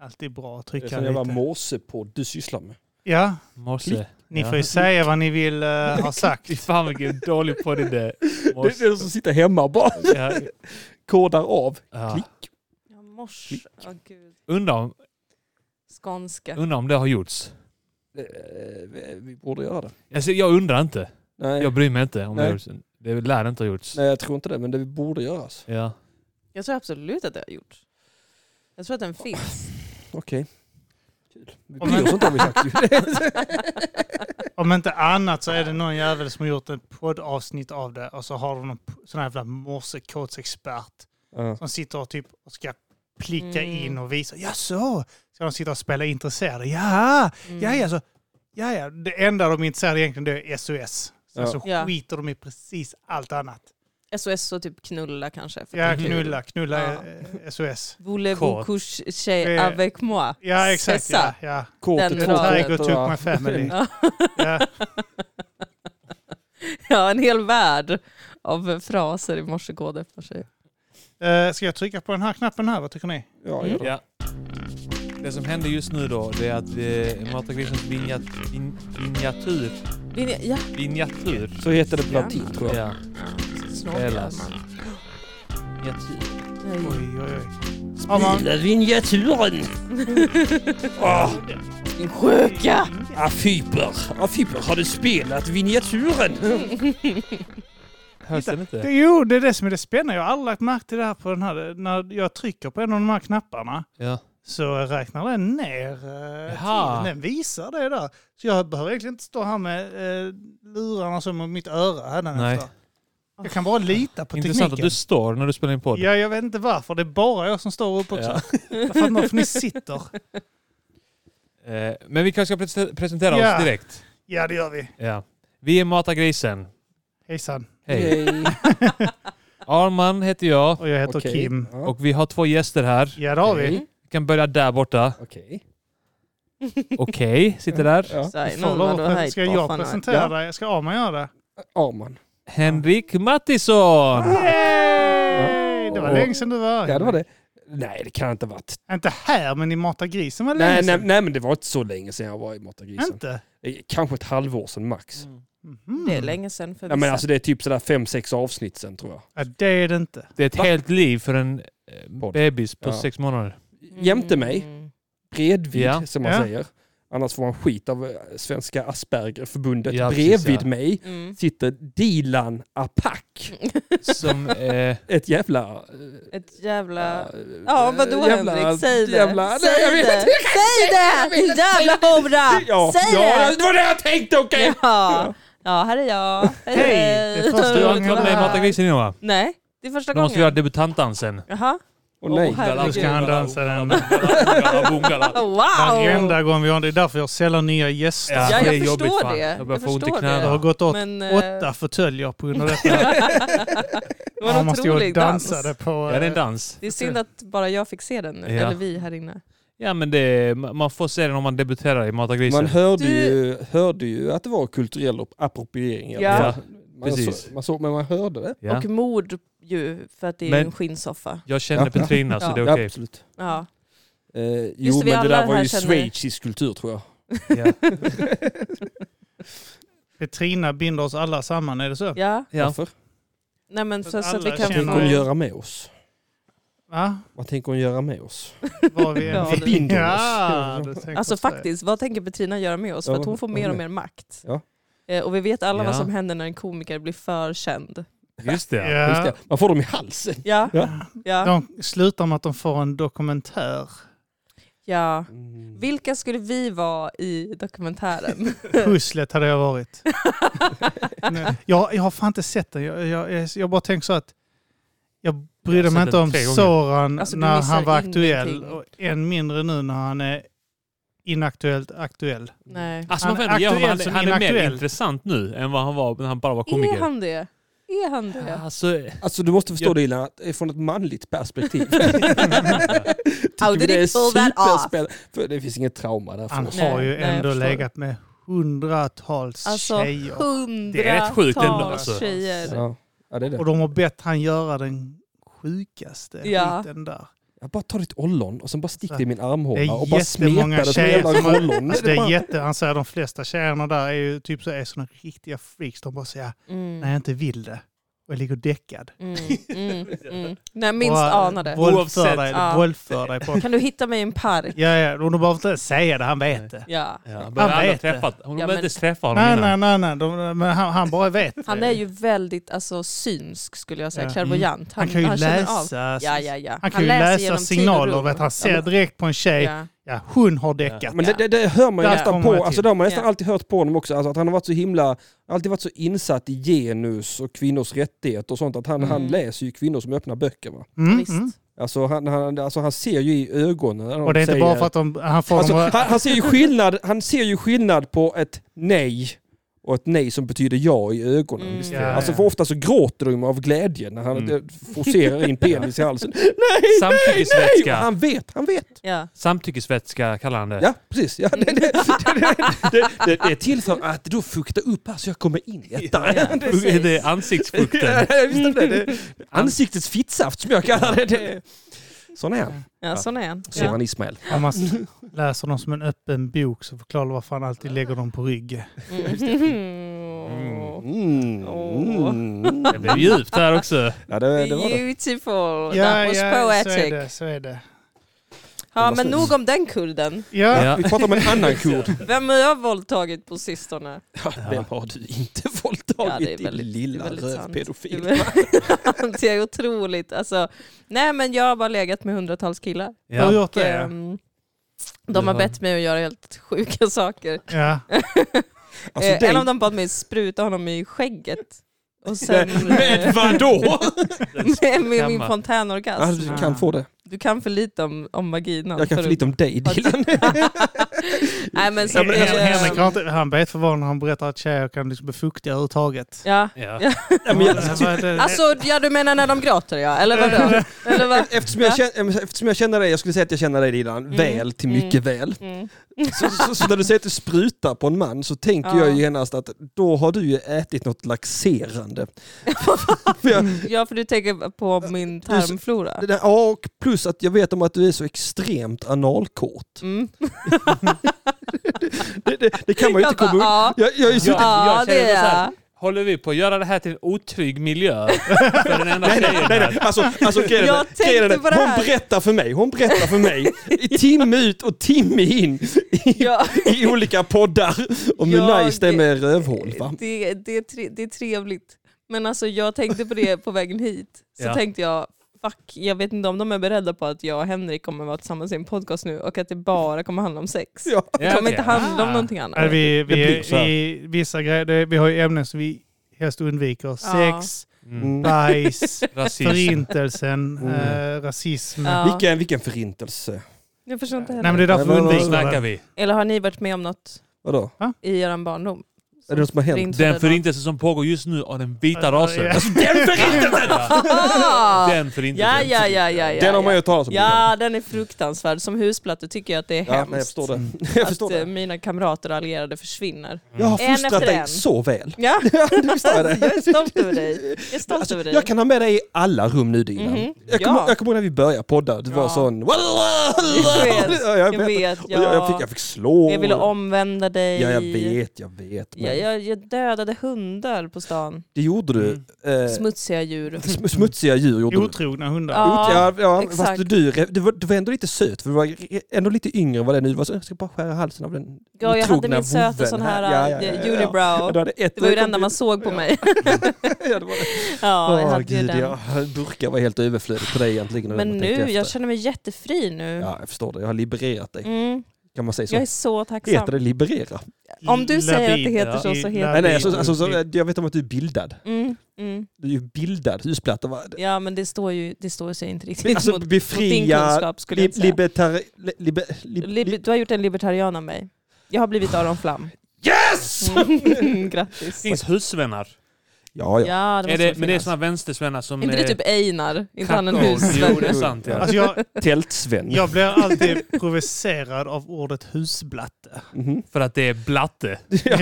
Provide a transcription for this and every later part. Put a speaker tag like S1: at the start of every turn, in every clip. S1: Alltid bra att
S2: Det är
S1: trycka
S2: sån jävla
S1: lite.
S2: morsepodd du sysslar med.
S1: Ja,
S3: Morse.
S1: ni
S3: Ja.
S1: får ju säga vad ni vill eh, ha sagt.
S3: Fy fan vilken dålig podd det är.
S2: Det är
S3: Morse.
S2: den som sitter hemma och bara
S3: Ja.
S2: kodar av.
S3: Ja.
S2: Klick.
S4: Ja, mors.
S2: Klick.
S4: Ja, gud.
S3: Undrar, om,
S4: Skånska.
S3: undrar om det har gjorts.
S2: Eh, vi- Vi borde göra det.
S3: Alltså, jag undrar inte.
S2: Nej,
S3: Jag bryr mig inte om det har
S2: Nej.
S3: gjorts. Det lär inte ha gjorts.
S2: nej, jag tror inte det, men det borde alltså. göras.
S3: Ja.
S4: Jag tror absolut att det har gjorts. Jag tror att den finns.
S2: Okej. Kul. Vi
S1: Om
S2: bryr
S1: man-
S2: oss inte har vi sagt ju.
S1: Om inte annat så är det någon jävel som har gjort ett poddavsnitt av det och så har de någon p- sån här jävla morsekodsexpert
S2: Ja.
S1: som sitter och typ och ska plicka
S4: Mm.
S1: in och visa. Ja så Ska de sitta och spela intresserade? Ja,
S4: Mm.
S1: ja, ja, så, ja, ja. Det enda de är intresserade egentligen det är SOS. Sen
S2: Ja.
S1: så
S4: Ja.
S1: skiter de i precis allt annat.
S4: SOS och typ knulla kanske. för
S1: Ja,
S4: att det är kul.
S1: knulla, knulla
S4: Ja.
S1: eh, SOS.
S4: Voulez-vous
S3: Kort.
S4: coucher
S1: Eh,
S4: avec moi?
S1: Ja, exakt.
S4: C'est ça.
S1: Ja, ja.
S2: Kortet
S4: Den
S2: två
S4: drar.
S2: kortet,
S1: Tiger took
S2: va?
S1: my family.
S4: Ja.
S1: Ja.
S4: Ja, en hel värld av fraser i morsekod efter sig.
S1: Eh, Ska jag trycka på den här knappen här? Vad tycker ni?
S2: Ja, gör det.
S3: Ja. Det som händer just nu då, det är att eh, Matargrisens vinjat- vin- vinjatur,
S4: Vill ni- Ja,
S3: vinjatur,
S2: Så heter det på latin tror jag.
S3: ja,
S4: snorkar
S3: spelas.
S4: man.
S3: Vinjatur.
S4: Nej.
S1: Oj, oj, oj. Har man-
S2: vinjaturen! Åh,
S4: Din sjuka!
S2: ah, affiper! Affiper, har du spelat vinjaturen?
S3: Hörs den inte?
S1: Det, jo, det är det som är det spännande. Jag har aldrig lagt märke till det här på den här. När jag trycker på en av de här knapparna
S3: Ja.
S1: så räknar den ner eh,
S3: Jaha.
S1: tiden. Den visar det där. Så jag behöver egentligen inte stå här med eh, lurarna som mot mitt öra
S3: Nej.
S1: hädanefter. Jag kan bara lita på
S3: Intressant att
S1: tekniken.
S3: du står när du spelar in podd.
S1: Ja, jag vet inte varför. Det är bara jag som står upp också. Jag fattar inte varför ni sitter.
S3: Eh, men vi kanske ska prese- presentera
S1: Ja.
S3: oss direkt.
S1: Ja, det gör vi.
S3: Ja. Vi är Matargrisen.
S1: Hejsan.
S3: Hej. Arman heter jag
S1: Och jag heter
S2: Okej.
S1: Kim.
S2: Ja,
S3: och vi har två gäster här.
S1: Ja, det har vi.
S2: okej.
S3: Vi kan börja där borta.
S2: Okej.
S3: Okej, sitter där.
S2: Ja.
S4: Så här,
S1: Får lov
S4: någon var
S1: att
S4: då
S1: pre-
S4: höjd
S1: Ska
S4: på
S1: jag
S4: fan,
S1: presentera
S2: Ja.
S1: dig? Ska Arman göra det?
S2: Arman.
S3: Henrik Mattisson!
S1: Yay! Det var
S2: Och-
S1: länge sedan du var här.
S2: Ja, det var det. Nej, det kan inte ha varit.
S1: Inte här, men i Mata grisen var det länge
S2: Nej, nej,
S1: sedan.
S2: nej, men det var inte så länge sedan jag var i Matagrisen.
S1: Inte?
S2: Eh, Kanske ett halvår sedan max.
S4: Mm.
S1: Mhm.
S4: Det är länge sedan för
S2: Ja, men
S4: vissa.
S2: alltså det är typ sådär fem, sex avsnitt sen tror jag.
S1: Ja, det är det inte.
S3: Det är ett
S2: Va?
S3: helt liv för en eh,
S2: Podd.
S3: bebis på
S2: Ja.
S3: sex månader.
S2: Jämte mig,
S4: Mm.
S2: bredvid
S3: Ja.
S2: som man
S1: Ja.
S2: säger. Annars får man skit av eh, Svenska Aspergerförbundet.
S3: Ja, precis,
S2: bredvid
S3: ja.
S2: mig
S4: Mm.
S2: sitter Dilan Apak.
S3: Som, eh,
S2: Ett jävla... eh,
S4: Ett jävla...
S2: eh,
S4: Ja, vadå
S2: jävla-
S4: Henrik? Säg det!
S2: Jävla,
S4: Säg
S2: nej, jag vet
S4: det!
S2: inte.
S4: Säg det! Din jävla hora!
S2: Ja,
S4: Säg
S2: ja,
S4: det!
S2: det var det jag tänkte, okej!
S4: Ja. ja, här är jag.
S1: Hej! Det är första
S3: du har
S1: gången
S3: inte varit med i Matargrisen innan va?
S4: Nej, det är första
S3: Då måste vi göra
S4: gången.
S3: debutantdansen.
S4: Jaha.
S2: Åh nej.
S4: Åh, herregud.
S1: Nu ska han dansa den.
S4: Wow!
S1: Varenda gång vi har det. Det är därför jag sällan nya gäster.
S4: Ja, jag
S3: det är
S4: förstår
S3: jobbigt, fan.
S4: det.
S3: Jag börjar
S4: Jag
S3: få ont i
S4: förstår
S1: Det har
S3: knäna.
S4: det.
S1: gått åt
S4: Men, eh,
S1: åtta förtöljer på grund av detta.
S4: Det var en
S1: Man stod och
S4: otrolig dans.
S1: dansade på...
S3: Ja, det är en
S1: eh,
S3: dans.
S4: Det är synd att bara jag fick se den nu,
S3: Ja.
S4: eller vi här inne.
S3: Ja, men det, man får se den om man debuterar i Matargrisen.
S2: Man hörde,
S4: Du-
S2: ju, hörde ju att det var kulturell appropriering. i alla
S4: Ja.
S2: fall. man
S3: precis.
S2: såg- man såg, men man hörde det.
S3: Ja.
S4: Och mord ju, för att det är
S3: Men-
S4: en skinnsoffa.
S3: Jag känner
S2: Ja.
S3: Petrina så
S4: Ja.
S3: det är okej.
S2: absolut.
S4: Ja.
S2: Eh, jo,
S4: det, vi
S2: men det
S4: alla
S2: där var
S4: här
S2: ju
S4: känner-
S2: schweizisk kultur tror jag.
S3: Ja.
S1: Petrina eh, binder oss alla samman, är det så?
S4: ja.
S3: Ja.
S2: Varför?
S4: Nej men
S1: Så
S4: så,
S1: att
S4: så att vi
S1: alla
S4: kan
S2: Tänker
S1: känner-
S4: få...
S2: hon göra med oss?
S1: Va?
S2: Vad tänker hon göra med oss?
S1: Var vi
S4: Ja,
S1: än
S4: det-
S2: Binder oss.
S1: Ja, det tänker
S4: Alltså
S1: jag säga.
S4: faktiskt, vad tänker Petrina göra med oss? För
S2: Ja,
S4: att hon får
S2: vad-
S4: mer och
S2: vad-
S4: mer makt.
S2: Ja.
S4: Eh, och vi vet alla vad
S3: Ja.
S4: som händer när en komiker blir för känd.
S3: Just det. Ja.
S2: Just
S1: Ja.
S2: det, man får dem i halsen.
S4: Ja,
S2: Ja.
S4: ja,
S1: De slutar med att de får en dokumentär.
S4: ja. Vilka skulle vi vara i dokumentären?
S1: Pusslet hade jag varit. Nej, jag, jag har fan inte sett den. Jag, jag, jag, jag bara tänker så att jag
S3: Jag
S1: brydde
S3: har
S1: mig
S3: sett
S1: inte
S3: den
S1: om
S3: tre gånger.
S1: Soran
S4: Alltså, du
S1: när
S4: missar
S1: han var
S4: ingenting.
S1: aktuell och än mindre nu när han är inaktuellt aktuell.
S4: Nej.
S3: Alltså,
S1: Han
S3: man
S1: är
S3: får ändå ge honom- han,
S1: aktuell som
S3: han är mer
S1: inaktuell.
S3: intressant nu än vad han var när han bara var
S4: Är
S3: komiker.
S4: han det? Är han det?
S3: Alltså,
S2: Alltså du måste förstå
S3: Jag-
S2: Dilan, att det är från ett manligt perspektiv.
S4: How
S2: Tycker vi
S4: did it pull that off?
S2: superspänn- För det finns inget trauma där för
S1: Han
S2: oss.
S4: Nej,
S1: har ju
S4: nej, jag
S1: ändå
S4: förstår.
S1: legat med hundratals
S4: Alltså
S1: tjejer.
S3: Det är rätt sjukt ändå, alltså.
S4: hundratals tjejer.
S2: Ja. Ja, det är det.
S1: Och de har bett han göra den sjukaste
S4: Ja.
S1: skiten där.
S2: Jag bara tar ditt ollon och sen bara stick
S1: Så.
S2: det i min
S1: Det
S2: armhåla
S1: är
S2: och bara
S1: jättemånga
S2: smetar det som en
S1: tjejer
S2: jävla
S1: som har-
S2: ollon.
S1: Det är jätte, han säger de flesta tjejerna där är ju typ så är såna riktiga freaks. De bara säger
S4: Mm.
S1: nej jag inte vill det. Och jag ligger däckad.
S4: Mm, mm, mm. När jag minst
S1: och,
S4: anar det.
S1: Våldför dig,
S4: Ja.
S1: våldför dig på.
S4: Kan du hitta mig i en park?
S1: Ja, ja, och de behöver inte säga det, han vet det.
S4: Ja.
S3: Ja, han
S1: Han
S3: behöver
S1: vet
S3: träffat. Hon
S4: Ja,
S3: behöver
S4: men-
S3: inte träffa honom
S1: Nej,
S3: innan.
S1: nej, nej, nej. De, men han, han bara vet det.
S4: Han är ju väldigt alltså, synsk skulle jag säga,
S1: Ja. Mm.
S4: clairvoyant.
S1: Han kan ju
S4: känner
S1: läsa,
S4: Av. Ja, ja, ja.
S1: Han kan ju läsa
S4: genom tid och
S1: signaler.
S4: rum.
S1: Vet, han ser
S4: Ja,
S1: direkt på en tjej, ja,
S4: ja.
S1: hon har däckat.
S2: Men det, det, det hör man ju
S1: Där
S2: nästan
S1: kommer
S2: på,
S1: jag till.
S2: alltså det har man nästan
S4: Ja.
S2: alltid hört på honom också, alltså att han har varit så himla, alltid varit så insatt i genus och kvinnors rättigheter och sånt, att han,
S1: Mm.
S2: han läser ju kvinnor som öppnar böcker va.
S1: Mm,
S4: Visst.
S1: mm.
S2: Alltså han, han, alltså han ser ju i ögonen när de
S1: Och det är inte
S2: säger,
S1: bara för att de, han får
S2: alltså,
S1: dem
S2: han,
S1: att-
S2: han, ser ju skillnad, han ser ju skillnad på ett nej och ett nej som betyder ja i ögonen.
S4: Mm.
S2: Visst?
S1: Ja,
S2: Alltså
S1: ja.
S2: för ofta så gråter de av glädje när han
S3: Mm.
S2: mm. forcerar in penis i halsen. Nej, nej, nej!
S3: Samtyckesvätska.
S2: Och Han vet, han vet.
S4: Ja.
S3: Samtyckesvätska kallar han det.
S2: Ja, precis. Ja, det, det, det, Eh. det, det, det är till för att då fukta upp här så jag kommer in i ettan.
S4: Ja, precis.
S3: det är ansiktsfukten.
S2: Ja, jag visste det. Det är Ansiktets fittsaft som jag kallar det. det. Sån är han,
S4: ja, sån är han.
S2: ser
S4: Ja.
S2: man Ismael.
S1: Om man s- läser dem som en öppen bok så förklarar du varför han alltid lägger dem på rygg.
S4: Mm.
S2: Mm.
S4: Åh.
S2: Mm.
S3: Det blev djupt där också.
S2: Ja, det, det var det.
S4: Beautiful, that was
S1: så är
S4: poetic.
S1: det. Så är det.
S4: Ja, men nog om den kurden.
S1: Ja,
S3: Ja.
S2: Vi pratar om en annan kurd.
S4: Vem har jag våldtagit på sistone?
S2: Ja, vem har du inte
S4: Ja, det är
S2: våldtagit din
S4: väldigt- det
S2: lilla
S4: är väldigt sant.
S2: rövpedofil?
S4: Det Det är otroligt. Alltså, nej, men jag har bara legat med hundratals killar.
S1: jag har
S3: Ja.
S1: gjort det.
S4: Ehm, De har
S3: Ja.
S4: bett mig att göra helt sjuka saker.
S1: Ja.
S2: Alltså,
S4: eh,
S2: det-
S4: En av dem bad mig spruta honom i skägget. Och sen...
S2: Men vadå?
S4: med med min
S3: Skamma.
S2: Ja,
S4: fontänorgasm.
S2: du kan få det.
S4: Du kan för lite om, om vaginan.
S2: Alltså- Jag kan för
S4: för-
S2: lite om dig Dilan.
S4: Nej, men så,
S1: Ja, men
S4: eh,
S1: Hen- Henrik har inte, han vet för vad när han berättar att tjejer kan liksom bli fuktiga överhuvudtaget.
S4: ja.
S3: Ja.
S2: Ja, men jag-
S1: Vad är det?
S4: Alltså, ja, du menar när de gråter ja, eller vadå? eller vad?
S2: Eftersom jag, känner, eftersom jag känner dig, jag skulle säga att jag känner dig Dilan, väl till mycket väl.
S4: Mm.
S2: Så, så, så när du säger att du sprutar på en man så tänker
S4: Ja.
S2: jag ju genast att då har du ju ätit något laxerande. För jag,
S4: Ja, för du tänker på min
S2: Du-
S4: tarmflora.
S2: det där, ja, och plus att jag vet om att du är så extremt analkåt.
S4: Mm.
S2: Det, det, det kan man ju
S4: Jag
S2: inte komma
S4: bara,
S2: undan.
S4: ja.
S2: Jag, jag, är ju så-
S4: Ja,
S3: Alltså, typ, jag känner
S4: det
S3: så här-
S4: är
S3: Håller vi på att göra det här till en otrygg miljö? För den enda tjejen
S2: Nej, nej,
S3: här.
S2: alltså, alltså grejen är-
S4: Jag tänkte
S2: grejen är det,
S4: på det här.
S2: hon berättar för mig, hon berättar för mig, i timme ut och timme in i,
S4: ja,
S2: i olika poddar om hur
S4: Jag-
S2: nice det är med rövhål. Va?
S4: det, det, är tre, det är trevligt. Men alltså, jag tänkte på det på vägen hit. Så
S3: Ja.
S4: tänkte jag, fuck, jag vet inte om de är beredda på att jag och Henrik kommer vara tillsammans i en podcast nu och att det bara kommer handla om sex.
S2: Ja.
S4: Det kommer
S3: okej.
S4: inte handla om
S3: Ah.
S4: någonting annat.
S1: Nej, vi,
S2: Det blir
S1: vi,
S2: så här.
S1: vi, vissa grejer, det, vi har ju ämnen som vi helst undviker. Sex,
S3: Mm.
S1: bajs,
S3: Rasism.
S1: förintelsen,
S2: Mm.
S1: eh, rasism.
S4: Ja.
S2: Vilken, vilken förintelse.
S4: Jag förstår inte
S1: Nej,
S4: heller.
S1: men det är därför vi
S2: Nej, men-
S3: Då
S1: undviker det.
S3: snackar vi.
S4: Eller har ni varit med om något
S2: Vadå?
S4: i er barndom?
S2: Är det något som har hänt?
S3: Den förintelse som pågår just nu av den vita rasen.
S1: Ja.
S3: Alltså den förintelsen!
S4: Ah!
S3: Den förintelsen.
S4: Ja, ja, ja, ja, ja.
S2: Den har man ju hört talas om.
S4: Ja, den är fruktansvärd. Som husplatta tycker jag att det är
S2: Ja,
S4: hemskt.
S2: men jag förstår det. Jag förstår
S4: att eh,
S2: det.
S4: mina kamrater och allierade försvinner.
S2: Jag har
S4: En
S2: fostrat
S4: efter
S2: dig
S4: en.
S2: så väl.
S4: Ja,
S2: Ja, du förstår det.
S4: jag är stolt över dig. Jag är stolt
S2: Alltså,
S4: över dig.
S2: jag kan ha med dig i alla rum nu Dilan.
S4: Mhm.
S2: Jag kommer
S4: Ja.
S2: jag kommer ihåg när vi började podda, du var
S4: Ja.
S2: sån... Jag
S4: Jag vet,
S2: jag
S4: jag vet,
S2: Och jag, jag, fick, jag fick slå.
S4: Jag ville omvända dig.
S2: Ja, jag vet, jag vet. Men
S4: Ja, jag, jag dödade hundar på stan.
S2: Det gjorde du.
S3: Mm.
S2: Eh,
S4: Smutsiga djur.
S2: sm- smutsiga djur gjorde du.
S1: Otrogna hundar.
S4: Ja.
S2: Ot- Ja, ja,
S4: exakt.
S2: fast du, du, var, du var ändå lite söt, för du var ändå lite yngre än vad den nu var. Så jag ska bara skära halsen av den
S4: Ja, jag hade
S2: otrogna
S4: min söta
S2: vovven
S4: sån här
S2: Ja, ja, ja, ja,
S4: eh,
S2: ja. Ja,
S4: unibrow.
S2: du hade ett-
S4: Det var ju det enda man såg på mig.
S2: Ja, det var det.
S4: Ja, jag
S2: Åh,
S4: hade ju
S2: gud,
S4: den.
S2: ja. Burkar var helt överflödigt på dig egentligen. när
S4: Men
S2: man tänkte
S4: nu, jag
S2: efter.
S4: känner mig jättefri nu.
S2: Ja, jag förstår det. Jag har libererat dig.
S4: Mm,
S2: Kan man säga så?
S4: jag är så tacksam.
S2: Heter det liberera?
S4: Om du säger att det heter
S3: Ja.
S4: så, så heter
S2: Nej,
S4: det
S2: nej, alltså, alltså, så, jag vet om att du är bildad.
S4: Mm, mm.
S2: Du är ju bildad, husplatta. va?
S4: Ja, men det står ju det står sig inte riktigt
S2: Alltså
S4: mot, mot din
S2: befria...
S4: kunskap skulle
S2: Li,
S4: jag säga.
S2: libertar, li, liber, li,
S4: Lib- du har gjort en libertarian av mig. Jag har blivit Aron Flam.
S2: Yes!
S4: Mm, Grattis.
S3: Finns husvänner.
S2: Ja, ja.
S4: Ja, det
S3: Är
S4: måste
S3: det,
S4: det,
S3: men det är sådana vänstersvennar som...
S4: Är inte det
S3: eh,
S4: typ Einar? Inte han en
S3: kackor? Jo,
S4: husvän?
S3: det är sant. Ja.
S1: Alltså jag,
S2: Tältsvän.
S1: jag blir alltid provocerad av ordet husblatte.
S2: Mhm.
S3: För att det är blatte.
S1: Ja.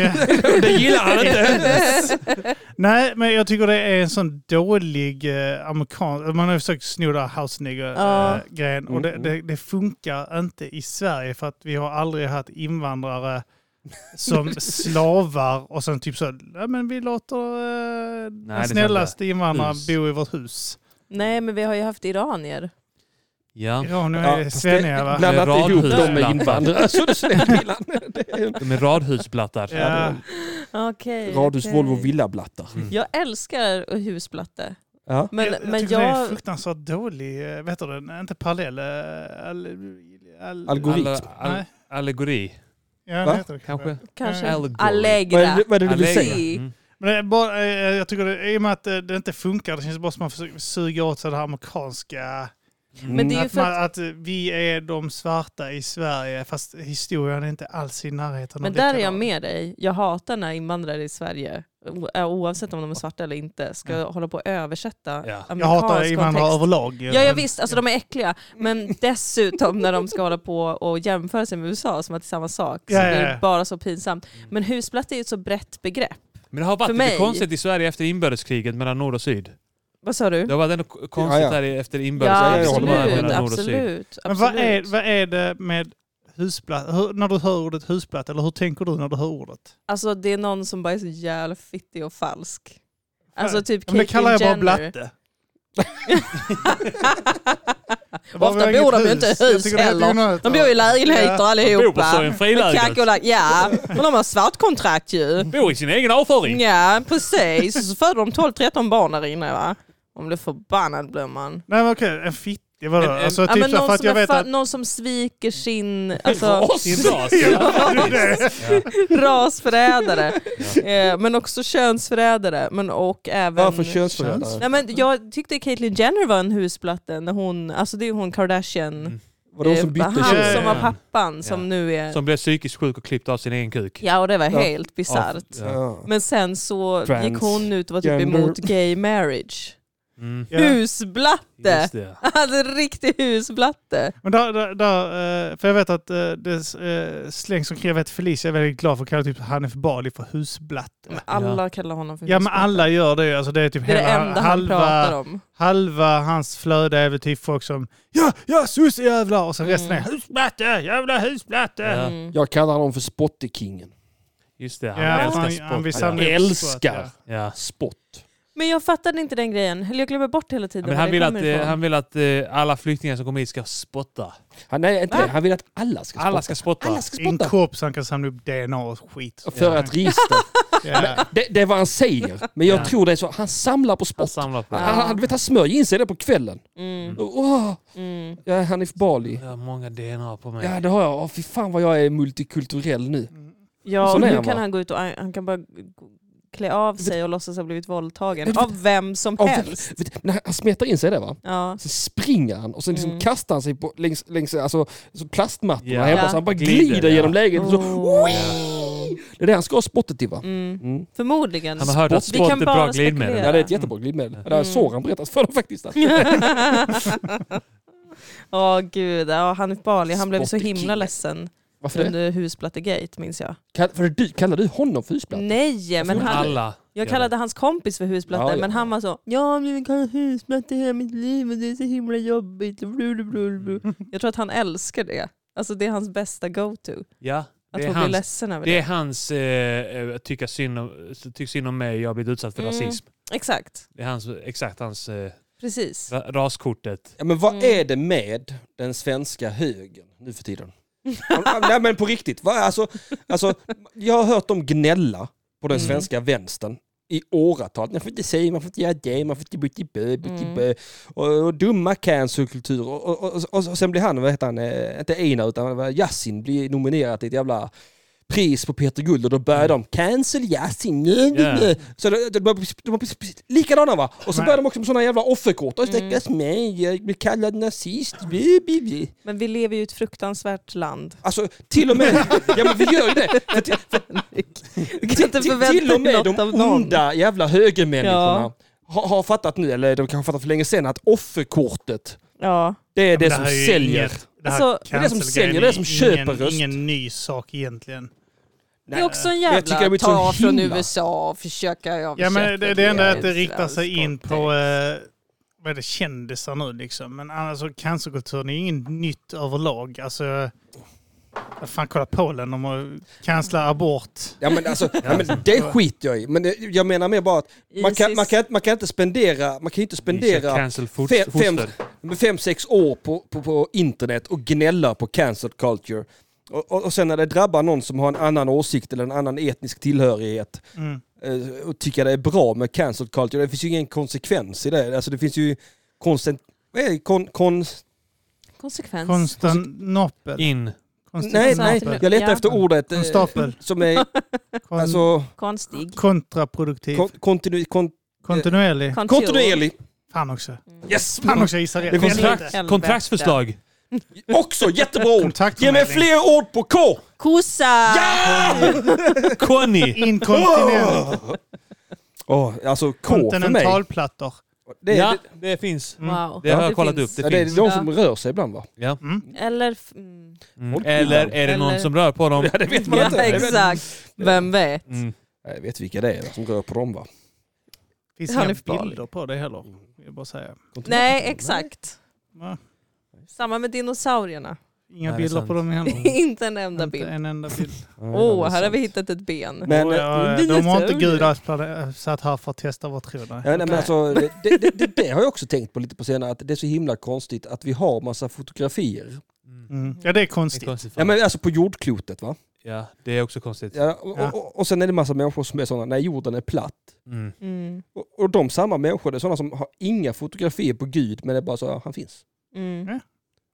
S3: Det gillar han inte!
S1: Nej, men jag tycker det är en sån dålig eh, amerikansk... Man har ju försökt sno det här house
S4: Ja.
S1: nigger-grejen och det,
S2: Mm.
S1: det, det funkar inte i Sverige för att vi har aldrig haft invandrare som slavar och sen typ så ja, men vi låter eh,
S3: Nej,
S1: den
S3: det
S1: snällaste invandraren
S3: Hus.
S1: bo i vårt hus.
S4: Nej, men vi har ju haft iranier.
S3: Ja,
S1: Ja, nu
S2: Ja,
S1: är det
S2: fast
S1: svenniga va?
S2: Blanda
S3: Med
S2: inte ihop dem med
S3: radhusplattor.
S2: invandrare. Så du snäll Willan. Det är en
S3: de är radhusplattar.
S1: Ja.
S4: Okej.
S2: Radhus,
S4: okej.
S2: Volvo, villa, blatta.
S3: Mm.
S4: Jag älskar husplatte.
S2: Ja.
S4: Men
S1: jag,
S4: jag,
S1: jag
S4: men
S1: tycker det är
S4: jag,
S1: fruktansvärt dålig, eh, vet du den, inte parallell, eh, all, all,
S2: Algoritm.
S3: Alla- all-
S1: Nej.
S3: Allegori,
S1: Ja,
S2: Va?
S1: det heter det kanske.
S3: kanske?
S4: kanske
S2: Vad
S3: Allegory.
S2: är
S4: Allegra.
S2: det, vad är det du vill
S3: Allegra.
S2: säga?
S3: Mm.
S1: Men det är bara, eh, jag tycker det, i och med att eh, det inte funkar, det känns bara som att man försöker suga åt sig det här amerikanska.
S2: Mm.
S4: Men det är ju
S1: att,
S4: för
S1: man, att eh, vi är de svarta i Sverige, fast historien är inte alls i närheten
S4: Men
S1: av
S4: där är jag
S1: likadan.
S4: med dig. Jag hatar när invandrare i Sverige, o- eh, oavsett om de är svarta eller inte, ska
S2: Mm.
S4: hålla på och översätta
S3: Jag
S4: amerikansk
S1: Jag hatar invandrare
S4: kontext.
S1: överlag. eh,
S4: Ja, ja visst, alltså de är äckliga. Men dessutom när de ska hålla på och jämföra sig med USA som att det är samma sak, så
S1: Ja, ja,
S4: blir
S1: ja.
S4: det bara så pinsamt. Men husplatta är ju ett så brett begrepp.
S3: Men det har varit
S4: För
S3: lite
S4: mig-
S3: konstigt i Sverige efter inbördeskriget mellan nord och syd.
S4: Vad sa du?
S3: Det har varit ändå k-
S2: Ja,
S3: konstigt
S2: ja.
S3: här i- efter
S4: Ja,
S2: ja,
S3: inbördeskriget
S2: jag håller
S4: absolut.
S2: med.
S3: mellan nord och syd.
S4: absolut,
S1: Men
S4: absolut.
S1: vad är, vad är det med husplatt, hur, när du hör ordet husplatt, eller hur tänker du när du hör ordet?
S4: Alltså det är någon som bara är så jävla fittig och falsk. Alltså typ
S1: Men det kallar jag bara
S4: Caitlyn Jenner.
S1: blatte.
S4: Ofta
S1: Vi har inget
S4: bor de ju inte i
S1: Jag
S4: hus
S1: tycker det är
S4: heller.
S1: onödigt.
S4: De bor i lägenheter
S3: bor på
S4: allihopa.
S3: så- en frilägenhet.
S4: Kack och lack, ja. Men de har svartkontrakt ju.
S3: Bor i sin egen avföring!
S4: Ja, precis. Och Så föder de 12-13 barn där inne va. Om blir förbannad blir man.
S1: Nej men okej, en fittig vadå?
S3: Men en-
S1: Alltså
S4: Ja,
S1: typ
S4: men
S1: så här, för
S4: någon,
S1: att
S4: som
S1: jag
S4: är
S1: vet
S4: fa-
S1: att...
S4: någon som sviker sin
S3: För
S4: alltså,
S3: oss! Ja,
S4: rasförrädare. Eh, Men också könsförrädare. Men, och även...
S2: Varför könsförrädare?
S4: Nej, men jag tyckte Caitlyn Jenner var en husplatte när hon, alltså det är hon Kardashian,
S3: Mm.
S2: Var det hon som
S4: eh,
S2: bytte
S4: han
S1: kön?
S4: som var
S3: Ja.
S4: pappan som
S3: Ja.
S4: nu är...
S3: Som blev psykiskt sjuk och klippte av sin egen kuk.
S4: Ja och det var
S2: Ja.
S4: helt bisarrt.
S3: Ja.
S2: Ja.
S4: Men sen så
S2: Trans-
S4: gick hon ut och var typ
S2: gender.
S4: emot gay marriage.
S3: Mm.
S1: Ja.
S4: Husblatte!
S3: Just det.
S4: Han är en riktig husblatte.
S1: Men där, där, där, eh, för jag vet att eh, det eh, slängs omkring, jag vet Felicia är väldigt glad för att kalla typ Hanif Bali för husblatte.
S4: Men alla kallar honom för
S1: Ja men
S4: husblatte.
S1: alla gör det ju. alltså det är typ
S4: Det är det
S1: hela,
S4: enda han pratar
S1: halva,
S4: om.
S1: halva hans flöde är väl typ folk som Ja, ja sossejävlar! Och sen resten är
S4: Mm.
S1: husblatte, jävla husblatte!
S3: Ja.
S4: Mm.
S2: Jag kallar honom för Spottekingen.
S3: Just det, han
S1: Ja,
S3: älskar
S1: han-
S3: sport.
S1: han vill
S2: Han
S1: samla-
S3: ja.
S1: är
S2: älskar
S3: Ja.
S2: spott.
S4: Men jag fattade inte den grejen. Eller Jag glömmer bort hela tiden
S3: Men
S4: var
S3: han,
S4: det
S3: vill att,
S4: kommer
S3: eh,
S4: ifrån.
S3: han vill att eh, alla flyktingar som kommer hit ska spotta.
S2: Han, nej, inte
S4: Va?
S2: det. han vill att alla ska spotta.
S3: Alla ska spotta.
S2: Alla ska
S1: I en
S2: spotta.
S1: kropp så han kan samla upp DNA och skit.
S2: För att register.
S1: Ja.
S2: Det, det är vad han säger. Men jag
S3: Ja.
S2: tror det är så. Han samlar på
S3: Han
S2: spott.
S3: samlar på det.
S2: Han, han, vet, han smörjer in sig det på kvällen.
S4: Mm,
S2: Och, Åh,
S4: mm.
S2: jag är Hanif Bali.
S3: Jag har många DNA på mig.
S2: Ja det har jag. Åh, fy fan vad jag är multikulturell nu.
S4: Mm. Ja,
S2: Sån
S4: och
S2: är
S4: nu
S2: han,
S4: kan
S2: va?
S4: han gå ut och han kan bara klä av sig och låtsas ha blivit våldtagen.
S2: Vet-
S4: Av vem som
S2: Av vem-
S4: helst.
S2: Vet, du, när han- han smetar in sig det va.
S4: Ja.
S2: Sen springer han och sen liksom
S4: Mm.
S2: kastar han sig på, längs, längs alltså, så plastmattorna.
S3: Ja.
S2: hemma,
S4: Ja.
S2: Så han bara
S3: Glider,
S2: glider
S3: ja.
S2: genom lägenheten. Så,
S4: Oh.
S2: Wii! Det är det han ska ha spottet till va?
S4: Mm.
S2: Mm.
S4: Förmodligen.
S3: Han har hört att
S4: Vi
S3: spott
S4: kan
S3: är
S4: bara
S3: bra glidmedel.
S4: spekulera.
S2: Ja, det är ett jättebra glidmedel. Det har
S4: Mm.
S2: Soran berättat för dem faktiskt. Att
S4: Åh gud, ja, Hanif Bali han blev så
S2: Spotty
S4: himla
S2: kille.
S4: ledsen
S2: Varför det?
S4: under husplattegate minns jag.
S2: Kall, för du, kallar du honom för husplatta?
S4: Nej, men
S2: gjorde
S4: han,
S3: Alla.
S4: jag
S3: gör
S4: kallade hans kompis för husplatte
S2: Ja, ja.
S4: men han var så Ja, men vi kallar husplatte hela mitt liv och det är så himla jobbigt. Blablabla. Jag tror att han älskar det. Alltså det är hans bästa go-to.
S3: det. Ja,
S4: Att
S3: det är
S4: få bli
S3: hans,
S4: ledsen över det.
S3: det är hans eh, eh, tycka synd om, tyck synd om mig, jag har blivit utsatt för
S4: Mm.
S3: rasism.
S4: Exakt,
S3: Det är hans, exakt hans eh,
S4: precis.
S3: ra- raskortet.
S2: Ja, men vad
S4: Mm.
S2: är det med den svenska högern nu för tiden? Ja, Nej men på riktigt. Vad- Alltså, alltså, jag har hört dem gnälla på den
S4: Mm.
S2: svenska vänstern i åratal. Man får inte säga, man får inte göra det, man får inte buttibö,
S4: Mm.
S2: buttibö. Och, och dumma cancelkulturer. Och, och, och, och, och sen blir han, vad heter han, eh, inte Einar utan vad- Yasin blir nominerad till ett jävla pris på Peter Guld och då börjar de cancel Yasin.
S3: Ja.
S2: Så de, de, de, de var precis- precis likadana va? Och så
S1: Nej.
S2: börjar de också med sådana jävla offerkort. Och
S4: Mm.
S2: stackars mig, jag blir kallad nazist. Bi, bi, bi.
S4: Men vi lever ju i ett fruktansvärt land.
S2: Alltså till och med, ja men vi gör ju det. För till,
S4: Du kan
S2: till,
S4: inte
S2: till,
S4: förvänta
S2: till och med
S4: dig något
S2: de
S4: av någon.
S2: onda jävla högermänniskorna
S4: Ja.
S2: har, har fattat nu, eller de kanske fattat för länge sedan, att offerkortet,
S4: Ja.
S2: det är det,
S1: här
S2: som
S1: är ju
S2: säljer.
S1: inget- det, här
S4: Alltså,
S2: det är det som
S1: cancelgrejen
S2: säljer, det är det som köper
S1: ingen,
S2: röst.
S1: ingen ny sak egentligen.
S4: Det är också en
S2: jag tycker det har
S4: jävla
S2: blivit så
S4: ta från
S2: himla-
S4: USA och försöka
S1: Ja, men det, det enda är att det
S4: ett
S1: riktar sig
S4: svenskt
S1: in
S4: kontext.
S1: på eh, vad är det, kändisar nu liksom. Men annars så cancerkulturen är ju inget nytt överlag. Alltså, vad fan kolla Polen, de har cancelat abort.
S2: Ja men alltså, ja, men det skiter jag i. Men det- jag menar mer bara att man kan,
S4: Isis-
S2: man kan, man kan inte spendera, man kan inte spendera
S3: Cancel fot,
S2: fe- fem,
S3: foster.
S2: med fem, sex år på, på, på internet och gnälla på cancel culture. Och, och, och sen när det drabbar någon som har en annan åsikt eller en annan etnisk tillhörighet
S1: Mm.
S2: eh, och tycker det är bra med cancel culture, det finns ju ingen konsekvens i det. Alltså det finns ju konstant... Vad är det? Kon, kon,
S4: Konsekvens.
S1: Konstantinopel.
S3: In.
S2: nej, nej, jag letar
S4: Ja.
S2: efter ordet eh,
S1: Konstapel.
S2: som är
S1: Kon-
S2: alltså,
S4: Konstig.
S1: kontraproduktiv.
S2: kon, kontinu, kon,
S1: kontinuerlig.
S4: Kontur.
S2: kontinuerlig.
S1: Fan också.
S2: Yes!
S1: Fan också, jag gissar
S2: Mm. Det
S1: rätt.
S2: finns
S1: Helvete.
S4: Helvete.
S3: Kontraktsförslag.
S2: Också jättebra ord! Ge mig
S1: Kontaktförmedling.
S2: fler ord på K!
S4: Kossa!
S3: Conny.
S1: Inkontinent.
S2: Åh, alltså K för mig.
S1: Kontinentalplattor.
S2: Det är,
S3: ja,
S2: det,
S3: det finns.
S1: Mm.
S4: Wow.
S3: Det har jag kollat
S4: finns.
S3: upp.
S2: ja,
S3: Det
S2: det är
S3: finns.
S2: de som rör sig ibland va?
S3: Ja.
S1: Mm.
S4: Eller... f- Mm.
S3: Mm.
S2: Folk
S3: Eller är det
S4: gillar.
S3: någon som rör på dem?
S2: Ja, det vet man inte.
S4: Ja,
S2: Jag vet-
S4: exakt. Vem vet?
S3: Mm.
S2: Jag vet vilka det är som rör på dem va?
S1: Finns
S4: Han
S1: inga
S4: är farlig.
S1: bilder på det heller. vill Jag bara säga.
S4: Nej, exakt.
S1: Va?
S4: Samma med dinosaurierna.
S1: Inga
S3: Nej, det är
S1: bilder
S3: sant.
S1: på dem heller.
S4: Inte en enda
S1: Inte
S4: bild.
S1: en enda bild.
S4: Åh, oh, här har vi hittat ett ben.
S2: Men,
S1: Och,
S2: eh,
S1: ja,
S4: det är
S1: de har inte
S4: naturligt.
S1: Gud alls plane- satt här för att testa vår tro. nej.
S2: Ja, nej, men alltså, det, det, det, det har jag också tänkt på lite på senare, att det är så himla konstigt att vi har massa fotografier.
S3: Mm.
S1: Mm. Ja, det är
S3: Det är
S1: konstigt.
S3: konstigt.
S2: Ja, men alltså på jordklotet va?
S3: Ja, det är också konstigt.
S2: Ja, och,
S1: Ja.
S2: Och, och sen är det massa människor som är sådana, nej jorden är platt.
S3: Mm.
S4: Mm.
S2: Och, och de samma människor, det är sådana som har inga fotografier på Gud, men det är bara så, ja, han finns.
S4: Mm.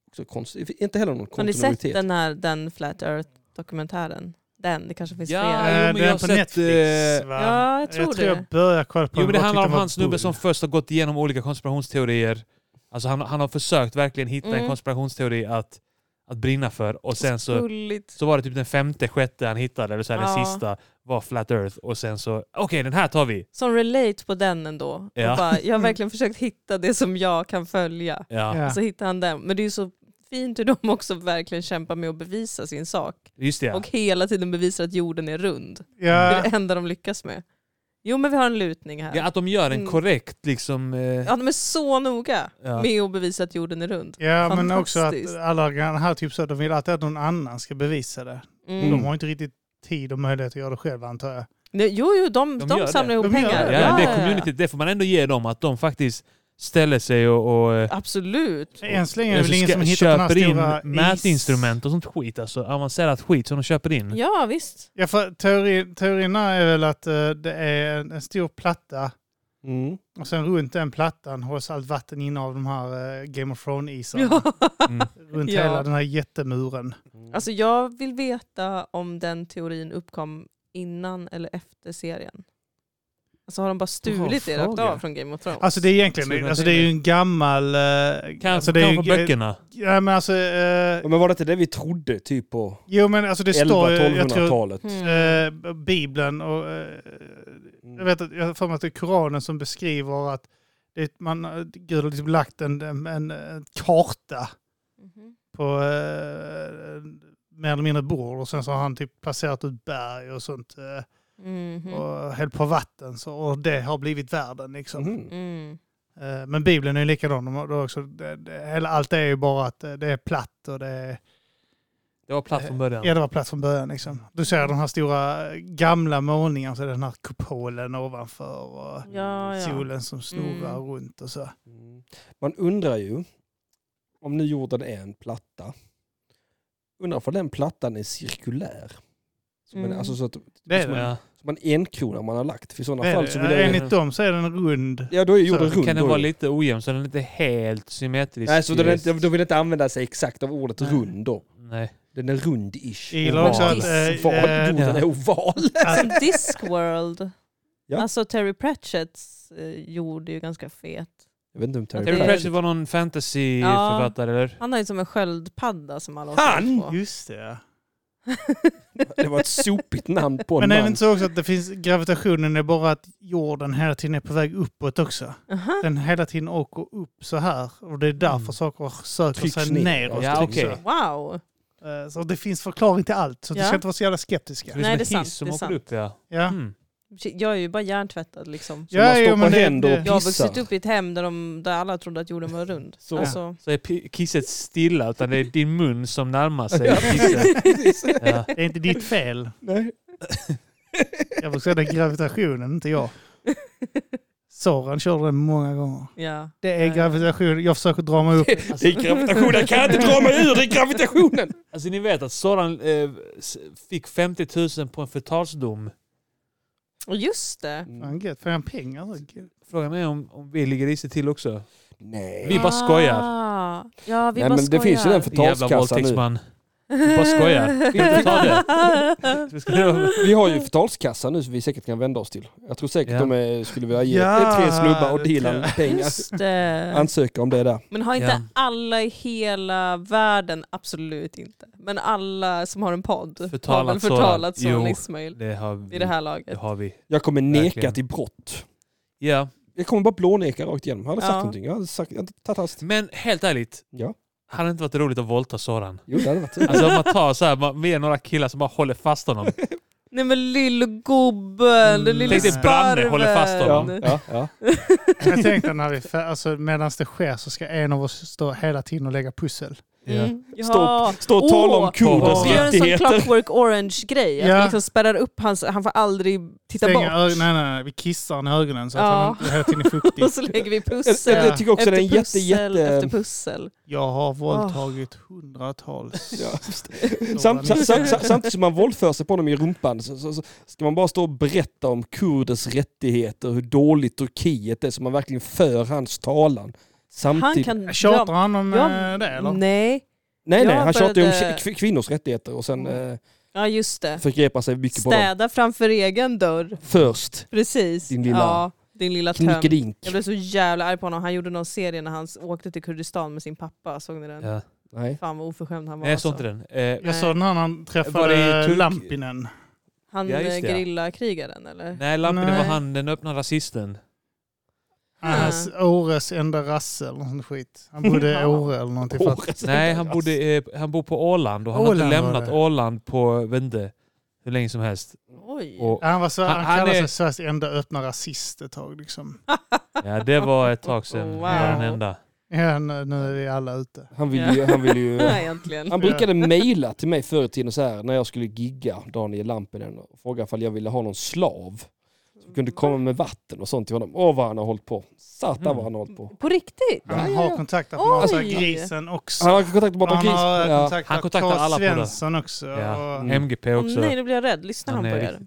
S2: Också konstigt. Det är Inte heller någon
S4: Har ni sett
S2: kontinuitet.
S4: den här den Flat Earth-dokumentären? Den, det kanske finns
S3: Ja,
S4: fler.
S3: jo,
S1: Äh,
S3: men jag
S1: den
S3: har
S1: på
S3: sett,
S1: Netflix
S3: eh,
S1: va?
S4: Ja, jag tror det.
S1: jag började kolla på den,
S3: Jo, men det
S1: bara tyckte
S3: handlar om
S1: den var
S3: han snubben
S1: bull.
S3: som först har gått igenom olika konspirationsteorier. Alltså han, han har försökt verkligen hitta en
S4: Mm.
S3: konspirationsteori att, att brinna för och sen så,
S4: Gulligt.
S3: så var det typ den femte, sjätte han hittade, eller så här, den
S4: Ja.
S3: sista var Flat Earth och sen så, okej den här tar vi!
S4: Som relate på den ändå.
S3: Ja.
S4: Och bara, jag har verkligen försökt hitta det som jag kan följa.
S3: Ja.
S1: Ja.
S4: Och så hittar han den. Men det är ju så fint hur de också verkligen kämpar med att bevisa sin sak.
S3: Just det ja.
S4: Och hela tiden bevisar att jorden är rund. Det är
S1: Ja,
S4: det enda de lyckas med. Jo men vi har en lutning här.
S3: ja. Att de gör en
S4: Mm.
S3: korrekt liksom... Eh,
S4: Ja, de är så noga
S3: ja.
S4: med att bevisa att jorden är rund.
S1: ja men också att
S4: Fantastiskt.
S1: alla grannar här typ så, de vill alltid att någon annan ska bevisa det.
S4: Mm.
S1: De har inte riktigt tid och möjlighet att göra det själv antar jag.
S4: Nej, Jo, jo, de,
S3: De
S4: de,
S3: gör
S4: samlar
S3: det.
S4: ihop
S1: De gör
S4: pengar.
S3: Ja, det communityt, det får man ändå ge dem, att de faktiskt ställer sig och, och eh,
S4: Absolut.
S1: Än så länge är det
S3: alltså,
S1: väl ingen
S3: ska-
S1: som hittar den här
S3: köper in
S1: stora is-
S3: mätinstrument och sånt skit. Alltså avancerat skit som de köper in.
S4: Ja, visst.
S1: Ja, för teori, teorin här är väl att eh, det är en, en stor platta
S2: Mm.
S1: och sen runt den plattan hålls allt vatten inne av de här eh, Game of Thrones-isarna.
S4: Ja.
S3: Mm.
S1: Runt
S4: Ja.
S1: hela den här jättemuren.
S4: Alltså, jag vill veta om den teorin uppkom innan eller efter serien. Alltså har de bara stulit det rakt
S3: fråga.
S4: av från Game of Thrones?
S1: Alltså det är egentligen
S3: Skulle
S1: alltså, det är ju en gammal... eh,
S3: Kan,
S1: alltså, det är
S3: kan
S1: ju-
S3: från böckerna.
S1: Ja, men alltså, eh,
S2: Ja, Men var det inte det vi trodde typ på
S1: jo men alltså det står ju, jag tror,
S2: 11-1200-talet?
S4: Mm.
S1: eh, Bibeln och eh,
S2: Mm.
S1: jag vet att jag har för mig att det är Koranen som beskriver att det, man, eh, Gud har liksom lagt en, en, en, en karta
S4: Mhm.
S1: på eh, mer eller mindre ett bord och sen så har han typ placerat ut berg och sånt eh,
S4: Mhm.
S1: och hällt på vatten så, och det har blivit världen liksom.
S2: Mm.
S4: Mm.
S1: Eh, Men Bibeln är ju likadan. De har- de har också, det, det, hela- allt är ju bara att eh, det är platt och det är
S3: Det var platt
S4: Eh,
S3: från början.
S1: Ja, det var platt från början. Liksom. Du ser de här stora eh, gamla målningarna, så är det den här kupolen ovanför och
S4: Ja, ja.
S1: solen som snurrar
S4: Mm.
S1: runt och så.
S2: Mm. Man undrar ju, om nu jorden är en platta, undrar om den plattan är cirkulär? Som en,
S4: Mm.
S2: alltså så att,
S1: Det är
S2: som, En,
S1: det.
S3: Ja.
S2: som en enkrona man har lagt. För i sådana
S1: det, är
S2: fall
S1: det.
S2: så vill jag ju,
S1: Enligt dem så är den rund.
S2: Ja då är jorden
S1: så
S2: rund.
S3: Kan
S2: då
S3: den
S2: ju.
S3: vara lite ojämn så den är inte helt symmetrisk?
S2: Nej, så då, vill den inte- då vill den inte använda sig exakt av ordet
S3: Nej.
S2: rund då.
S3: Nej.
S2: Den är rund-ish.
S1: Jag gillar också att... eh,
S2: Oval.
S1: eh, alltså,
S2: Jorden är oval.
S1: att-
S4: Som Discworld.
S2: Ja.
S4: Alltså Terry Pratchetts eh, jord är ju ganska fet.
S2: Jag vet inte om Terry
S4: Terry
S3: Terry
S2: Pratchett-
S3: Pratchett var någon
S4: Ja.
S3: fantasyförfattare, eller?
S4: Han har ju som en sköldpadda som alla
S2: Han?
S4: på.
S1: Just det, ja.
S2: Det var ett sopigt namn på en
S1: Men är det
S2: man.
S1: inte så också att det finns, gravitationen är bara att jorden hela tiden är på väg uppåt också?
S4: Aha.
S1: Den hela tiden åker upp så här och det är därför
S3: Mm.
S1: saker söker
S2: Trycks
S1: sig
S2: ner.
S1: neråt.
S3: Ja,
S1: också.
S3: okej.
S4: Wow.
S1: Eh, Så det finns förklaring till allt, så ni
S4: Ja.
S1: ska inte vara så jävla skeptiska.
S2: Mm.
S4: Nej,
S3: som en
S4: det är sant,
S3: hiss som
S4: det är
S3: åker
S4: sant.
S3: upp, ja.
S1: Ja.
S3: Mm.
S4: Shit, Jag är ju bara hjärntvättad liksom.
S2: Så man stoppar händer och
S4: Jag har
S2: Pissar.
S4: vuxit upp i ett hem där, de, där alla trodde att jorden var rund.
S3: Så.
S4: Alltså,
S3: Så är pi- kisset stilla, utan det är din mun som närmar sig kisset. Ja.
S1: Det är inte ditt fel.
S2: Nej.
S1: Jag vill säga det är gravitationen, inte jag. Soran körde den många gånger.
S4: ja.
S1: Det är
S4: Ja.
S1: gravitation. Jag försöker dra mig upp.
S2: Det är gravitationen, jag kan inte dra mig ur, det är gravitationen!
S3: Alltså ni vet att Soran eh, s- fick 50 000 på en förtalsdom.
S4: Och just det.
S2: Mm.
S1: Fan gött, får jag en pengar? så gött.
S3: Frågan är om, om vi ligger risigt till också.
S2: Nej.
S3: Vi bara skojar.
S4: Ah. Ja, vi
S2: Nej, men
S4: bara
S2: det
S4: skojar.
S2: finns ju den
S3: Jävla
S2: förtalskassan nu.
S3: våldtäktsman. Vi bara skojar. Vi får ta det. Vi ska-
S2: Vi har ju förtalskassa nu som vi säkert kan vända oss till. Jag tror säkert
S3: Ja.
S2: de är, skulle vilja ge
S1: Ja,
S2: det är tre snubbar och
S1: det tror
S2: Dilan
S1: jag.
S2: pengar.
S4: Just det.
S2: Ansöka om det där.
S4: Men har inte
S3: Ja.
S4: alla i hela världen, absolut inte, men alla som har en podd har väl
S3: Förtalat sådant.
S4: förtalat
S3: Jo.
S4: Soran Ismail
S3: Det har
S4: i det
S3: vi.
S4: här
S3: Det
S4: laget?
S3: har vi.
S2: Jag kommer neka
S3: Verkligen.
S2: till brott.
S3: Ja.
S2: Jag kommer bara blåneka rakt igenom. Jag hade sagt
S4: Ja.
S2: någonting. Jag hade, sagt, jag hade tagit hast.
S3: Men helt ärligt,
S2: Ja.
S3: hade det inte varit roligt att våldta Soran?
S2: Jo, det hade varit
S3: Alltså om man tar så här, man, vi är några killar som bara håller fast honom.
S4: Mm. Nej men lillgubben, den
S1: Mm.
S4: lille
S1: Tänk dig
S3: Branne håller fast
S2: ja,
S4: sparven.
S2: ja, ja.
S1: Jag tänkte när vi, fär- alltså, medan det sker så ska en av oss stå hela tiden och lägga pussel.
S4: Mm. Ja.
S2: Stå, stå och tala
S4: Åh,
S2: om kurders
S4: Och gör en sån
S2: rättigheter.
S4: clockwork orange-grej, att
S1: Ja.
S4: vi liksom spärrar upp hans, han får aldrig titta
S1: Stänga
S4: bort.
S1: ögonen, nej, nej, nej, vi kissar honom i ögonen så att
S4: Ja.
S1: han inte hela tiden är fuktig.
S4: Och så lägger vi
S2: Jag,
S4: pussel
S2: jag, jag tycker också
S4: efter
S2: det är en jätte,
S4: pussel efter
S2: jätte...
S4: pussel.
S1: Jag har våldtagit hundratals.
S2: Ja.
S1: stora
S2: Samt, samt,
S1: missar.
S2: samt, samt, samtidigt som man våldför sig på dem i rumpan så, så, så ska man bara stå och berätta om kurders rättigheter, hur dåligt Turkiet är, så man verkligen för hans talan.
S4: Han
S2: Samtidigt...
S4: kan...
S1: Tjatar han om
S4: ja,
S1: eh, det eller?
S4: Nej.
S2: nej, nej,
S4: jag
S2: han tjatar ju om
S4: började-
S2: kvi- kvinnors rättigheter och sen
S4: Mm.
S2: eh,
S4: Ja just det.
S2: förgrepar sig mycket på dem.
S4: Städa framför egen dörr.
S2: Först,
S4: Precis.
S2: Din lilla-
S4: ja, din lilla tönt.
S2: knickedink.
S4: Jag blev så jävla arg på honom. Han gjorde någon serie när han s- åkte till Kurdistan med sin pappa. Såg ni den?
S3: Ja.
S2: Nej.
S4: Fan vad oförskämd han var. alltså.
S3: Nej, jag såg inte den. Eh,
S1: Jag såg när han
S3: Var det
S1: träffade
S3: i Turk-
S1: Lampinen.
S4: Han
S3: Ja,
S4: ja,
S3: just det, ja.
S4: grillakrigaren eller?
S3: nej, Lampinen
S1: Nej.
S3: var han, den öppna rasisten.
S1: Hans Åres enda rasse eller något sånt skit. Han bodde i
S4: Ja.
S1: Åre eller någonting. För att,
S3: Nej, han, bodde, eh, han bor på Åland och han har
S1: Åland
S3: inte
S1: var
S3: lämnat
S1: det.
S3: Åland på, vet inte, hur länge som helst.
S4: Oj.
S3: Och,
S1: han var så,
S3: Han-
S1: han,
S3: han
S1: kallade
S3: är-
S1: sig Sveriges enda öppna rasist ett tag. Liksom.
S3: ja, det var ett tag sedan.
S4: Wow.
S3: Wow. Var den enda.
S1: Ja, nu, nu är vi alla ute.
S2: Han vill ju... Han vill ju
S4: Ja, egentligen.
S2: Han brukade mejla till mig förr i tiden så här när jag skulle gigga Daniel Lampinen och fråga ifall jag ville ha någon slav som kunde komma med vatten och sånt till honom. Åh vad han har hållit på. Satan vad han har hållit
S1: Mm.
S2: på.
S4: På riktigt?
S1: Han
S2: Ja, ja, ja.
S1: har kontaktat med massa
S4: Oj.
S1: grisen också.
S2: Han har kontaktat med
S1: Han
S2: Gris.
S1: har eh,
S2: Ja.
S1: kontaktat
S3: Han kontaktar alla
S1: Carl
S3: på det.
S1: Svensson också.
S3: Ja.
S1: Och,
S2: Mm.
S3: MGP
S4: Åh
S3: också.
S4: nej, nu blir jag rädd. Lyssnar han,
S3: Han är
S4: på er?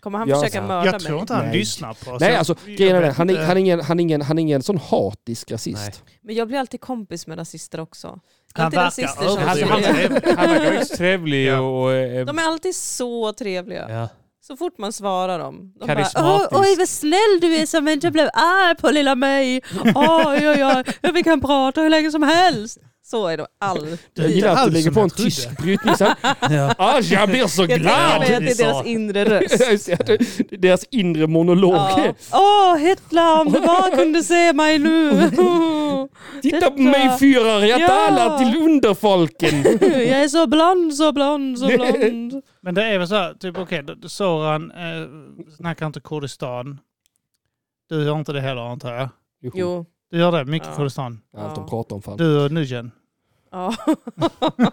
S4: Kommer han
S2: Ja, alltså.
S4: försöka
S3: så-
S4: mörda
S1: jag tror
S4: mig?
S1: inte han
S2: Nej.
S1: lyssnar på oss.
S2: Nej
S1: Jag-
S2: alltså
S1: jag
S2: grejen är
S1: vet
S2: den, han är,
S1: inte.
S2: han, är ingen, han, är ingen, han är ingen sån hatisk
S3: Nej.
S2: rasist.
S4: Men jag blir alltid kompis med rasister också.
S1: Han
S4: Alltid
S1: verkar
S4: rasister som
S3: Alltså, han,
S1: överdriven.
S3: han verkar också trevlig
S1: Ja.
S3: och... och eh,
S4: De är alltid så trevliga.
S3: ja.
S4: Så fort man svarar dem. De bara, "Åh,
S3: Karismatisk.
S4: oj vad snäll du är som inte blev arg på lilla mig. Oj oj oj, Ja, vi kan prata hur länge som helst. Så är de alltid.
S1: Det är
S2: Jag
S1: inte
S2: gillar att du
S1: alls
S2: lägger
S1: som
S2: på
S1: jag
S2: en
S1: trodde.
S2: tysk brytning sen. Ah, jag blir så
S4: Jag tänker
S2: glad!
S4: mig att det är
S1: Glad.
S4: deras inre röst.
S2: Det är Deras inre monolog.
S4: Ja. Åh Hitler, om du bara kunde se mig nu.
S2: Titta på mig fyrar, jag
S4: Ja.
S2: talar till underfolken.
S4: Jag är så blond, så blond, så blond.
S1: Men det är väl så här, typ okej, okay, Soran eh, snackar inte Kurdistan. Du gör inte det heller antar jag.
S4: Jo.
S1: Du gör det, mycket
S4: Ja.
S1: Kurdistan.
S2: Allt de pratar om fan.
S1: Du och Nujen.
S4: Ja.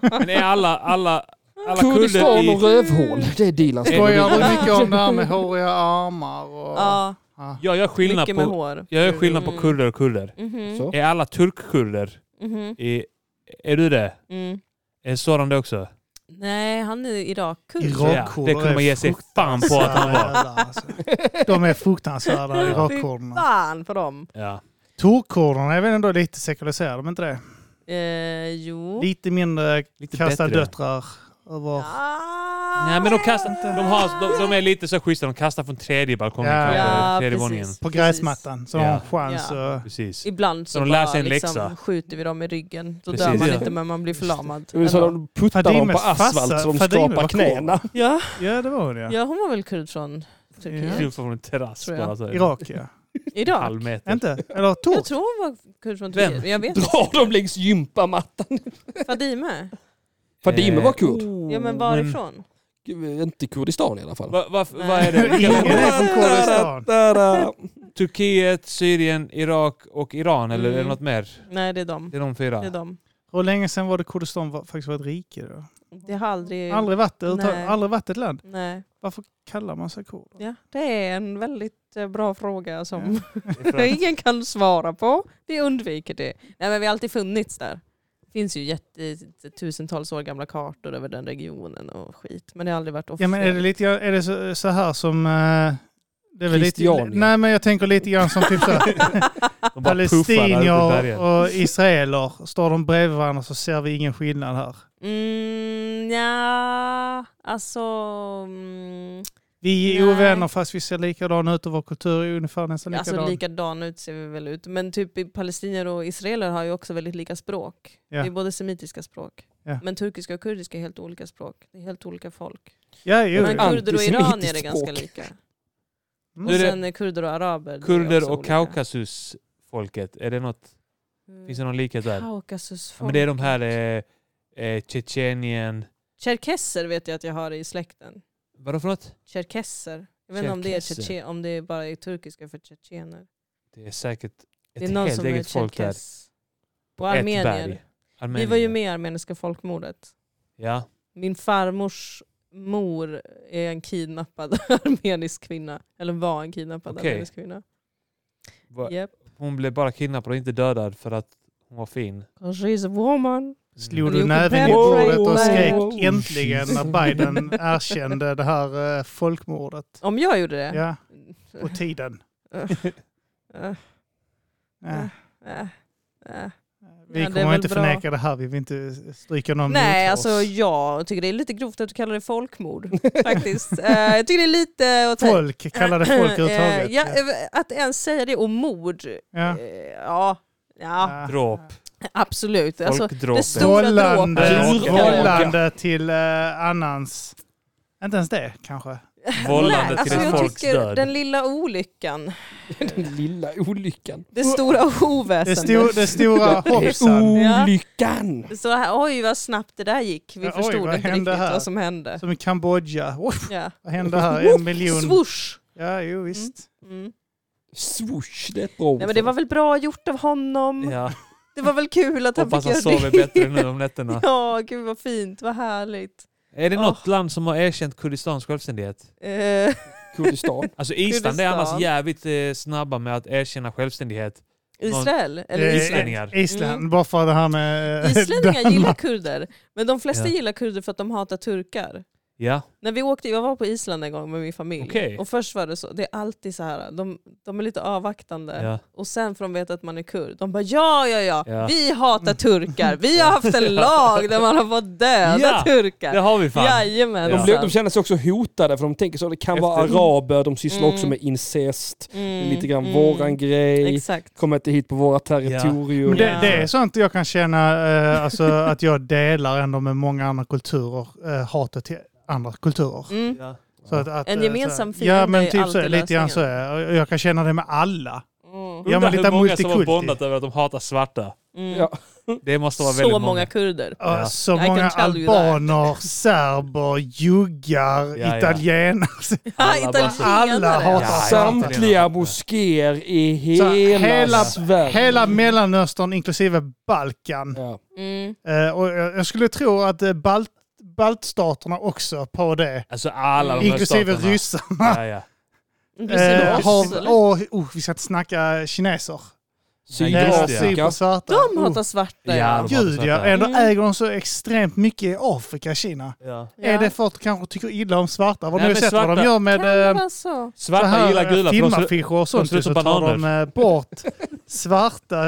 S3: Men är alla, alla, alla kurder
S2: Kurdistan och
S3: i...
S2: rövhål, det är Dilans
S3: Skojar
S1: Skojar
S3: du
S1: du mycket om det här med håriga armar? Och,
S4: ja,
S3: Jag gör skillnad
S4: mycket med
S3: på,
S4: hår.
S3: jag gör skillnad på
S4: Mm.
S3: kurder och kurder.
S1: eh,
S4: Mhm,
S2: Så.
S3: Är alla turkkurder?
S4: mhm,
S3: Är, är du det?
S4: mm.
S3: Är Soran det också?
S4: Nej, han är Irakkurd.
S1: Irakkurder
S3: Det kunde man ge sig fan på att han var.
S1: alltså. De är fruktansvärda,
S4: Ja.
S1: irakkurderna.
S4: Fan för dem.
S3: Ja.
S1: Turkkurderna är väl ändå lite sekulariserade, men inte det?
S4: Eh, jo.
S1: Lite mindre
S3: Lite
S1: kasta
S3: bättre.
S1: döttrar över...
S3: Nej men de kastar inte. De, har, de, de är lite så schyssta, de kastar från tredje balkongen,
S1: Ja.
S3: kanske,
S4: Ja,
S3: tredje
S4: precis.
S3: våningen.
S1: På gräsmattan. Så de har en
S3: Ja.
S1: chans
S4: Ja.
S1: att...
S3: Precis.
S4: Ibland så,
S3: Så de lär
S4: bara,
S3: sig en läxa.
S4: liksom, skjuter vi dem i ryggen. Då dör
S3: Precis.
S4: man
S3: Ja.
S4: inte men man blir förlamad.
S2: Det vill säga, Mm. de puttar dem
S1: Fadimes
S2: på asfalt
S1: farsa-
S2: så de
S1: Fadime
S2: skapar
S1: var cool.
S2: knäna.
S4: Ja.
S1: Ja, det var hon ja.
S4: ja, hon var väl kurd från Turkiet?
S3: Knuffar från en terrass
S4: Tror jag.
S3: bara. Så.
S1: Irak ja.
S3: En
S4: Idag?
S3: halv meter.
S1: Inte? Eller
S4: Jag
S1: Turk?
S4: tror hon var kurd från Turkiet. Jag vet inte.
S2: Drar dem längs gympamattan.
S4: Fadime?
S3: Eh,
S2: Fadime var kurd. Eh,
S4: Ja men varifrån?
S2: Inte Kurdistan i alla fall.
S3: Va, va, vad är det?
S1: Ingen är från Kurdistan.
S2: Där,
S3: Turkiet, Syrien, Irak och Iran eller
S4: Mm.
S3: är det något mer?
S4: Nej det är dem.
S3: Det är de fyra.
S4: Det är dem.
S1: Hur länge sedan var det Kurdistan var, faktiskt var ett rike då?
S4: Det har aldrig...
S1: Aldrig varit, det överhuvudtaget.
S4: Nej.
S1: aldrig varit ett land.
S4: Nej.
S1: Varför kallar man sig kurd?
S4: Ja, det är en väldigt eh, bra fråga som
S3: Det är för att-
S4: ingen kan svara på. Vi undviker det. Nej men vi har alltid funnits där. Det finns ju jätte, tusentals år gamla kartor över den regionen och skit. Men det har aldrig varit
S1: Ja
S4: officiellt.
S1: men är det, lite, är det så, så här som... eh, Det är väl lite,
S2: Christiania.
S1: nej men jag tänker lite grann som typ så här,
S3: De bara puffar där uppe i
S1: palestinier
S3: bergen.
S1: och israeler. Står de bredvid varandra så ser vi ingen skillnad här.
S4: Mm, ja, alltså... Mm,
S1: Vi är
S4: Nej.
S1: ovänner fast vi ser likadana ut och vår kultur är ungefär nästan likadan.
S4: alltså likadan ut ser vi väl ut. Men typ i palestinier och israeler har ju också väldigt lika språk.
S1: Ja.
S4: Det är både semitiska språk.
S1: Ja.
S4: Men turkiska och kurdiska är helt olika språk. Det är helt olika folk.
S1: ja, jo,
S4: Men
S1: jo.
S2: Antisemitiskt
S4: kurder och iranier är ganska
S2: språk.
S4: lika.
S1: Mm.
S4: Och
S3: är det-
S4: sen är kurder och araber. det är också
S3: Kurder och
S4: olika.
S3: Kaukasusfolket, är det något?
S1: Mm.
S3: Finns det någon likhet där?
S4: Kaukasusfolk.
S3: Ja, men det är de här eh, eh, Tjetjenien...
S4: Tjerkesser vet jag att jag har i släkten.
S3: Vadå för något?
S4: Tjerkesser. Jag vet inte om det, är
S3: Tjerkesser.
S4: tjetjen, om det är bara är turkiska för tjetjener.
S3: Det är säkert
S4: Det
S3: ett
S4: är någon
S3: helt
S4: som är
S3: eget folk där.
S4: tjerkess.
S3: På
S4: Och
S3: ett
S4: armenier.
S3: berg.
S4: Vi
S3: Armenier.
S4: var ju med i armeniska folkmordet.
S3: Ja.
S4: Min farmors mor är en kidnappad armenisk kvinna. Eller var en kidnappad
S3: Okej.
S4: armenisk kvinna.
S3: Va-
S4: Yep.
S3: Hon blev bara kidnappad och inte dödad för att hon var fin.
S4: She's a woman.
S1: Slog
S4: Men
S1: du
S4: det
S1: näven i
S4: är ockupation.
S1: bordet och skrek
S2: Wow.
S1: äntligen när Biden erkände det här eh, folkmordet.
S4: Om jag gjorde det?
S1: Ja, och tiden.
S4: Äh,
S1: Nej,
S4: äh, äh.
S1: Vi
S4: Ja, det är
S1: kommer
S4: väl
S1: inte
S4: bra.
S1: förneka det här, vi vill inte stryka någon
S4: Nej,
S1: mot
S4: alltså
S1: oss.
S4: jag tycker det är lite grovt att du kallar det folkmord faktiskt. Eh, jag tycker det är lite... åt-
S1: Folk, kallade folk
S4: Eh,
S1: överhuvudtaget.
S4: ja, eh, Att ens säga det och mord, eh,
S1: Ja.
S4: ja, ja,
S1: Ja.
S3: Mm. Dråp.
S4: absolut. Alltså,
S3: Folkdråp.
S4: det står- Stora
S1: Vållande,
S3: dråpar.
S1: vållande till eh, annans... Inte ens det kanske.
S3: Vållande
S4: nej,
S3: till
S4: alltså
S3: ett
S4: jag
S3: folks
S4: tycker
S3: död.
S4: den lilla olyckan,
S2: Den lilla olyckan.
S4: det stora
S1: Oh. Det,
S4: oväsendet.
S1: sto, det stora hoppsan
S2: Olyckan!
S4: Det står här, oj vad snabbt det där gick, vi
S1: Ja, oj,
S4: förstod
S1: vad
S4: inte
S1: hände
S4: riktigt
S1: här?
S4: vad som hände.
S1: som i Kambodja. Oj,
S4: Ja.
S1: vad hände här? En miljon.
S4: Swoosh!
S1: Ja, jo visst.
S4: Mm.
S2: Swoosh, det är ett bra ord för
S4: Nej, men det var väl bra gjort av honom,
S3: Ja.
S4: det var väl kul att han
S3: Hoppas
S4: fick
S3: han
S4: göra
S3: sover
S4: det.
S3: bättre nu om nätterna.
S4: Ja, gud vad fint, vad härligt.
S3: Är det något land som har erkänt Kurdistans självständighet?
S4: Eh,
S2: Kurdistan.
S3: Alltså Island det är
S4: Kurdistan.
S3: annars jävligt eh, snabba med att erkänna självständighet.
S4: Israel? Eller
S1: Eh,
S4: Island?
S3: islänningar.
S1: Island,
S4: Mm.
S1: bara för det här med... eh,
S4: Islänningar gillar kurder, men de flesta
S3: Ja.
S4: gillar kurder för att de hatar turkar.
S3: Ja,
S4: När vi åkte, jag var på Island en gång med min familj
S3: Okej.
S4: och först var det så, det är alltid så här, de, de är lite avvaktande
S3: ja.
S4: och sen får de veta att man är kurd, de bara ja ja ja,
S3: Ja.
S4: vi hatar turkar, vi har haft en lag där man har fått döda
S3: Ja, Det
S4: turkar. alltså.
S3: har vi fan.
S4: Jajamensan.
S2: De,
S3: Ja.
S2: blev, de känner sig också hotade för de tänker så, det kan vara
S3: Efter-
S2: araber, de sysslar
S4: Mm.
S2: också med incest, det är
S4: Mm,
S2: lite grann
S4: mm.
S2: våran grej,
S4: Exakt.
S2: kommer inte hit på våra
S1: Men
S2: territorium.
S1: det,
S4: Ja.
S1: det är sånt jag kan känna eh, alltså, att jag delar ändå med många andra kulturer, eh, hatet till andra kulturer.
S4: Mm.
S3: Ja.
S1: Så att, att,
S4: En
S1: eh,
S4: gemensam
S1: så här- Ja
S4: fiende
S1: men
S4: är
S1: typ så,
S4: alltid
S1: är- lite grann så
S4: lösningen.
S1: är jag. Och jag kan känna det med alla.
S4: Mm.
S1: Ja,
S3: Undrar
S1: men lite
S3: hur många som har
S1: multikulti.
S3: bondat över att de hatar svarta.
S4: Mm.
S2: Ja.
S3: Det måste vara
S4: Så
S3: väldigt
S4: många kurder.
S1: Och
S3: Ja.
S1: Så
S4: I can
S1: många
S4: tell you that.
S1: albaner, serber, juggar,
S3: ja.
S1: italienare.
S3: Alla bara-
S1: Alla
S4: italienare.
S1: hatar
S3: Ja, ja.
S1: svarta.
S2: Samtliga moskéer i
S1: Så
S2: hela,
S1: hela-
S2: Sverige.
S1: Hela Mellanöstern inklusive Balkan.
S2: Ja.
S4: Mm.
S1: Eh, och jag, jag skulle tro att eh, balt, baltstaterna också på det.
S3: Alltså alla de här
S1: Inklusive
S3: staterna.
S1: ryssarna.
S3: Ja, ja.
S4: Inklusive
S1: Eh,
S4: oss,
S1: har,
S4: eller?
S1: åh, oh, vi ska inte snacka kineser.
S3: just det, ja.
S1: Syper
S2: Sydafrika.
S1: svarta.
S4: De
S1: Oh,
S4: hatar svarta
S3: Ja, de hatar
S1: Gud
S3: svarta.
S1: ja, ändå
S4: Mm.
S1: äger de så extremt mycket i Afrika, Kina.
S3: Ja.
S4: Ja.
S1: Är det för att de kanske tycker illa om svarta? Vad
S3: Nej,
S1: nu
S3: men
S1: sett vad de
S3: svarta-
S1: gör
S4: Kan
S1: med
S4: det
S1: eh,
S4: vara så?
S1: så
S3: Svarta
S1: här,
S3: gillar
S1: eh,
S3: gula för de ser-
S1: filmaffischer och sånt.
S3: ser ut
S1: så
S3: som
S1: tar de eh, bort svarta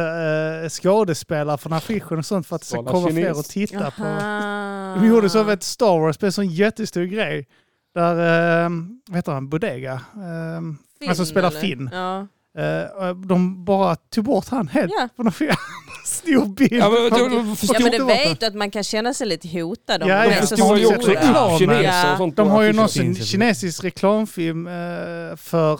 S1: eh, skådespelare från affischen och sånt för att det ska
S2: Skala
S1: komma
S2: kines.
S1: fler och titta på.
S4: Aha.
S1: De gjorde så att Star Wars blev en sån jättestor grej. Där, eh, vad heter han, Bodega? Eh,
S4: Finn,
S1: han som spelar
S4: eller?
S1: Finn.
S4: Ja.
S1: eh, de bara tog bort han helt
S4: Ja.
S1: från affischen. Stor bild.
S2: Ja, men, då- då förstår-
S4: ja men det
S1: inte varför.
S4: vet du att man kan känna sig lite hotad om
S1: Ja,
S4: man
S1: jag
S4: är så
S1: förstår
S2: har ju
S1: så-
S4: stora.
S2: också
S1: Ja,
S2: kineser
S4: men-
S2: och sånt.
S1: De
S2: på
S1: har ju
S2: affischen.
S1: någon sån
S3: finns inte.
S1: kinesisk reklamfilm eh, för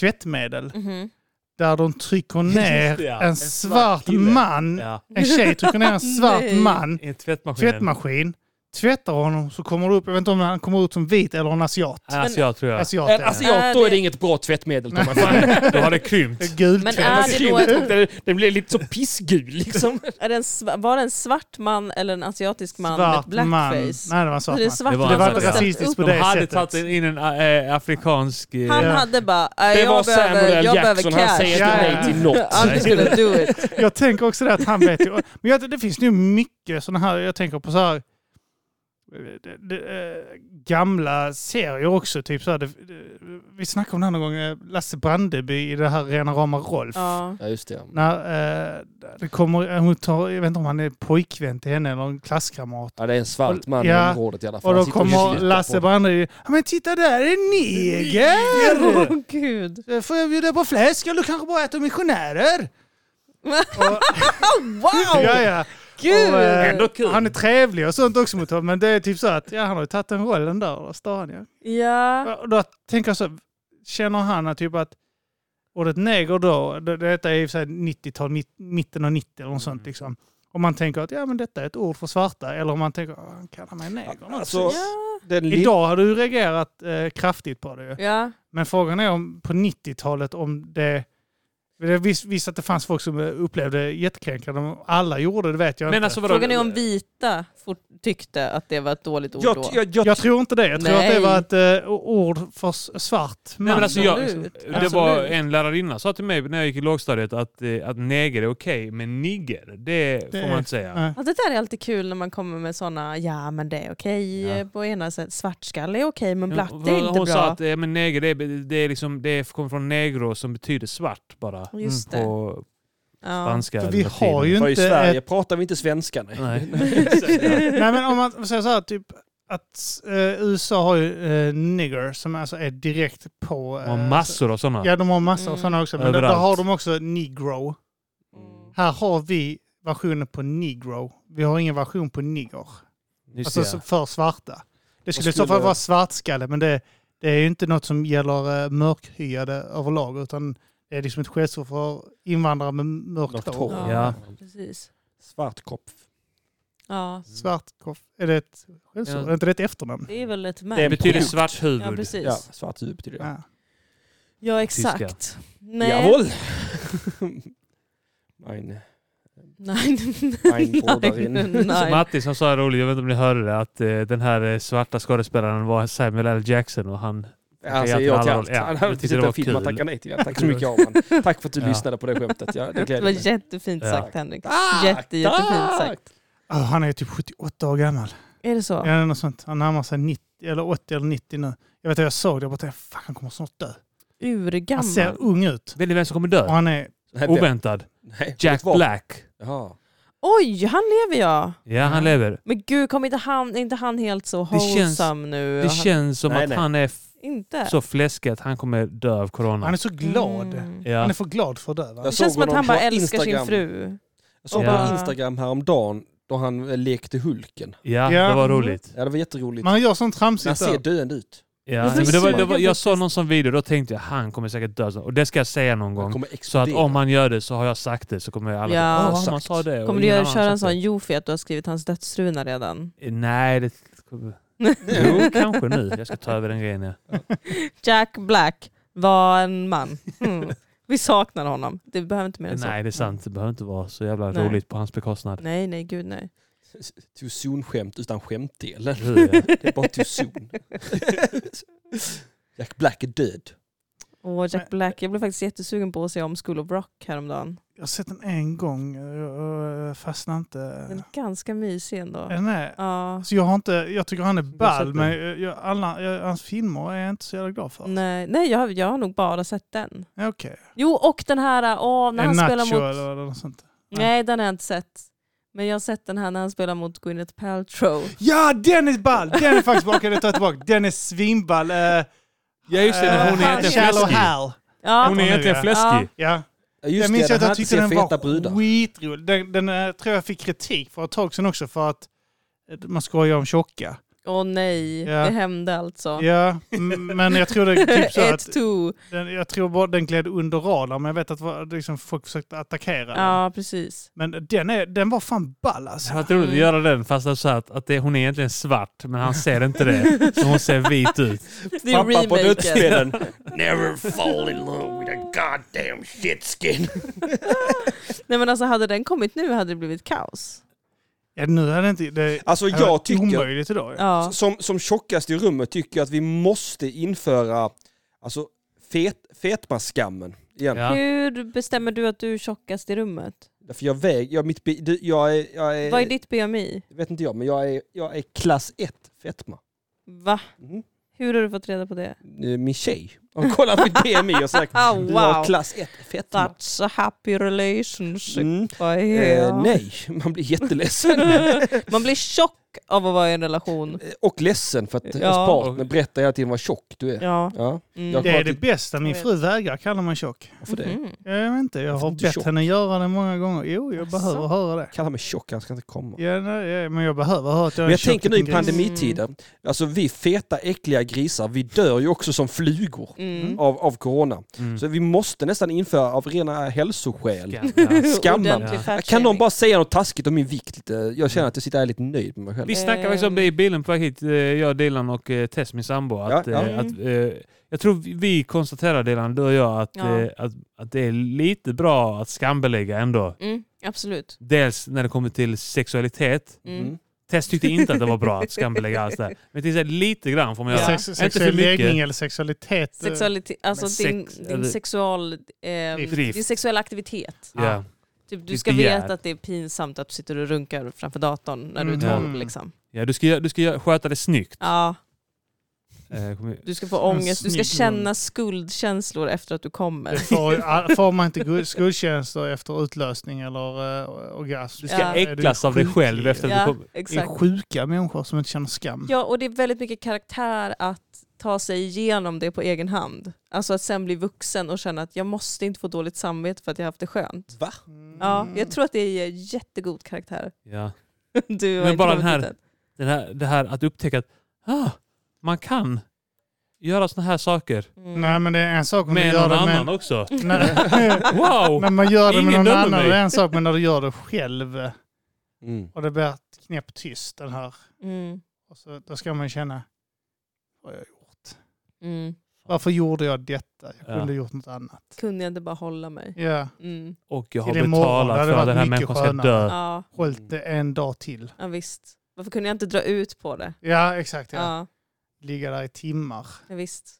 S1: tvättmedel.
S4: Mhm.
S1: Där de trycker ner
S3: Just det, ja.
S1: en
S3: En svart
S1: svart
S3: kille.
S1: man.
S3: Ja,
S1: En tjej trycker ner en svart
S4: Nej.
S1: man.
S3: i tvättmaskinen.
S1: Tvättmaskin. Tvättar honom så kommer det upp, jag vet inte om han kommer ut som vit eller en asiat.
S3: Alltså jag tror jag.
S1: Asiat är
S2: En
S1: det.
S2: asiat, då är det inget bra tvättmedel Alltså, Tommy. Fan,
S3: Då har det krympt.
S1: Gul
S4: Men
S1: tvätt.
S4: är det då ett-
S2: Den- Den blir lite så pissgul liksom.
S4: Är det en sva- var det en svart man eller en asiatisk man med
S1: Svart
S4: blackface?
S1: man. Nej, det var en svart
S4: Så det är
S1: man.
S4: svart
S3: Det var
S4: man
S1: Det var
S4: som
S1: inte
S3: Ja.
S4: ställt
S1: rasistiskt på
S4: upp.
S1: det
S3: De hade
S1: sättet.
S3: tagit in en äh, afrikansk... eh,
S4: Han
S1: Ja.
S4: hade bara, "Äh,
S2: Det
S4: jag
S2: var
S4: behöver,
S2: Samuel
S4: jag
S2: L.
S4: behöver
S2: Jackson, han
S4: cash.
S2: säger
S1: Ja,
S2: inte
S1: ja.
S2: nej till något.
S4: I'm just gonna do it.
S1: Jag tänker också det att han vet ju. Men jag, det finns nu mycket sådana här, jag tänker på så här eh, det- det, eh, gamla serier också. Typ så här, det, det- vi snackade om det här någon gång, eh, Lasse Brandeby i det här Rena rama Rolf.
S4: Ja.
S2: Ja, just det.
S1: När eh, det kommer, hon tar, jag vet inte om han är pojkvän till henne eller en klasskamrat.
S2: Ja, det är en svart man
S1: Ja.
S2: i området i alla fall.
S1: Och
S2: Han
S1: då
S2: sitter och
S1: kommer
S2: tittar
S1: Lasse
S2: på-
S1: Brandeby. Ja men titta där är en neger!
S4: Åh gud.
S1: Eh, Får jag bjuda på fläsk eller du kanske bara äter missionärer? Och,
S4: Wow!
S1: ja, ja.
S4: Gud!
S1: Och, eh,
S3: Ändå kul.
S1: Han är trevlig och sånt också mot honom, men det är typ så att ja, han har ju tagit den rollen där, och där står han ju.
S4: ja.
S1: Och Då tänker jag så, känner han att typ att ordet neger då, det- detta är i och för sig 90-tal, mitt, mitten av 90 eller något sånt liksom. Om man tänker att ja men detta är ett ord för svarta, eller om man tänker "Åh, han kallar mig neger.
S2: Alltså,
S4: Ja.
S2: den lilla-
S1: Idag har du reagerat eh, kraftigt på det ju.
S4: ja.
S1: Men frågan är om på 90-talet om det... Jag vis- visste att det fanns folk som eh, upplevde det jättekränkande. Om alla gjorde det vet jag
S3: Men
S1: inte.
S3: alltså vadå?
S4: Frågan är om vita fort tyckte att det var ett dåligt ord
S2: jag,
S4: då.
S2: jag, jag,
S1: Jag tror inte det. Jag tror att det
S4: Nej.
S1: var ett eh, ord för s- svart man.
S3: Nej, men alltså jag,
S4: Absolut.
S3: det var
S4: Absolut.
S3: en lärarinna sa till mig när jag gick i lågstadiet att, eh, att neger är okej, men nigger, det, får man inte säga.
S1: Nej.
S4: Ja, det där är alltid kul när man kommer med sådana, ja men det är okej eh,
S3: Ja.
S4: på ena sättet, svartskalle är okej men
S3: Ja,
S4: blatt
S3: för
S4: det är inte
S3: Hon sa
S4: bra.
S3: att eh, men neger, det, är- det, är liksom, det kommer från negro som betyder svart bara.
S4: Just det.
S3: På
S4: Ja.
S3: spanska.
S1: För
S3: eller
S1: vi
S3: latin.
S1: har ju
S2: för I
S1: inte...
S2: Sverige
S1: Ett,
S2: pratar vi inte svenska. Nej.
S3: Nej.
S1: nej, men om man säger så här, typ att eh, USA har ju eh, nigger som alltså är direkt på...
S3: De
S1: eh,
S3: har massor av sådana.
S1: Ja, de har massor av
S4: Mm.
S1: sådana också. Men där, där
S3: Överallt.
S1: har de också negro. Här har vi versionen på negro. Vi har ingen version på nigger.
S3: Just
S1: Alltså
S3: det,
S1: så- för svarta. Det skulle i så
S2: skulle-
S1: fall vara svartskalle, men det, det är ju inte något som gäller eh, mörkhyade överlag, utan det är liksom ett skällsord för invandrare med mörkt
S2: Mörkt
S1: hår.
S2: hår.
S4: Ja.
S3: Ja.
S4: Precis.
S2: Svartkopf.
S4: Ja.
S1: Svartkoff, är det ett skällsord?
S3: Ja.
S1: Är inte det ett efternamn?
S4: Det är väl ett
S3: Det
S4: märke.
S3: betyder
S2: produkt.
S3: svart huvud.
S4: Ja precis.
S2: Ja,
S4: Ja,
S2: svart huvud betyder det.
S1: Ja.
S4: exakt. Nej.
S2: Jawohl! Nein.
S4: Nej.
S2: Nein, bordar in.
S3: Som
S4: Nej.
S3: Matti som sa det roligt, jag vet inte om ni hörde det, att eh, den här eh, svarta skådespelaren var Samuel L. Jackson och han...
S2: Han säger ja till allt.
S3: Ja,
S2: Han
S3: jag
S2: har inte
S3: tyckte
S2: sett
S3: det var
S2: en film han
S3: kul.
S2: tackar nej till. den. Tack så mycket Arman. Tack för att du
S3: Ja.
S2: lyssnade på det skämtet. Ja, det
S4: Det
S2: gläder
S4: var
S2: mig.
S4: jättefint
S3: Ja.
S4: sagt Henrik.
S2: Tack,
S4: Jätte, jättefint
S2: tack.
S4: sagt.
S1: Ah, han är typ 78 år gammal.
S4: Är det så?
S1: Ja. Ja, något sånt. Han närmar sig 90, eller 80 eller 90 nu. Jag vet att jag såg det, jag bara tänkte, fan han kommer snart dö. Han ser
S4: Urgammal.
S1: ung ut.
S3: Vet ni vem som kommer
S1: Och
S3: dö?
S1: han är,
S2: Nej, vem?
S3: Oväntad.
S2: Nej,
S3: Jack
S2: vet vad?
S3: Black.
S2: Jaha.
S4: Oj, han lever ja.
S3: Ja, han lever.
S4: Men gud, kom inte han, är inte han helt så
S3: Det känns-
S4: wholesome nu?
S3: Det
S4: Han-
S3: känns som
S2: Nej,
S3: att
S2: nej.
S3: han är f-
S4: inte?
S3: så fläskig att han kommer dö av corona.
S1: han är så glad.
S4: Mm.
S1: Han
S3: Ja.
S1: är för glad för att dö va?
S4: Det
S2: såg
S4: känns som att
S2: honom
S4: han bara
S2: på
S4: älskar sin
S2: Instagram.
S4: fru.
S2: Jag såg
S3: Ja.
S2: på Instagram häromdagen då han eh, lekte Hulken.
S3: ja,
S1: Ja.
S3: det var roligt.
S2: Ja, det var jätteroligt.
S1: Man gör sånt
S2: han
S1: tramsigt
S2: ser
S1: där.
S2: döende ut.
S3: Ja.
S4: Varför
S3: Men det var, det
S4: såg
S3: var,
S4: jag
S3: jag såg
S4: faktiskt-
S3: någon sån video, då tänkte jag han kommer säkert dö. Och det ska jag säga någon
S2: Han
S3: gång.
S2: kommer
S3: Så att
S2: explodera.
S3: om han gör det så har jag sagt det så kommer jag alla
S4: Ja.
S3: bara, "Åh,
S2: Exakt.
S3: han sa det. och
S4: Kommer du
S3: ingen
S4: göra,
S3: annan
S4: köra
S3: har
S4: en
S3: sagt
S4: sån Jofi att du har skrivit hans dödsruna redan?
S3: det." Nej, det... Jo, kanske nu. Jag ska ta över den grejen. Ja.
S4: Jack Black var en man. Mm. Vi saknar honom. Det behöver inte mer än så.
S3: Nej, det är sant. Det behöver inte vara så jävla
S4: Nej.
S3: roligt på hans bekostnad.
S4: Nej, nej, gud nej.
S2: Too soon-skämt utan skämtdelen.
S3: Hur är det?
S2: Det är bara too soon. Jack Black är död.
S4: Och Jack
S1: Men-
S4: Black, jag blev faktiskt jättesugen på att se om School of Rock häromdagen.
S1: Jag har sett den en gång eh, och jag fastnar inte.
S4: Den är ganska mysig ändå.
S1: Är Den är,
S4: Ja,
S1: alltså jag, har inte, jag tycker han är
S2: Du har sett
S1: ball
S2: den?
S1: men jag, jag, alla, jag, hans filmer är jag inte så jävla glad för.
S4: nej, nej jag, har- jag har nog bara sett den.
S1: Ja, Okej.
S4: Jo, och den här, äh, åh, när
S1: En
S4: han
S1: Nacho
S4: spelar mot...
S1: eller något sånt.
S4: Nej, den har jag inte sett. Men jag har sett den här när han spelar mot Gwyneth Paltrow.
S1: Ja, den är ball! Den är faktiskt bra, kan jag ta tillbaka. Den är svinball. Eh,
S3: Ja just det, men hon är
S1: eh,
S3: egentligen
S1: Shallow
S3: fläskig.
S1: Hal.
S4: Ja,
S3: Hon är egentligen
S1: Ja.
S3: fläskig.
S1: Ja.
S2: Ja, just
S1: jag minns
S2: det,
S1: att
S2: den
S1: jag
S2: här
S1: tyckte
S2: ser
S1: den
S2: feta
S1: var
S2: brudar.
S1: skitrolig. Den, den eh, tror jag fick kritik för ett tag sedan också för att eh, man skojar om tjocka.
S4: Åh nej,
S1: Ja.
S4: det hände alltså.
S1: Ja, m- men jag tror det typ så att
S4: Ett, two.
S1: den, jag tror bara den gled under radarn, men jag vet att vad- liksom, folk försökte attackera den.
S4: Ja, precis.
S1: Men den, är, den var fan ball alltså.
S3: Det hade varit roligt att göra den fast det är så här att, att det, hon är egentligen svart men han ser inte det. Så hon ser vit ut.
S4: Det är
S2: Pappa på
S4: remaken.
S2: dödsbädden. Never fall in love with a goddamn shitskin.
S4: Nej men alltså hade den kommit nu hade det blivit kaos.
S1: Ja, nu är det inte... Det,
S2: Alltså
S1: hade
S2: jag
S1: varit
S2: tycker,
S1: Omöjligt idag. Ja.
S4: Ja.
S2: som, som tjockast i rummet tycker jag att vi måste införa alltså, fet, fetmaskammen igen.
S3: Ja.
S4: Hur bestämmer du att du är tjockast i rummet?
S2: Därför jag väger, jag, mitt, bi- du- jag är, jag är,
S4: Vad är ditt BMI?
S2: vet inte jag, men jag är, jag är klass 1 fetma.
S4: Va?
S2: Mm.
S4: Hur har du fått reda på det?
S2: Eh, Min tjej har kollat mitt BMI och sagt
S4: Ah,
S2: du har
S4: wow.
S2: klass 1 fetma.
S4: That's a happy relationship
S2: Mm.
S4: I hear.
S2: Eh, nej, man blir jätteledsen.
S4: Man blir tjock av att vara i en relation.
S2: och ledsen för att ens
S4: Ja.
S2: partner berättar hela tiden vad tjock du är.
S4: Ja.
S2: Ja.
S4: Mm.
S2: Jag-
S1: Det är det bästa. Min
S4: Jag
S1: fru vägrar kalla mig tjock.
S2: Varför det?
S4: Mhm.
S1: Jag vet inte, jag har
S2: inte
S1: bett
S2: tjock?
S1: henne göra det många gånger. Jo, jag
S4: Asså?
S1: behöver höra det.
S2: Kalla mig tjock, han ska inte komma.
S1: Ja, nej, ja, men jag behöver höra att jag
S2: Men
S1: är
S2: jag
S1: tjock
S2: tänker nu i
S1: liten gris.
S2: pandemitider, alltså vi feta äckliga grisar, vi dör ju också som flugor
S4: Mm.
S2: av, av corona.
S3: Mm.
S2: Så vi måste nästan införa av rena hälsoskäl.
S3: Jävlar.
S2: Skamman.
S4: Ordentlig Mm,
S3: Ja.
S4: fat
S2: Kan någon
S4: shaming.
S2: bara säga något taskigt om min vikt lite? Jag känner att jag sitter här lite nöjd med mig själv.
S3: Vi snackade faktiskt om det i bilen på väg hit, eh, jag, Dilan och eh, Tess, min sambo. Att,
S2: Ja, ja.
S3: eh, att, eh, jag tror vi- vi konstaterar, Dilan, du och jag, att,
S4: Ja.
S3: eh, att, att det är lite bra att skambelägga ändå.
S4: Mm, absolut.
S3: Dels när det kommer till sexualitet.
S4: Mm.
S3: Tess tyckte inte att det var bra att skambelägga allt det här. Men till exempel lite grann får man
S1: Ja.
S3: göra.
S4: Ja.
S1: Sex,
S3: Inte
S1: sexuell
S3: för mycket.
S1: läggning eller sexualitet. eh,
S4: Sexualitet, alltså
S3: sex-
S4: din,
S3: eller-
S4: din, sexual, eh,
S3: Drift.
S4: din sexuella aktivitet.
S3: Ja.
S4: Typ, du
S3: Ditt
S4: ska
S3: begär.
S4: veta att det är pinsamt att du sitter och runkar framför datorn när du är
S1: Mm.
S4: 12.
S1: Mm.
S4: Liksom.
S3: Ja, du ska, gö- du ska gö- sköta det snyggt.
S4: Ja,
S3: Eh, kom i-
S4: du ska få ångest, du ska
S1: snygg
S4: känna skuldkänslor efter att du
S1: Det
S4: kommer.
S1: får, all- får man inte gud- skuldtjänster efter utlösning eller eh, orgasm.
S3: Du
S4: Ja.
S3: ska äcklas av dig själv efter att
S4: Ja,
S3: du kom.
S1: Det är
S4: exakt.
S1: sjuka människor som inte känner skam.
S4: Ja, och det är väldigt mycket karaktär att ta sig igenom det på egen hand. Alltså att sen bli vuxen och känna att jag måste inte få dåligt samvete för att jag har haft det skönt.
S2: Va?
S1: Mm.
S4: Ja, jag tror att det är jättegod karaktär.
S3: Ja.
S4: Du har
S3: Men
S4: inte
S3: bara
S4: kommit
S3: den här-
S4: dit än.
S3: Det, här, det här att upptäcka att ah, man kan göra såna här saker
S4: Mm.
S1: Nej men det är en sak om du
S3: med
S1: gör
S3: någon
S1: det
S3: annan
S1: med...
S3: också.
S1: Nej,
S3: Wow!
S1: men man gör det med
S3: Ingen
S1: någon
S3: dömer
S1: annan,
S3: mig.
S1: det är en sak. Men när du gör det själv eh,
S2: Mm.
S1: och det blir knäpptyst den här.
S4: Mm.
S1: Och så, då ska man känna, vad har jag gjort?
S4: Mm.
S1: Varför gjorde jag detta? Jag
S3: Ja.
S1: kunde gjort något annat.
S4: Kunde jag inte bara hålla mig?
S1: Ja,
S4: Mm.
S3: Och jag har
S1: Till imorgon, det
S3: betalat
S1: hade
S3: för att den här
S1: varit mycket
S3: människan ska dö.
S4: Ja,
S3: Mm.
S1: hållit det en dag till.
S4: ja, visst. Varför kunde jag inte dra ut på det?
S1: Ja, exakt. Ja.
S4: Ja,
S1: Ligga där i timmar.
S4: ja visst.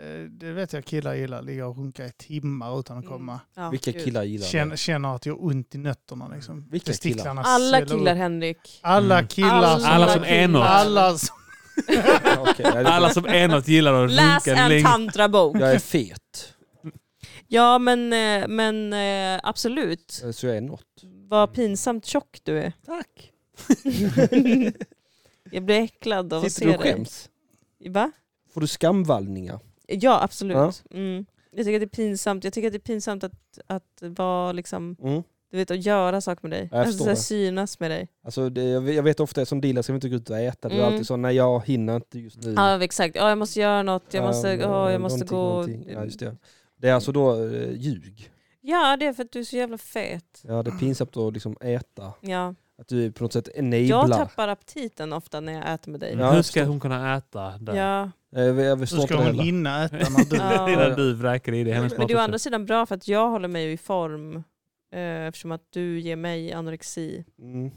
S1: Eh, Det vet jag killar gillar, ligga och runka i timmar utan att
S4: Mm.
S1: komma.
S4: Ja,
S2: Vilka
S4: gud.
S2: killar gillar
S1: Känner, känner att jag har ont i nötterna liksom.
S2: Vilka
S1: Testiklarna
S2: killar?
S4: Alla
S1: sväller upp.
S4: killar Henrik.
S1: Alla
S3: Mm.
S1: killar
S3: Alla som är något.
S1: Alla som...
S2: det? Okej, nej, det-
S3: Alla som är något gillar att
S4: Läs
S3: runka
S4: en
S3: länge.
S4: tantrabok.
S2: Jag är fet,
S4: Ja men, eh, men eh, absolut.
S2: så jag är något.
S4: Vad pinsamt tjock du är.
S2: Tack.
S4: Jag blir äcklad av att
S2: Sitter du
S4: se
S2: och
S4: dig.
S2: skäms?
S4: Va?
S2: Får du skamvallningar?
S4: Ja absolut. Mm. Jag tycker att det är pinsamt, jag tycker att det är pinsamt att, att vara liksom,
S2: Mm.
S4: du vet att göra saker med dig.
S2: Jag
S4: Alltså
S2: förstår
S4: så här,
S2: det.
S4: synas med dig.
S2: Alltså det, jag vet- jag vet ofta som dealer ska vi inte gå ut och äta. Du är
S4: Mm.
S2: alltid så, nej jag hinner inte just nu.
S4: Ja exakt, ja jag måste göra något, jag måste,
S2: Mm. Ja,
S4: ja, jag måste
S2: någonting,
S4: gå.
S2: typ
S4: mm.
S2: någonting. Ja, just det. det är alltså då eh, ljug.
S4: Ja det är för att du är så jävla fet.
S2: Ja, det är pinsamt att liksom äta.
S4: Ja.
S2: Att du på något sätt
S4: Ah. Jag
S2: enablar.
S4: tappar aptiten ofta när jag äter med dig.
S2: Ja,
S3: Hur
S2: jag
S3: ska hon kunna äta där?
S4: Ja.
S2: Eh, Jag, jag förstår
S1: Hur
S2: inte
S1: ska
S2: det
S1: hon
S2: heller.
S1: hinna äta när du...
S4: Ja.
S3: Innan du vräker i det hennes
S4: Men
S3: mat
S4: det är å
S3: också.
S4: andra sidan bra för att jag håller mig i form eh, eftersom att du ger mig anorexi.
S2: Mm.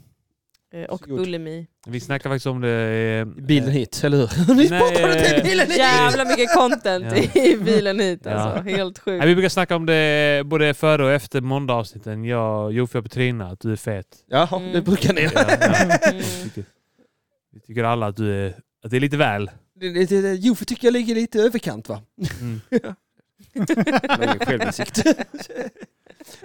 S4: Eh, Och
S2: Gjort.
S4: bulimi.
S3: Vi snackade faktiskt om det... eh,
S2: Bilen hit, eller hur? Ni
S3: Nej,
S2: spottade till
S3: eh,
S2: bilen hit!
S4: Jävla mycket content i bilen hit alltså. Helt
S3: Nej,
S4: sjukt.
S3: vi brukar snacka om det både före och efter måndagsavsnitten. Jag, Jofi och Petrina, att du är fet.
S2: Jaha,
S4: Mm.
S2: det brukar ni.
S3: Ja, ja.
S4: Mm.
S3: Vi tycker- Vi tycker alla att du är... Att det är lite väl.
S2: Det- det- det- det- Jo, för tycker jag ligger lite i överkant va?
S3: Mm.
S2: Ingen självinsikt.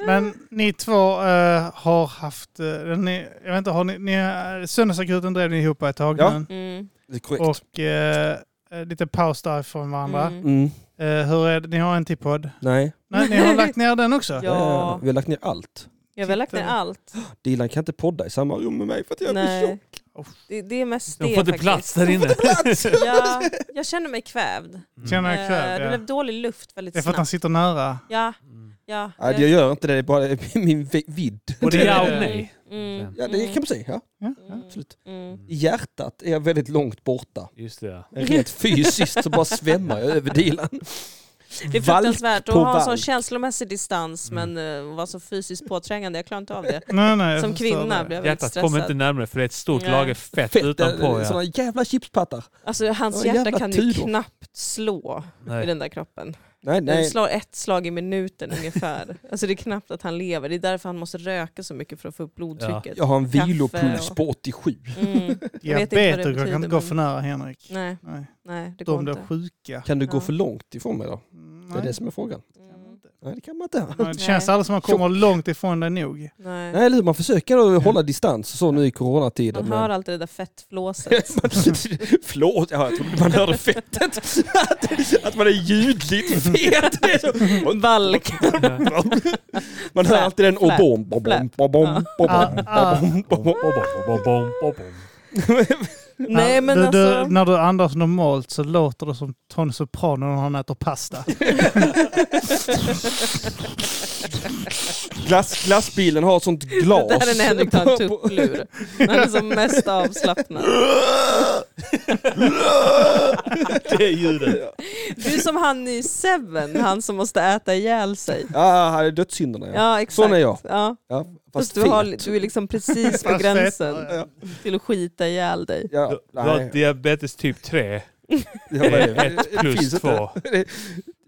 S1: Men ni två eh, har haft, eh, ni, jag vet inte, har ni, ni, eh, söndagsakuten drev ni ihop ett tag
S2: Ja.
S1: nu.
S4: Mm.
S2: Det är korrekt.
S1: Och eh, eh, lite paus där från varandra.
S4: Mm.
S2: Mm.
S1: Eh, hur är det, ni har en till podd?
S2: Nej,
S1: Nej, ni har lagt ner den också?
S4: Ja.
S2: vi har lagt ner allt.
S4: Jag har väl lagt ner allt.
S2: Dylan kan inte podda i samma rum med mig för att jag blir tjock.
S4: Nej. Det, det är mest
S3: De
S4: det
S3: får inte typ
S4: faktiskt.
S3: plats där inne. Mm.
S4: Ja, jag känner mig kvävd.
S1: Känner jag
S4: Eh,
S1: kvävd,
S4: Det
S1: ja.
S4: blev dålig luft väldigt
S1: Det är för att han
S4: snabbt.
S1: sitter nära.
S4: Ja,
S3: Mm.
S4: ja.
S2: Nej, jag gör inte det, det är bara min vi- vidd.
S3: Både
S1: Det-
S3: ja och
S1: Mm.
S3: nej.
S4: Mm.
S2: Ja, det kan man säga. Ja,
S1: Ja.
S4: Mm.
S2: absolut.
S4: Mm.
S2: I hjärtat är jag väldigt långt borta.
S3: Just det ja.
S2: Rent fysiskt så bara svämmar jag över Dylan.
S4: Det är
S2: Valk
S4: fruktansvärt att
S2: på
S4: ha en sån
S2: valk. Mm.
S4: känslomässig distans men eh, vara så fysiskt påträngande. Jag klarar inte av det.
S1: Nej, nej, jag
S4: Som
S1: förstår
S4: kvinna
S1: det.
S4: blir jag väldigt
S3: Hjärtat kommer
S4: stressad.
S3: inte närmare för det är ett stort
S4: Nej.
S3: lager fett, utanpå.
S2: Fett,
S3: Ja.
S2: sådana jävla chipspattar.
S4: Alltså hans
S2: Åh,
S4: hjärta
S2: jävla
S4: kan ju
S2: Tudor.
S4: knappt slå i
S3: Nej.
S4: den där kroppen.
S2: Nej,
S4: Den
S2: nej.
S4: slår ett slag i minuten ungefär. Alltså det är knappt att han lever. Det är därför han måste röka så mycket för att få upp blodtrycket.
S2: Jag har en
S4: Kaffe
S2: vilopuls
S4: och-
S2: på 87.
S4: Mm. Jag vet inte vad det
S1: Diabetiker kan
S4: betyder,
S1: inte gå
S4: men-
S1: för nära Henrik.
S4: Nej,
S1: Nej.
S4: nej det går
S1: De blir
S4: inte.
S1: sjuka.
S2: Kan du gå
S4: Ja.
S2: för långt ifrån mig då? Det
S1: Nej.
S2: är det som är frågan.
S4: Mm.
S2: Nej, det kan man inte.
S1: Nej, Det känns aldrig som att man kommer långt ifrån dig nog.
S4: Nej.
S2: Nej, eller hur? Man försöker då hålla distans och så nu i coronatiden.
S4: Man
S2: men-
S4: hör alltid det där fettflåset.
S2: Förlåt, ja, jag trodde man hörde fettet. Att, att man är ljudligt fet. Det är så-
S4: Valk.
S2: Man hör alltid den
S4: Flap,
S2: obom, bom, bom, bom, bom, bom,
S1: Ah,
S2: bom, bom, bom.
S4: Nej men
S1: du,
S4: alltså.
S1: du, när du andas normalt så låter det som Tony Soprano när han äter pasta.
S2: Glass, glassbilen har ett sånt glas.
S4: Det här är när Henrik tar en
S2: på- på-
S4: tupplur. När han är som mest avslappnad.
S2: Det är ljudet.
S4: Du är som han i Seven, han som måste äta ihjäl sig.
S2: Ja, det är dödssynderna. Ja.
S4: Ja exakt.
S2: Sån är jag.
S4: Ja.
S2: Ja,
S4: Fast
S2: fast
S4: du, har,
S2: fet.
S4: du är liksom precis på
S1: Fast fet.
S4: gränsen
S1: Ja.
S4: till att skita ihjäl dig.
S2: Ja,
S3: Du, du har
S2: nej.
S3: diabetes typ 3.
S2: Jag
S3: Det
S2: bara-
S3: är ett
S2: det
S3: plus
S2: finns inte.
S3: två.
S2: Jag
S3: tänkte-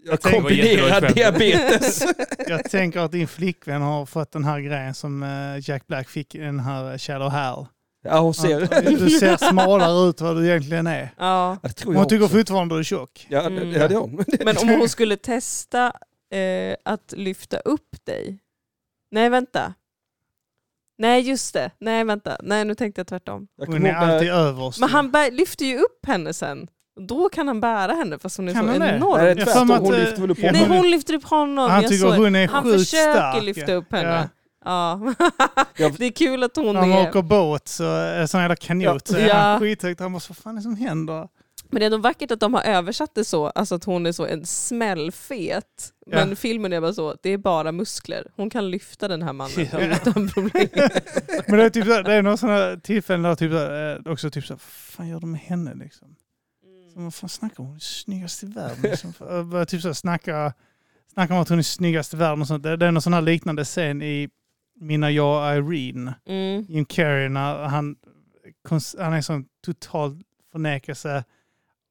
S3: det var
S2: kombinerar
S3: ett jättebra
S2: diabetes.
S1: Jag tänker att din flickvän har fått den här grejen som eh, Jack Black fick i den här Shadow Hell. eh,
S2: Ja, hon ser.
S1: Du ser smalare ut vad du egentligen är.
S4: Ja.
S2: Ja, det tror jag
S1: Hon tycker
S2: också.
S1: fortfarande du är tjock.
S2: Ja, det,
S4: Mm.
S2: ja, det är hon.
S4: Men om hon skulle testa eh, att lyfta upp dig. Nej vänta. Nej just det. Nej vänta. Nej nu tänkte jag tvärtom.
S2: Jag
S1: Hon är
S2: ihåg när-
S1: alltid överst.
S4: Men han bär, lyfter ju upp henne sen. Då kan han bära henne fast hon är
S1: Kan
S4: så
S1: han det?
S4: enorm.
S2: Nej, det är
S1: Jag har för
S2: tvärtom.
S1: mig att,
S2: Hon
S1: eh,
S2: lyfter väl upp
S1: jag-
S4: Nej
S2: honom.
S4: hon lyfter upp honom.
S1: Han
S4: jag
S1: tycker
S4: såg-
S1: hon är
S4: han
S1: sjukt
S4: försöker
S1: stark.
S4: lyfta upp
S1: Ja.
S4: henne. Ja.
S2: Jag-
S4: det är kul att
S1: När
S4: hon
S1: han
S4: är...
S1: åker båt, så, eh, sån jävla kanot, så är
S4: Ja.
S1: han skithögt. Han bara, vad fan är det som händer?
S4: Men det är ändå vackert att de har översatt det så, alltså att hon är så en smällfet.
S1: Ja.
S4: Men filmen är bara så, det är bara muskler. Hon kan lyfta den här mannen
S3: Ja.
S4: utan problem.
S1: Men det är, typ, så här- det är några sådana tillfällen där typ, så här, eh, också typ så här, fan gör de med henne liksom? Så, vad fan snackar hon? Hon är Snyggast i världen. Liksom. Jag börjar typ så här, snacka, snacka om att hon är snyggast i världen och sånt. Det, det är någon sån här liknande scen i Mina jag och Irene.
S4: Mm.
S1: Jim Carrey när han, kons- han är sån total förnekelse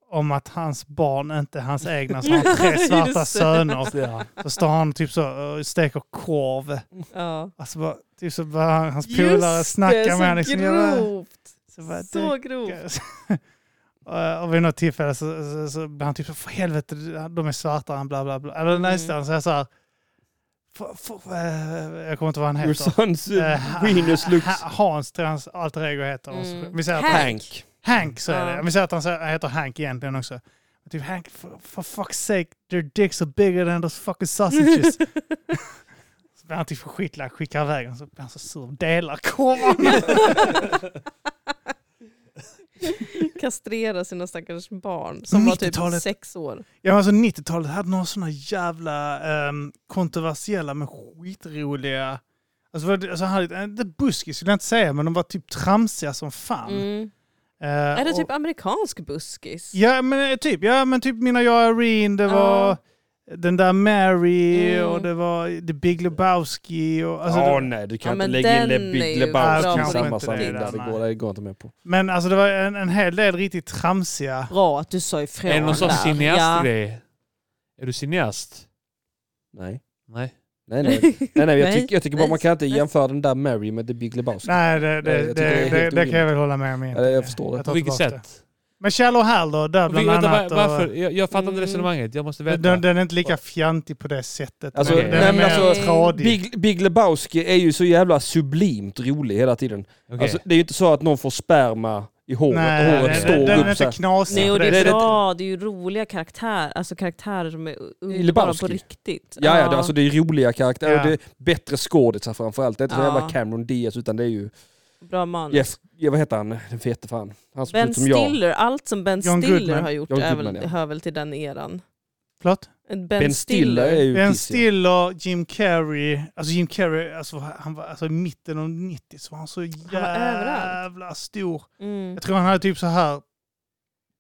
S1: om att hans barn inte är hans egna, så han har tre
S4: Just
S1: svarta
S4: det.
S1: söner.
S3: Ja.
S1: Så står han typ så och steker korv.
S4: Ja.
S1: Alltså bara, typ så bara hans
S4: Just
S1: polare
S4: det,
S1: snackar
S4: så
S1: med honom. Liksom, "Ja,
S4: grovt.
S1: så bara,
S4: Så
S1: "Du
S4: grovt.
S1: och, och vid något tillfälle så, så, så blir han typ så, för helvete, de är svarta, han bla bla bla. Eller
S4: Mm.
S1: nästan så här, så här för, för, eh, jag kommer inte ihåg vad han
S2: Your
S1: heter.
S2: sons
S1: Eh,
S2: uh, Venus looks
S1: Ha- Hans tror jag hans alter ego heter.
S4: Mm.
S1: Vi säger att
S4: Hank.
S1: Hank,
S2: Hank.
S1: Hank så är
S4: Ja.
S1: det. Vi säger att han så- han heter Hank egentligen också. Men Typ Hank, for, for fuck's sake, their dicks are bigger than those fucking sausages. så blir han typ skitlack, skickar iväg honom, så blir han så sur, delar korvarna.
S4: Kastrera sina stackars barn som var typ
S1: 90-talet.
S4: sex år.
S1: Ja, men alltså 90-talet hade några sådana jävla ehm, kontroversiella men skitroliga... Alltså, vad- alltså han hade, inte buskis skulle jag inte säga, men de var typ tramsiga som fan.
S4: Mm.
S1: Eh,
S4: Är det
S3: typ-
S1: och-
S4: typ amerikansk buskis?
S1: Ja men eh, typ, ja men typ mina jag och Irene, det
S4: Ja.
S1: var den där Mary
S4: Mm.
S1: och det var The Big Lebowski. Och, alltså,
S2: ja,
S1: det,
S2: nej, du kan
S4: Ja,
S2: inte
S4: men
S2: lägga in
S4: den
S2: Le
S4: är
S2: Big
S4: ju
S1: bra
S2: Lebowski i
S1: på
S2: samma
S1: riktigt.
S2: sammanhang.
S1: Nej,
S2: Det
S1: nej.
S2: går, det går inte med på.
S1: men alltså det var en, en hel del riktigt tramsiga.
S4: Bra att du sa ifrån
S3: Är det någon sorts
S4: där. Ja.
S3: cineastgrej? Är du cineast?
S2: Nej.
S3: Nej.
S2: Nej, nej. nej, nej, jag,
S4: Nej.
S2: tycker, jag tycker bara man kan inte
S4: Nej.
S2: jämföra den där Mary med The Big Lebowski.
S1: Nej, det,
S2: Nej,
S1: det,
S2: jag
S1: det,
S2: tycker det är
S1: det,
S2: helt
S1: det, kan jag
S2: orimligt.
S1: väl hålla med om. egentligen.
S2: jag förstår det.
S1: Jag tar
S3: På vilket
S1: tillbaka det.
S3: sätt?
S1: Men Kjell och Hall då, där
S3: Och vi-
S1: bland
S3: vänta,
S1: annat.
S3: var- varför?
S1: Och,
S3: Jag, jag fattar inte
S4: Mm.
S3: resonemanget. Jag måste veta.
S1: den, den är inte lika fjantig på det sättet.
S2: Alltså,
S1: men den är
S2: nej, men
S1: mer
S2: alltså,
S1: tradig.
S2: Big, Big Lebowski är ju så jävla sublimt rolig hela tiden.
S3: Okej.
S2: Alltså, det är ju inte så att någon får sperma i håret och
S1: Nej,
S2: håret
S1: den,
S2: står
S1: den, den är
S2: upp så
S1: inte
S2: här.
S1: knasig
S4: Nej,
S1: på
S4: och det
S2: Det
S4: är
S2: är
S4: bra. Det är ju roliga karaktärer. Alltså karaktärer som är underbara
S2: Lebowski.
S4: på riktigt.
S2: Ja, ja, det, alltså det är roliga karaktärer
S1: Ja.
S2: och det är bättre skådisar framförallt. Det är inte så
S4: Ja.
S2: jävla Cameron Diaz utan det är ju
S4: Bra manus.
S2: Jeff, ja, vad heter han, den fete fan. Han ser
S4: Ben
S2: ut som jag.
S4: Stiller, allt som Ben
S1: John
S4: Stiller
S1: Goodman.
S4: har gjort
S2: John
S4: är
S2: Goodman,
S4: väl,
S2: ja.
S4: hör väl till den eran.
S1: Förlåt?
S4: Ben,
S2: Ben Stiller är ju
S1: Ben
S2: piss, ja.
S1: Stiller, Jim Carrey. Alltså Jim Carrey, alltså, han var, alltså i mitten av 90 så var han så jävla
S4: överallt.
S1: stor.
S4: Mm.
S1: Jag tror han hade typ så här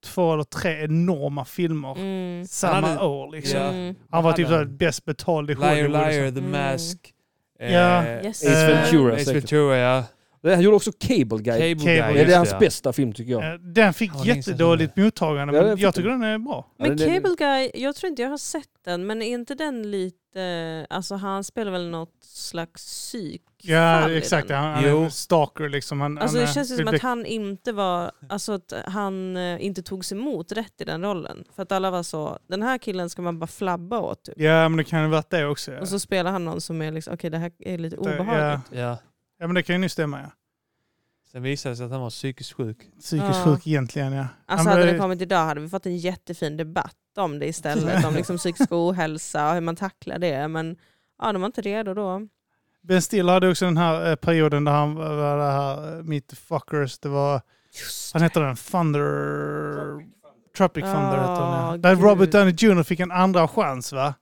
S1: två eller tre enorma filmer
S4: Mm.
S1: samma
S3: Han hade-
S1: år. Liksom.
S3: Ja.
S4: Mm.
S1: Han var typ så här
S3: Hade-
S1: bäst betald i
S3: Liar,
S1: Hollywood.
S3: liar,
S1: Liksom.
S3: the
S4: Mm.
S3: mask.
S1: Ja.
S3: Eh,
S4: Yes.
S2: Ace
S1: Eh,
S2: Ventura
S3: Ace
S2: säkert.
S3: Ventura, ja.
S2: Han gjorde också Cable Guy.
S3: Cable,
S1: Cable Guy,
S3: Guy.
S2: det är
S3: just
S2: hans
S3: ja.
S2: bästa film tycker jag.
S1: Eh, Den fick
S3: Ja, det är
S1: jättedåligt mottagande,
S2: Ja,
S1: men
S2: det är
S1: jag
S2: för-
S1: tycker den är bra.
S2: Ja,
S4: Men
S2: det- det-
S4: Cable Guy, jag tror inte jag har sett den, men är inte den lite, alltså han spelar väl något slags psykfall
S1: Ja,
S4: i
S1: exakt.
S4: den?
S1: Han, han är
S3: Jo.
S1: en stalker liksom. Han,
S4: Alltså
S1: han,
S4: det
S1: eh,
S4: känns ju
S1: vill
S4: som
S1: bli-
S4: att han inte var, alltså att han eh, inte togs emot rätt i den rollen. För att alla var så, den här killen ska man bara flabba åt typ.
S1: Ja, men det kan ju ha varit det också. Ja,
S4: Och så spelar han någon som är liksom, okej det här är lite
S1: Det-
S4: obehagligt.
S3: ja.
S1: ja men det kan ju nu stämma. Ja.
S3: Sen visade det sig att han var psykiskt sjuk.
S1: Psykiskt
S4: Ja.
S1: sjuk egentligen, ja. Han
S4: Alltså hade
S1: blev-
S4: det kommit idag hade vi fått en jättefin debatt om det istället, om liksom psykisk ohälsa och hur man tacklar det. Men ja, de var inte redo då.
S1: Ben Stiller hade också den här eh, perioden där han var var det här eh, Meet the Fuckers. Det var,
S4: Just
S1: han hette den, Thunder... Tropic Thunder hette
S4: Ah,
S1: den, ja. Där
S4: gud.
S1: Robert Downey Jr fick en andra chans va?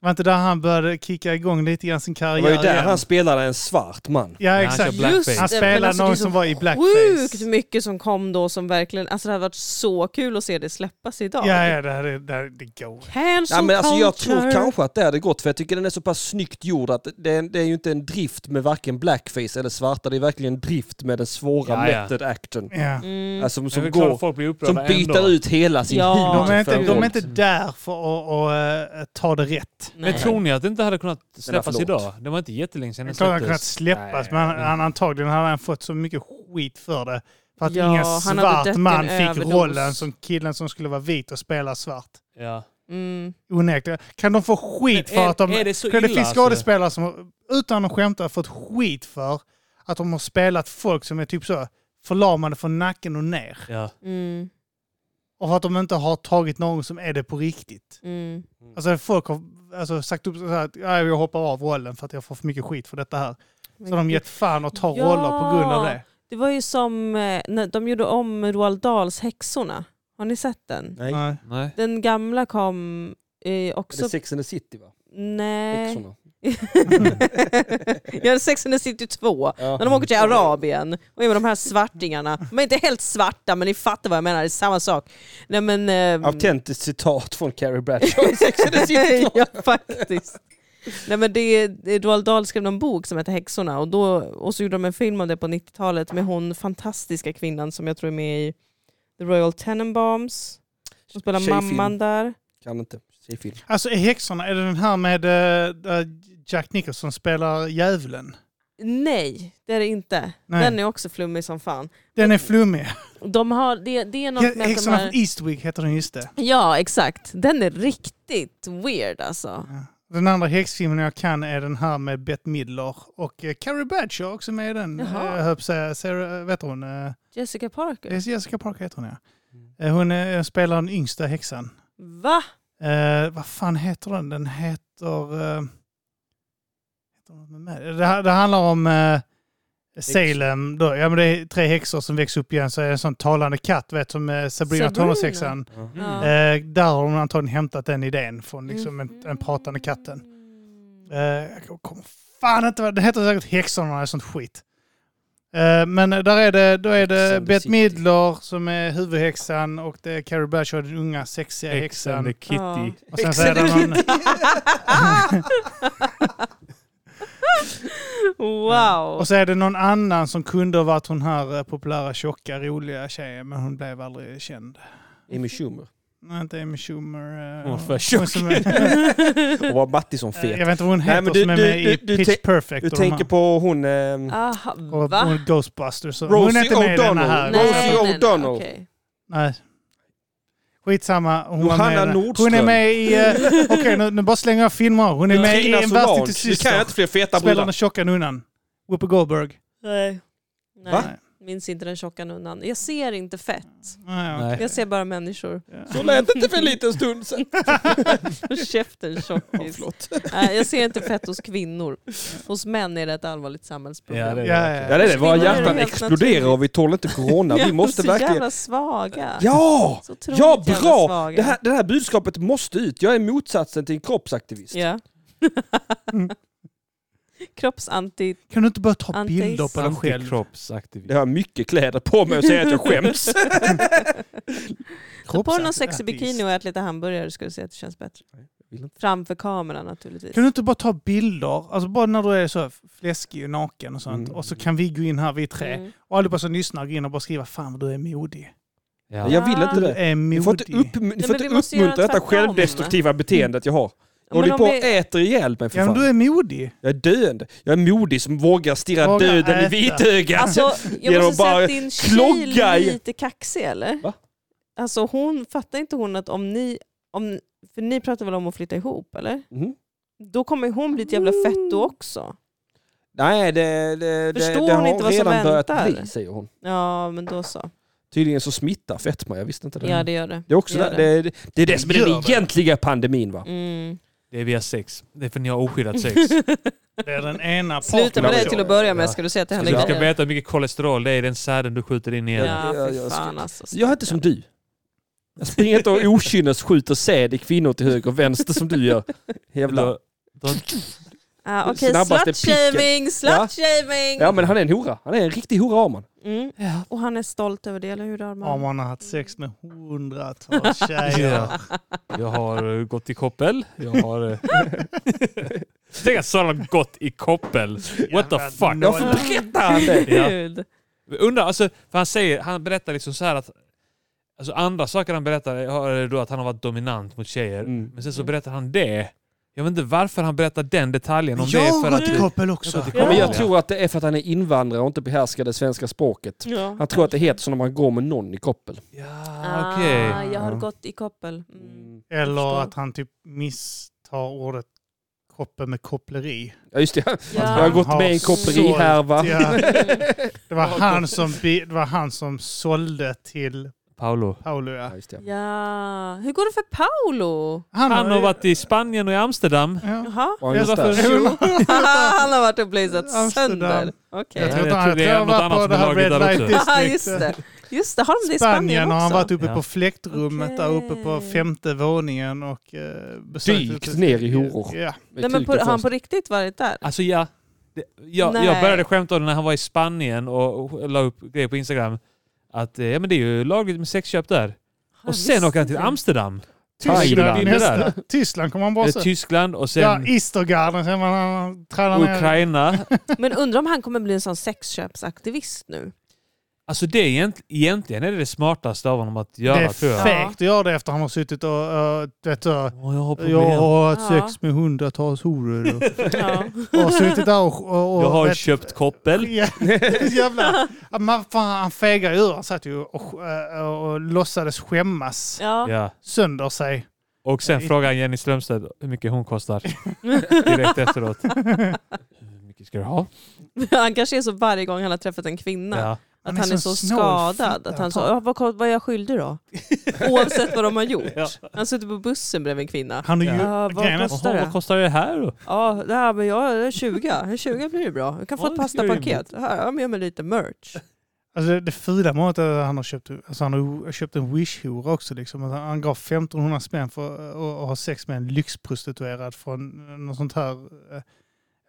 S1: Var inte där han började kicka igång lite grann sin
S2: Det
S1: karriär
S2: var ju där
S1: igen?
S2: han spelade en svart man.
S1: Ja
S3: Nej, han
S1: exakt.
S3: kör blackface.
S1: Han
S4: det,
S1: spelade
S4: men alltså, det är
S1: någon
S4: så
S1: som var i
S4: Sjukt
S1: blackface.
S4: mycket som kom då som verkligen, alltså det hade varit så kul att se det släppas idag.
S1: Ja, ja, det, här, är- det, här, det går.
S4: Cancel
S2: Ja, men alltså, jag
S4: culture.
S2: tror kanske att det hade gått för jag tycker den är så pass snyggt gjord att det är, det är ju inte en drift med varken blackface eller svarta. Det är verkligen en drift med den svåra
S3: Ja, ja.
S2: method action.
S1: Ja.
S4: Mm.
S2: Alltså
S3: Men det
S2: som,
S3: är klart att
S2: går,
S3: folk blir upprörda
S2: som byter
S3: ändå.
S2: ut hela sin
S4: Ja.
S2: hud.
S1: De är, inte,
S2: för
S1: de är
S2: folk.
S1: inte där för att att, eh, ta det rätt.
S4: Nej.
S3: Men tror ni att det inte hade kunnat släppas
S2: förlåt.
S3: idag? Det var inte jättelänge sedan
S1: Det är
S3: den
S1: klart han
S3: släpptes.
S1: kunnat släppas,
S3: Nej.
S1: men han, han antagligen hade han fått så mycket skit för det. För att
S4: Ja,
S1: ingen
S4: han hade dött i
S1: svart
S4: en
S1: man fick
S4: överdos.
S1: rollen som killen som skulle vara vit och spela svart.
S3: Ja.
S4: Mm.
S1: Onekligen. Kan de få skit
S3: Men är-
S1: för att de...
S3: är det så
S1: För
S3: illa,
S1: finns
S3: alltså?
S1: skådespelare som, utan att skämta, fått skit för att de har spelat folk som är typ så förlamade från nacken och ner.
S3: Ja.
S4: Mm.
S1: Och för att de inte har tagit någon som är det på riktigt.
S4: Mm.
S1: Alltså folk har alltså, sagt upp så här att "Ja, jag hoppar av rollen för att jag får för mycket skit för detta här. Så de gett fan och tar
S4: Ja.
S1: roller på grund av det.
S4: Det var ju som eh, när de gjorde om Roald Dahls Häxorna. Har ni sett den?
S2: Nej.
S1: Nej.
S3: Nej.
S4: Den gamla kom eh,
S2: Det är
S4: också...
S2: Sex and the City va?
S4: Nej.
S2: Häxorna.
S4: Jag hade Sex and the City 2.
S2: Ja.
S4: När de åker till Arabien och är med de här svartingarna. De är inte helt svarta men ni fattar vad jag menar, det är samma sak. Nej, men, ehm,
S2: Autentiskt citat från Carrie Bradshaw i Sex and the City.
S4: ja, faktiskt. Nej, men det, är- Roald Dahl skrev en bok som heter Häxorna och, då, och så gjorde de en film av det på 90-talet med hon fantastiska kvinnan som jag tror är med i The Royal Tenenbaums. Hon spelar
S2: Tjejfilm.
S4: mamman där.
S2: Kan inte. Tjejfilm.
S1: Alltså är Häxorna, är det den här med eh, där Jack Nicholson spelar djävulen?
S4: Nej, det är det inte.
S1: Nej.
S4: Den är också flummig som fan.
S1: Den är flummig.
S4: De har, det, det är något med att de
S1: Häxorna
S4: här...
S1: från Eastwick heter den just det.
S4: Ja, exakt. Den är riktigt weird alltså.
S1: Den andra häxfilmen jag kan är den här med Bette Midler och eh, Carrie Bradshaw också med i den.
S4: Jaha.
S1: Eh, Jag höll på att säga, Sarah, vet hon? eh,
S4: Jessica Parker.
S1: Jessica Parker heter hon ja. Eh, Hon eh, spelar den yngsta häxan.
S4: Va?
S1: Eh, vad fan heter den? Den heter... eh, heter den något med? det, här- det handlar om eh, Salem. Då. Ja, men det är tre häxor som växer upp igen. Så är det en sån talande katt, vet som eh, Sabrina,
S4: Sabrina.
S1: tonårshäxan.
S3: Mm.
S4: Ja.
S1: Eh, där har de antagligen hämtat den idén från liksom, en,
S4: Mhm.
S1: den pratande katten.
S4: Mm.
S1: Eh, jag kommer fan inte vad den heter säkert Häxorna eller sånt skit. Eh, Men där är det, då är det
S2: Sex and the
S1: Bette
S2: City.
S1: Midler som är huvudhäxan och det är Carrie Bradshaw, den unga sexiga
S3: Ex
S1: häxan.
S3: and the Kitty.
S4: Ja.
S1: Och sen så är det någon,
S4: wow!
S1: och så är det någon annan som kunde ha varit hon här eh, populära, tjocka, roliga tjejen men hon blev aldrig känd.
S2: Amy Schumer.
S1: Nej, inte Amy Schumer. eh,
S3: Hon var för tjock.
S1: som är-
S2: Och var Mattisson
S1: Eh,
S2: fet.
S1: Jag vet inte vad hon
S2: Nej,
S1: heter
S2: men du-
S1: som är
S2: du-
S1: med i
S2: du- du
S1: Pitch
S2: tänk-
S1: Perfect.
S2: Du
S1: och de här.
S2: tänker på hon... ehm,
S4: Aha,
S1: och,
S4: va?
S1: och Ghostbusters. och- Hon är
S2: Rosie
S1: inte med i denna här.
S2: O'Donnell. Rosie
S1: Nej.
S2: O'Donnell.
S4: okej.
S1: Nej. Skitsamma. Hon var
S2: Johanna
S1: med.
S2: Nordström.
S1: Hon är med i... eh, Okej, nu, nu bara slänger jag filmer. Hon är med i
S2: Tina
S1: En
S2: Solange.
S1: värsta till
S2: Det kan jag
S1: syster.
S2: inte fler feta
S1: Spelar den
S2: brudar.
S1: tjocka nunnan. Whoopi Goldberg.
S4: Nej.
S2: Va?
S4: Nej, minns inte den tjocka nunnan. Jag ser inte fett.
S1: Nej, okej.
S3: Nej.
S4: Jag ser bara människor.
S1: Ja.
S2: Så lät det inte för en liten stund sedan.
S4: Käften tjockis.
S2: Förlåt.
S4: Nej, jag ser inte fett hos kvinnor. Hos män är det ett allvarligt samhällsproblem.
S3: Ja, det är
S1: Ja,
S3: verkligen.
S2: Ja, det är det. Våra
S4: Kvinnor är
S2: hjärtan
S4: helt
S2: exploderar och vi tål inte corona. Vi måste
S4: så
S2: verkligen...
S4: jävla svaga.
S2: Ja!
S4: så otroligt
S2: Ja,
S4: jävla
S2: bra!
S4: svaga.
S2: Det här, det här budskapet måste ut. Jag är motsatsen till en kroppsaktivist.
S4: Ja. Mm. Kroppsanti...
S1: Kan du inte bara ta
S4: Antis.
S1: bilder på dig själv?
S3: Antikroppsaktivist.
S2: Jag har mycket kläder på mig och säger att jag skäms. Typ
S4: Ta på dig någon
S1: Kroppsaktivist.
S4: sexig bikini Typ och ät lite hamburgare ska du se att det känns bättre.
S2: vill inte.
S4: Framför kameran naturligtvis.
S1: Kan du inte bara ta bilder? Alltså bara när du är så fläskig och naken och sånt.
S2: Mm.
S1: Och så kan vi gå in här, vi tre.
S4: Mm.
S1: Och allihopa som lyssnar går in och bara skriva Fan vad du är modig.
S3: Ja.
S2: Jag vill inte
S1: Du
S2: det.
S1: är
S2: Ni
S1: modig.
S2: får inte, upp, ni
S4: men
S2: får inte
S4: vi måste göra
S2: uppmuntra detta
S4: tvärtom.
S2: självdestruktiva beteendet jag har. Jag
S4: Men
S2: håller
S4: om
S2: på och
S4: vi-
S2: äter ihjäl mig för
S1: Ja men
S2: fan.
S1: du är modig.
S2: Jag är döende. Jag är modig som vågar stirra
S1: Vågar
S2: döden i
S1: äta.
S2: vitögat.
S4: Alltså, jag
S2: Genom
S4: måste säga
S2: bara
S4: att din tjej
S2: klogga
S4: är
S2: i-
S4: lite kaxig eller?
S2: Va?
S4: Alltså hon, fattar inte hon att om ni, om, för ni pratar väl om att flytta ihop eller?
S2: Mhm.
S4: Då kommer hon bli ett jävla fett då också.
S2: Nej, det, det, det, det
S4: Förstår
S2: har
S4: hon inte vad som
S2: redan börjat
S4: väntar?
S2: bli, säger hon.
S4: Ja men då så.
S2: Tydligen så smittar fetma, jag visste inte det.
S4: Ja det gör det.
S2: det, är också
S4: Gör
S2: det. Det, är- det är det som är den
S1: Gör det.
S2: egentliga pandemin va?
S4: Mm.
S3: Det är via sex. Det är för ni har oskyddat sex.
S1: Det är den ena
S4: Sluta
S1: parten
S4: med
S1: av
S4: det
S1: det.
S4: till att börja
S2: Ja.
S4: med ska du säga till
S3: Så du
S4: henne.
S3: ska
S4: grejer.
S3: veta hur mycket kolesterol det är i den säden du skjuter in i henne.
S4: Ja,
S2: Jag-
S4: för
S2: jag
S4: fan alltså.
S2: Jag är inte som du. Jag springer inte och okynnesskjuter säd i kvinnor till höger och vänster som du gör. Jävla...
S3: Då- då-
S4: Ah, Okej,
S2: Snabbaste
S4: slutshaming, slutshaming!
S2: Ja men han är en hora. Han är en riktig hora Arman.
S4: Mm. Och han är stolt över det, eller hur Arman?
S1: Ja, man har haft sex med hundratals tjejer.
S3: Ja. Jag har eh, gått i koppel. Jag har... eh, Tänk att Sara gått i koppel. What the
S1: Jävla
S3: fuck?
S1: noll.
S2: Varför berättar han det?
S3: Ja.
S4: Gud.
S3: Undrar, alltså, för han, säger, han berättar liksom så här att alltså andra saker han berättar är då att han har varit dominant mot tjejer.
S2: Mm.
S3: Men sen så berättar han det. Jag vet inte varför han berättar den detaljen. Om det
S1: Jag
S3: är för
S1: har
S3: att
S1: gått i koppel också.
S3: Jag har gått i
S2: Ja, men jag
S3: Ja.
S2: tror att det är för att han är invandrare och inte behärskar det svenska språket.
S4: Ja.
S2: Han tror att det heter så när man går med någon i koppel.
S3: Ja, okej.
S4: Ah, jag har
S2: Ja.
S4: gått i koppel. Mm.
S1: Eller
S4: Förstår.
S1: att han typ misstar ordet koppel med koppleri.
S2: Ja just det, jag
S4: Ja.
S2: har gått med i en kopplerihärva.
S1: Ja,
S4: Mm.
S1: det, var han som, bi- det var han som sålde till
S3: Paolo.
S1: Paolo. Ja.
S2: Ja, just det.
S4: Ja, hur går det för Paolo?
S3: Han har varit i Spanien och i Amsterdam.
S1: Ja.
S4: Jaha.
S2: Var han just där?
S1: Jag undrar-
S4: han har varit och blazat
S1: Amsterdam.
S4: sönder. Okej.
S1: Jag
S3: Ja,
S1: tror inte
S3: jag
S1: han
S3: tror det är
S1: jag tror han
S3: något
S1: har varit
S3: annat
S1: på
S3: som
S1: det
S3: är
S1: här
S3: lagligt
S1: Red
S3: där
S1: Light
S3: också.
S4: Aha,
S1: District.
S4: just det. Just det, har de det i Spanien
S1: Spanien
S4: också?
S1: har han varit uppe
S3: Ja.
S1: på fläktrummet där uppe på
S4: Okej.
S1: femte våningen och eh, besökt...
S2: Dykt ner i horor.
S1: Ja.
S4: Nej, men på, har han
S2: först.
S4: på riktigt varit där?
S3: Alltså ja, det, jag,
S4: Nej.
S3: jag började skämta om det när han var i Spanien och och la upp grejer på Instagram. Att eh, ja, men det är ju lagligt med sexköp där.
S4: Jag
S3: Och sen
S4: visste
S3: åker han till
S4: inte.
S3: Amsterdam.
S1: Tyskland,
S2: Thailand.
S1: nästa. Tyskland kommer han bara
S3: Eller
S1: sen.
S3: Tyskland och
S1: Alltså, Ja,
S3: sen
S1: Istergarden, sen man han tränar ner.
S3: Ukraina.
S4: Men undrar om han kommer bli en sån sexköpsaktivist nu?
S3: Alltså det är egent, egentligen är det det smartaste av honom att
S1: Det
S3: göra
S1: är
S3: tror jag.
S4: fe-
S1: fegt att göra det efter han har suttit och, uh, vet du,
S3: Åh, jag har problem.
S1: jag har haft
S4: Ja.
S1: sex med hundratals horor. och-
S4: Ja.
S1: Och har suttit där och... och, och
S3: jag har
S1: vet-
S3: köpt koppel.
S1: Ja, jävla. Ja, Man, fan, han fegar ju ur. Han satt ju och, eh, och, och låtsades skämmas
S4: ja.
S3: Ja.
S1: sönder sig.
S3: Och sen
S1: Nej.
S3: frågar han Jenny Strömstedt hur mycket hon kostar. Direkt efteråt. Hur mycket ska du ha?
S4: Han kanske är så varje gång han har träffat en kvinna.
S3: Ja.
S4: Att
S1: Han
S4: han
S1: är
S4: är,
S1: så
S4: så
S1: snål
S4: skadad.
S1: fitta.
S4: Att han sa, "Ja, vad, vad är jag skyldig då? Oavsett vad de har gjort.
S3: Ja.
S4: Han sitter på bussen bredvid en kvinna.
S1: Han är ju...
S4: Ja, vad
S1: grejen är-
S4: kostar-
S3: Jaha, vad kostar det här då?
S4: Ja, det här, men jag är 20. 20 blir det bra. Jag kan få
S3: Ja,
S4: ett
S3: det ska ju
S4: pastapaket. Här, Jag har med mig lite merch.
S1: Alltså det fula målet är att han har köpt, alltså han har köpt en wish-hora också. Liksom. Att Han han gav 1500 spänn för att- att ha sex med en lyxprostituerad från något sånt här eh,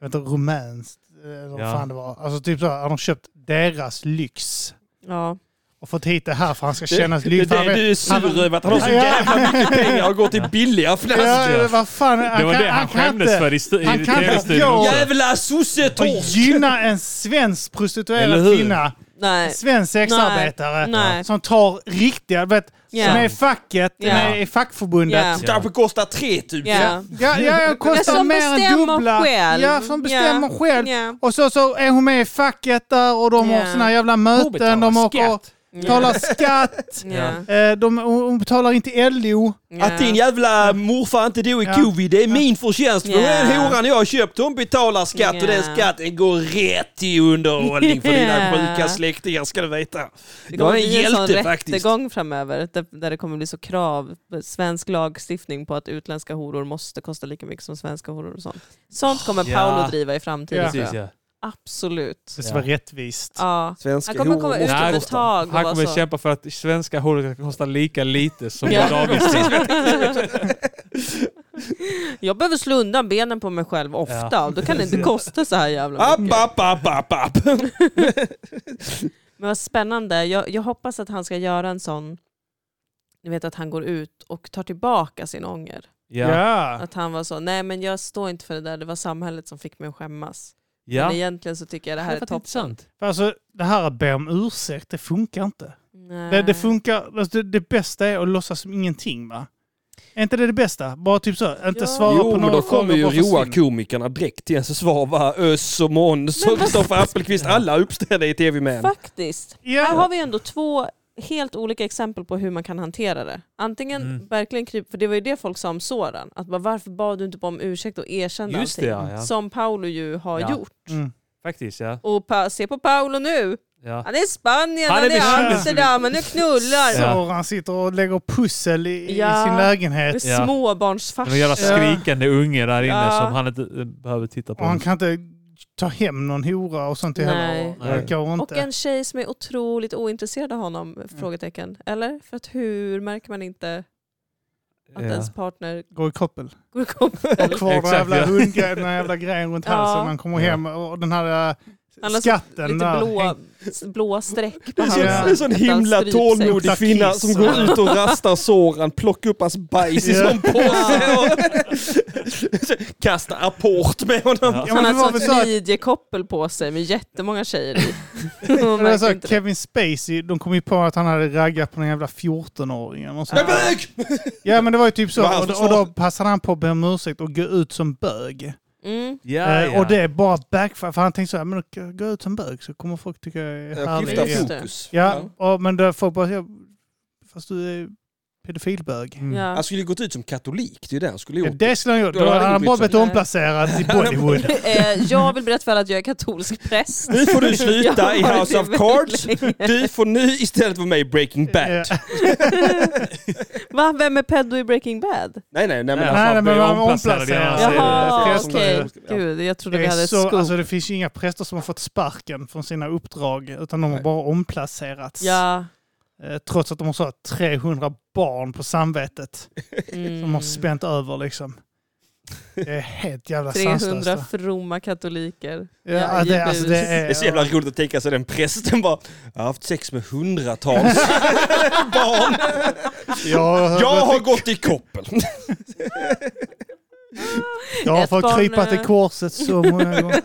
S1: jag vet inte, rumänskt eller vad
S3: Ja.
S1: fan det var. Alltså typ så här, han har köpt deras lyx
S4: Ja.
S1: och fått hit det här för han ska kännas lycklig.
S2: Det, det, du är sur över att han har så
S1: Ja.
S2: jävla mycket pengar och går till billiga flaskor.
S1: Ja, vad fan, han
S3: Det var
S1: kan,
S3: det han
S1: kan
S3: skämdes
S1: inte-
S3: för i stu-
S1: han
S3: i
S1: kan inte-
S3: tv-studion
S1: Ja.
S3: också.
S2: Jävla
S1: Att
S2: sossetorsk!
S1: gynna en svensk
S2: Eller
S1: prostituerad
S2: hur?
S1: kvinna, en
S4: Nej.
S1: svensk sexarbetare,
S4: Nej.
S1: som tar riktiga, vet,
S4: Ja.
S1: som är i facket,
S4: Ja.
S1: den är i fackförbundet.
S4: Ja.
S2: Kanske kostar 3000.
S4: Ja.
S1: Ja, ja, jag kostar
S4: som
S1: mer än
S4: bestämmer
S1: dubbla.
S4: själv.
S1: Ja, som bestämmer
S4: Ja.
S1: själv.
S4: Ja.
S1: Och så, så är hon med i facket där och de har
S4: Ja.
S1: sina jävla möten. De åker och betalar skatt.
S4: Ja.
S1: Eh, De, hon hon betalar inte LO.
S4: Ja.
S2: Att din jävla morfar inte dog i
S1: Ja.
S2: covid, det är min förtjänst. För
S4: Ja.
S2: den horan jag har köpt, hon betalar skatt och den
S4: Ja.
S2: skatten går rätt till underhållning för dina
S4: Ja.
S2: sjuka släktingar ska du veta.
S4: Det
S2: Jag är
S4: kommer
S2: en
S4: bli en sån
S2: hjälte faktiskt.
S4: rättegång framöver där, där det kommer bli så krav, svensk lagstiftning på att utländska horor måste kosta lika mycket som svenska horor och sånt. Sånt kommer
S3: Ja.
S4: Paolo driva i framtiden
S1: Ja.
S4: tror
S3: Precis
S4: jag.
S3: ja.
S4: Absolut.
S1: Det ska
S3: Ja.
S1: vara rättvist.
S4: Ja.
S2: Svenska
S4: Han kommer komma ut
S3: måste
S4: efter ett
S3: kosta.
S4: tag och
S3: Han
S4: vara
S3: kommer
S4: så.
S3: kämpa för att svenska horor ska kosta lika lite som
S4: alltså. Ja.
S3: Davids.
S4: Jag behöver slå undan benen på mig själv ofta
S3: Ja.
S4: och då kan det inte kosta så här jävla
S2: App,
S4: mycket.
S2: app, app, app, app.
S4: Men vad spännande. Jag, jag hoppas att han ska göra en sån, ni vet att han går ut och tar tillbaka sin ånger.
S3: Ja.
S4: Att han var så, nej men jag står inte för det där, det var samhället som fick mig att skämmas.
S3: Ja.
S4: Men egentligen så tycker jag det här är
S3: var
S4: topp.
S3: intressant.
S1: För Alltså, det här att be om ursäkt, det funkar inte.
S4: Nej.
S1: Det, det funkar, alltså, det, det bästa är att låtsas som ingenting va? Är inte det det bästa? Bara typ så, inte
S4: Ja.
S1: svara på några frågor. bara försvinna.
S2: komikerna direkt till en så svarva Özz och Måns och Kristoffer Appelqvist. Alla uppställda i TV-man.
S4: Faktiskt. Här
S1: Ja.
S4: har vi ändå två helt olika exempel på hur man kan hantera det. Antingen
S3: Mm.
S4: verkligen kryp, för det var ju det folk sa om Soran, att bara, varför bad du inte bara om ursäkt och erkände
S3: Just det
S4: allting?
S3: ja. ja.
S4: Som Paolo ju har
S3: Ja.
S4: gjort.
S1: Mm.
S3: Faktiskt ja.
S4: Och pa- se på Paolo nu!
S3: ja.
S4: Han är i Spanien,
S3: Han
S4: han
S3: är
S4: är i
S3: bekymmersam.
S4: Amsterdam, han är och knullar!
S3: Ja.
S1: Så han sitter och lägger pussel i, i
S4: Ja.
S1: sin lägenhet.
S4: Med
S3: Ja.
S4: Småbarnsfarsa.
S3: En jävla skrikande unge där inne
S4: Ja.
S3: som han inte eh, behöver titta på.
S1: Och han kan inte ta hem någon hora och sånt
S4: Nej.
S1: heller. Och Det
S3: Nej.
S1: går
S4: Och
S1: inte.
S4: en tjej som är otroligt ointresserad av honom? Frågetecken. Eller? För att hur märker man inte att
S3: Ja.
S4: ens partner
S1: Går i koppel.
S4: går i koppel?
S1: Och kvar den
S3: Exakt,
S1: jävla
S3: ja.
S1: hundgrejen, den här jävla grejen runt
S4: Ja.
S1: halsen när han kommer
S3: Ja.
S1: hem. Och den här
S4: Han
S1: äh,
S4: har så
S1: skatten
S4: Lite
S1: där.
S4: blåa, blåa streck på
S2: Det är så- det är
S4: halsen.
S2: en sån
S4: Ett
S2: himla
S4: dansstrypsex.
S2: tålmodig kvinna
S1: Kiss.
S2: som går ut och rastar Soran, plockar upp hans bajs i
S1: Ja.
S2: sån påse och kastar apport med honom.
S1: Ja,
S4: Alltså, Han
S1: men
S4: har
S1: det var
S4: ett
S1: väl
S4: sånt
S1: så här-
S4: midjekoppel på sig med jättemånga tjejer i.
S1: Ja,
S4: Hon
S1: det var så
S4: märker
S1: här,
S4: inte det.
S1: Kevin Spacey, de kom ju på att han hade raggat på den jävla 14-åringen. och så.
S2: Jag är bög!
S1: Ja men det var ju typ
S2: Det
S1: så.
S2: var hans
S1: Och, då- och
S2: försvar.
S1: då passade han på att be om ursäkt och gå ut som bög.
S4: Mm.
S3: Ja,
S1: Eh,
S3: ja.
S1: Och det är bara backfire. För han tänkte så här, men då kan jag gå ut som bög så kommer folk tycka jag är
S2: Jag
S1: härlig.
S2: skiftar
S4: Just det.
S2: fokus.
S1: Ja, och, men då folk bara, ja, fast du är pedofilbög.
S3: Mm.
S4: Ja.
S2: Han skulle ju gått ut som katolik, det är ju det han skulle
S1: Ja,
S2: gjort.
S1: Det skulle han gjort.
S2: Då
S1: Då
S2: hade
S1: hade
S2: det
S1: han
S2: blivit
S1: bara
S2: så.
S1: blivit omplacerad i Bollywood.
S4: Eh, jag vill berätta för alla att jag är katolsk präst.
S2: Nu får du
S4: Jag har
S2: sluta i
S4: varit
S2: House
S4: det
S2: of
S4: väldigt
S2: Cards.
S4: länge.
S2: Du får nu istället vara med i Breaking Bad.
S1: Ja.
S4: Va? Vem är pedo i Breaking Bad?
S2: Nej, nej, nej. Men
S3: Nej,
S2: alltså,
S1: Nej,
S3: han
S1: nej, men
S3: blir
S1: man
S3: omplacerad
S1: omplacerar
S3: i hans-
S1: sig.
S4: Jaha,
S1: Alltså, Det är
S4: okej.
S1: präster.
S4: Gud, jag trodde
S1: Det,
S4: vi
S1: är
S4: hade ett
S1: så,
S4: skop.
S1: alltså, det finns ju inga präster som har fått sparken från sina uppdrag utan de har
S2: Nej.
S1: bara omplacerats.
S4: Ja.
S1: Eh, Trots att de har så här 300 barn på samvetet
S4: Mm.
S1: som har spänt över liksom. Det är helt jävla sanslöst.
S4: 300
S1: va?
S4: fromma katoliker.
S1: Ja, det, alltså, det
S4: givetvis.
S1: är,
S2: det är så jävla roligt att tänka sig den prästen bara, jag har haft sex med hundratals barn.
S1: Jag,
S2: Jag har gått i koppel.
S1: jag har
S4: Ett
S1: fått
S4: barn,
S1: krypa till
S4: eh.
S1: korset så många gånger.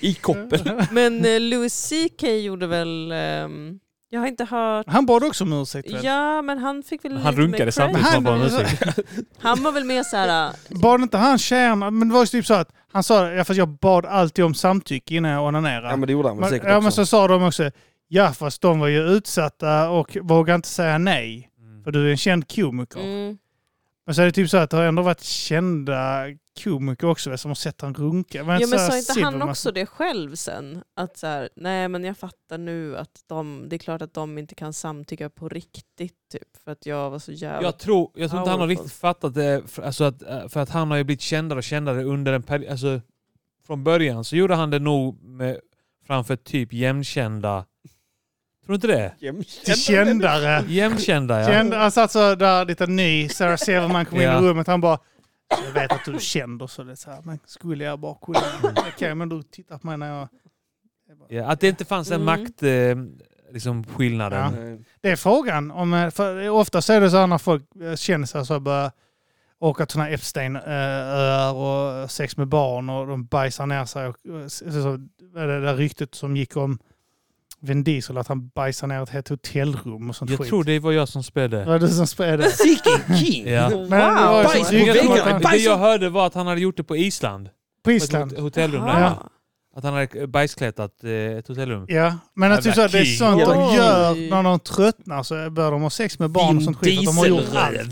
S2: I koppel.
S4: Men eh, Louis CK gjorde väl... ehm, jag har inte hört...
S1: Han bad också om ursäkt. väl?
S4: Ja, men han fick väl lite
S3: Han runkade
S4: mer
S1: Men
S3: samtidigt
S4: cred.
S3: som han
S1: han-
S3: bara musik.
S4: Han var väl mer eh, såhär...
S1: Bad inte han tjäna? Men det var ju typ så att han sa ja, fast jag bad alltid om samtycke innan jag onanerade.
S2: Ja men det gjorde han väl
S1: men,
S2: säkert
S1: ja, men
S2: också.
S1: så sa de också ja fast de var ju utsatta och vågade inte säga nej.
S3: Mm.
S1: För du är en känd komiker.
S4: Mm,
S1: Men så är det typ så att det har ändå varit kända komiker också som har sett han runka.
S4: ja,
S1: så
S4: men
S1: här
S4: sa inte han
S1: Silverman-
S4: också det själv sen? Att så här, nej men jag fattar nu att de, det är klart att de inte kan samtycka på riktigt typ. För att jag var så jävla...
S3: Jag tror, jag tror inte han har
S4: Powerful.
S3: riktigt fattat det, för, alltså att, eh, för att han har ju blivit kändare och kändare under en period. Alltså, från början så gjorde han det nog med, framför typ jämnkända. Tror du inte det?
S1: Till kändare. Alltså,
S3: Jämnkända ja.
S1: Känd, han satt så där lite ny, Sarah Silverman kom in
S3: Ja.
S1: i rummet han bara Jag vet att du är känd och så det är så här, men skulle jag bara kunna. Okej, men du tittar på mig när jag...
S3: Ja, att det inte fanns den
S4: Mm.
S3: makt... Eh, liksom skillnaden.
S1: Ja.
S2: Nej.
S1: Det är frågan. Om, eh, för ofta så är det så här när folk eh, kändisar så börjar åka till sådana Epstein-öar eh, och sex med barn och de bajsar ner sig. Och, eh, så, så, det där ryktet som gick om Vin Diesel att han bajsar ner ett helt hotellrum och sånt
S3: Jag
S1: skit.
S3: tror det var jag som spelade.
S1: det var du som spred det.
S2: Seeking King!
S3: Ja.
S4: Wow!
S1: det var ju
S2: Bajs
S1: så
S2: på
S1: rykte om att
S2: väggarna,
S1: han-
S2: bajs-
S3: Det jag hörde var att han hade gjort det på Island.
S1: På
S3: På ett
S1: Island.
S3: hot- Hotellrum.
S4: Aha.
S3: där. Att han hade bajsklättat eh, ett hotellrum.
S1: Ja, men att typ så
S3: Jävla
S1: här, det är
S3: king.
S1: sånt de
S4: Oj.
S1: gör när de tröttnar så börjar de ha sex med barn och sånt skit. Att de har gjort allt. Är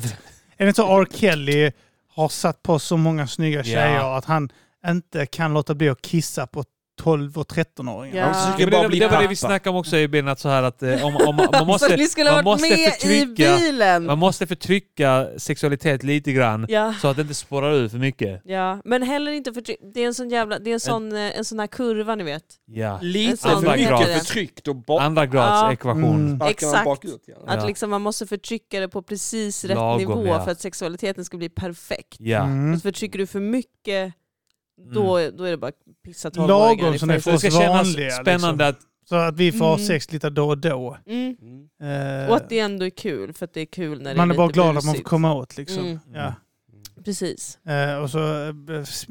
S1: det inte så R. Kelly har satt på så många snygga tjejer att han inte kan låta bli att kissa på 12 och 13-åringar?
S4: Ja.
S2: Han försöker
S3: Det,
S2: bara
S3: var det,
S2: bli
S3: det var det vi
S2: pappa.
S3: snackade om också i bilden, att så här att eh, om, om, man,
S4: så
S3: måste,
S4: ni skulle ha
S3: man
S4: varit
S3: måste
S4: med
S3: förtrycka-
S4: i bilen!
S3: man måste förtrycka sexualitet lite grann
S4: Ja.
S3: så att det inte spårar ur för mycket.
S4: Ja, men heller inte förtryck. Det är en sån jävla, det är en sån, eh, en sån här kurva ni vet.
S3: Ja.
S2: Lite
S4: sån
S2: för mycket
S3: grad.
S2: förtryckt och bara
S3: Andra grads
S4: Ja.
S3: ekvation.
S1: Mm.
S2: sparkar man
S4: Exakt.
S2: bakut. Ja.
S4: Att
S3: Ja.
S4: liksom man måste förtrycka det på precis rätt
S3: Lagom,
S4: nivå
S3: ja.
S4: för att sexualiteten ska bli perfekt.
S3: Ja.
S1: Mm.
S4: Och så förtrycker du för mycket, då, då är det bara pissa
S1: Lagom
S4: tolvåringar i
S1: som det är
S4: fängelse.
S1: för-
S3: Så det ska
S1: oss vanliga,
S3: kännas
S1: liksom.
S3: spännande att
S1: Så att vi får ha
S4: Mm.
S1: sex lite då och då.
S4: Mm.
S2: Mm.
S1: Eh,
S4: Och att det ändå är kul, för att det är kul när det
S1: man
S4: är
S1: är bara
S4: lite
S1: glad att man får
S4: busigt.
S1: komma åt liksom.
S4: Mm.
S1: Ja.
S4: Precis.
S1: Eh, och så eh, s-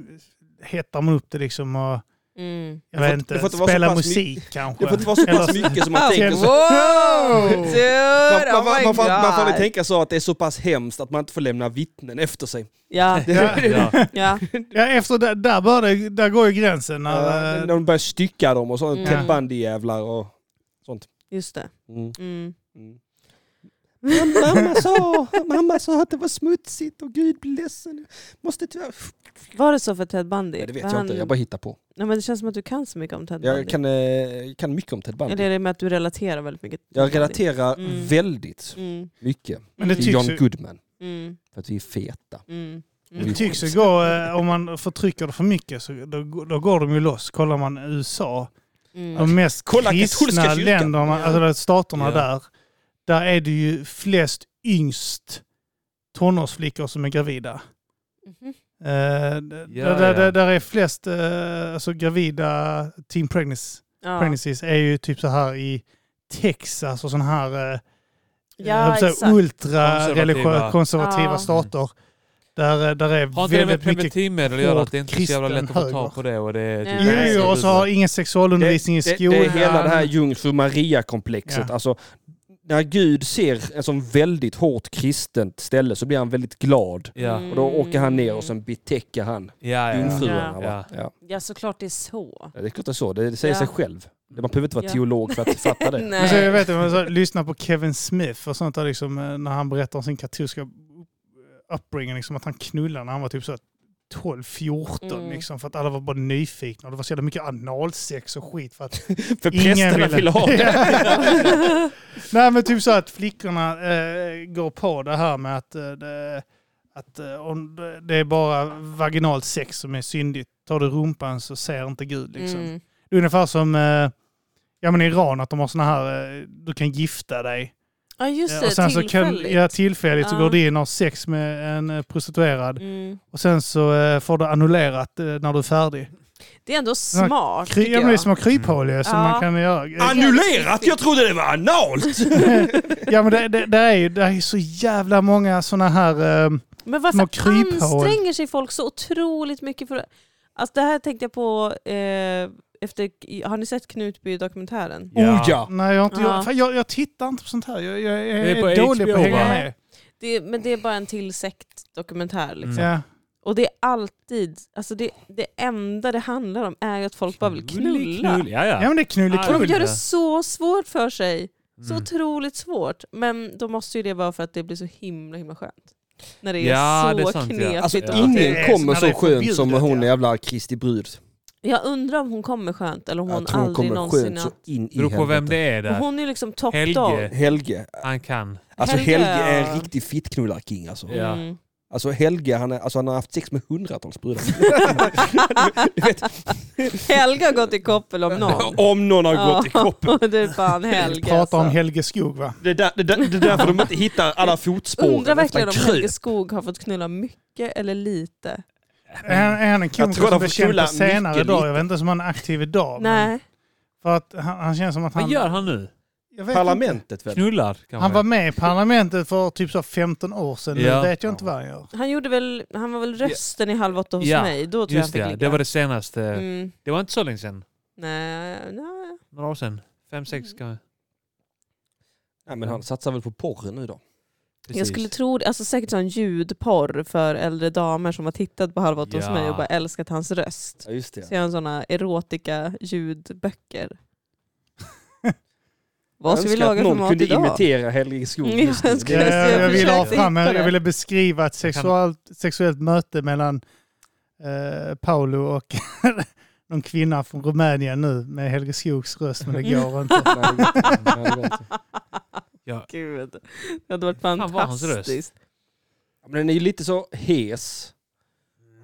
S1: hettar man upp det liksom och
S4: Mm.
S1: jag
S2: Det får-
S1: vet
S2: det
S1: inte,
S2: får inte vara så
S1: spela
S2: pass
S1: musik kanske.
S2: Det får inte vara så pass
S1: Eller-
S2: mycket som man tänker. Så.
S4: Wow! Dude,
S2: Man, man,
S4: oh
S2: man,
S4: my
S2: man, får- man får aldrig
S4: god!
S2: tänka så att det är så pass hemskt att man inte får lämna vittnen efter sig.
S4: Ja,
S1: Ja.
S3: ja.
S4: ja.
S1: Ja, efter det, där, bör det, där går ju gränsen. När,
S2: När
S1: eh,
S2: de börjar stycka dem och sånt.
S4: Mm.
S2: Ted Bundy-jävlar och...
S4: just det.
S2: Mm.
S4: Mm.
S2: Mm. mamma, sa, mamma sa att det var smutsigt och gud blir ledsen. Måste tyvärr...
S4: Var det så för Ted Bundy?
S2: Nej, det vet
S4: Var
S2: jag inte,
S4: han-
S2: jag bara hittar på.
S4: Nej, men det känns som att du kan så mycket om Ted Bundy.
S2: Jag kan, eh, kan mycket om Ted
S4: Eller är
S2: Bundy.
S4: det med att du relaterar väldigt mycket? till
S2: Jag
S4: Ted Bundy?
S2: relaterar
S4: Mm.
S2: väldigt
S4: Mm.
S2: mycket
S1: Men det typ-
S4: Mm.
S2: till
S1: tycks
S2: John
S1: ju-
S2: Goodman.
S4: Mm.
S2: För att vi är feta.
S4: Mm. Mm.
S1: Det tycks ju gå, eh, om man förtrycker det för mycket, så då, då går de ju loss. Kollar man USA,
S4: Mm.
S1: de mest
S2: Kolla katolska
S1: kristna
S2: kyrkan.
S1: länderna,
S4: Ja.
S1: alltså staterna
S3: Ja.
S1: där, där är det ju flest yngst tonårsflickor som är gravida.
S4: Mhm.
S1: Eh, d-
S3: Ja,
S1: där, där,
S3: ja.
S1: där är flest eh, alltså gravida teen pregnancies,
S4: Ja.
S1: pregnancies är ju typ så här i Texas och sån här eh,
S4: Ja, exakt.
S1: ultrareligiösa,
S3: Konservativa.
S1: konservativa
S4: Ja.
S1: stater. Där, eh, där är
S3: Har inte det med
S1: väldigt mycket
S3: preventivmedel att göra?
S1: hård
S3: Att det inte är så jävla lätt att få
S1: kristen höger.
S3: tag på det? Och det är typ-
S4: Nej.
S1: Jo,
S4: Nej,
S1: jo, och så har ingen sexualundervisning i
S2: det, det
S1: skolan.
S2: är hela det här Jungfru Maria-komplexet.
S1: Ja.
S2: Alltså, när Gud ser ett sån väldigt hårt kristet ställe så blir han väldigt glad.
S3: Ja,
S4: Mm.
S2: Och då åker han ner och sen betäcker han
S3: ja, ja.
S4: Jungfru.
S2: jungfruarna. va? Ja.
S4: Mm. ja, såklart det är så.
S2: Ja, Det är klart det är så, det, det säger
S4: Ja.
S2: sig själv. Man behöver inte vara
S4: Ja.
S2: teolog för att fatta det.
S1: Men så, Alltså, jag
S4: Nej.
S1: vet, man så, lyssna på Kevin Smith och sånt där, liksom, eh, när han berättar om sin katolska upbringning, liksom, att han knullade när han var typ så här 12-14
S4: Mm.
S1: liksom, för att alla var bara nyfikna. Och det var så jävla mycket analsex och skit. För att
S2: För
S1: ingen
S2: prästerna
S1: ville-
S2: vill ha det.
S1: Nej men typ så att flickorna eh, går på det här med att, eh, det, att eh, om det- det är bara vaginalt sex som är syndigt. Tar du rumpan så ser inte Gud liksom.
S4: Mm.
S1: Det är ungefär som eh, ja, men i Iran, att de har såna här, eh, du kan gifta dig.
S4: Ja, just
S1: Eh,
S4: det.
S1: och sen så kan,
S4: Tillfälligt.
S1: ja, tillfälligt så
S4: Ja.
S1: går du in och har sex med en eh, prostituerad.
S4: Mm.
S1: Och sen så eh, får du annullerat eh, när du är färdig.
S4: Det är ändå smart,
S1: Kry,
S4: tycker
S1: ja, men det är
S4: jag.
S1: små
S4: Mm.
S1: kryphål ju, som
S4: Ja.
S1: man kan göra. Eh,
S2: Annullerat? Jag trodde det var analt!
S1: Ja, men det, det, det är ju det är ju så jävla många såna här... Eh, Små
S4: Men varför
S1: kryphål.
S4: anstränger sig folk så otroligt mycket för Alltså det här tänkte jag på eh, efter... Har ni sett Knutby-dokumentären?
S2: Oh ja!
S1: nej, jag, har inte,
S4: Ja.
S1: jag, fan, jag, jag tittar inte på sånt här. Jag, jag, jag
S3: Det
S1: är,
S3: är på
S1: dålig på
S3: HBO,
S1: att hänga
S4: va?
S1: med.
S4: Det, men det är bara en till sektdokumentär. Liksom.
S3: Mm.
S1: Ja.
S4: Och det är alltid... Alltså det, det enda det handlar om är ju att folk bara vill knulla.
S3: Knull, Ja, ja.
S1: ja, men det är
S4: Och de
S1: knulligt.
S4: gör det så svårt för sig. Så
S3: Mm.
S4: otroligt svårt. Men då måste ju det vara för att det blir så himla himla skönt. När det är
S3: Ja,
S4: så
S3: det är sant, ja.
S4: knepigt.
S2: Alltså
S4: och-
S3: Ja.
S1: Det är
S2: ingen
S1: när
S2: kommer
S1: det
S2: så
S1: är förbjudet,
S2: skönt som hon
S1: ja.
S2: jävla Kristi brud.
S4: Jag undrar om hon kommer skönt eller om hon
S2: Jag tror hon
S4: aldrig
S2: kommer
S4: någonsin...
S2: skönt
S4: har-
S2: så in i
S3: Beror på vem det är
S4: Och
S3: där.
S4: Hon är ju liksom top
S3: Helge.
S4: dog.
S2: Helge.
S3: Han kan.
S2: Alltså
S4: Helge
S2: Helge är
S4: är-
S2: en riktig fittknullarking alltså.
S3: Ja.
S4: Mm.
S2: Alltså Helge, han, är, alltså han har haft sex med hundratals brudar.
S4: Helge har gått i koppel om någon.
S2: Om någon har gått i koppel.
S4: Ja, det är fan Helge.
S1: Pratar om
S4: alltså.
S1: Helge Skog va?
S2: Det är, där, det, är där, det är därför de inte hittar alla fotspår.
S4: Undrar verkligen om Helge Skog har fått knulla mycket eller lite.
S1: Är, är han en
S2: tror
S1: komiker
S2: han
S1: som
S2: har
S1: blev
S2: fått
S1: känd på
S2: knulla
S1: senare
S2: mycket
S1: idag?
S2: lite.
S1: Jag vet inte som han är aktiv idag. men-
S4: Nej.
S1: För att han, han känns som att han...
S3: Vad gör han nu?
S1: Jag vet inte.
S2: Parlamentet väl?
S3: Knullar kanske?
S1: Han var med i Parlamentet för typ så 15 år sedan.
S3: Ja.
S1: Nu vet jag inte vad han gör.
S4: Han, gjorde väl, han var väl rösten i Halv åtta hos
S3: Ja,
S4: mig. Då tror
S3: Just
S4: jag
S3: det,
S4: han
S3: ja.
S4: fick
S3: det var
S4: ligga.
S3: det senaste.
S4: Mm.
S3: Det var inte så länge sedan.
S4: Nej, nej.
S3: Några år sedan. Fem, sex kanske.
S2: Ja, men han satsar väl på porren nu då?
S4: Jag
S3: Precis.
S4: skulle tro det. Alltså säkert sån ljudporr för äldre damer som har tittat på Halv åtta hos
S3: Ja.
S4: mig och bara älskat hans röst.
S2: Ja, just det.
S4: Så jag har såna erotika ljudböcker. Vad ska vi
S2: önskar att
S4: laga för
S2: någon
S4: mat
S2: kunde
S4: idag?
S2: imitera Helge Skog
S4: Ja,
S2: just
S4: jag
S2: nu.
S4: skulle-
S1: Jag,
S4: jag
S1: jag, ville ha
S4: försökte
S1: fram,
S4: hitta det.
S1: jag ville beskriva ett sexuellt, sexuellt möte mellan eh, Paolo och någon kvinna från Rumänien nu med Helge Skogs röst, men det
S2: Mm.
S1: går inte.
S2: Nej, det går inte. Nej, det går inte.
S3: Ja.
S4: Gud. Det hade varit
S3: Fan, vad hans röst.
S4: fantastiskt.
S2: Ja, Men den är ju lite så hes.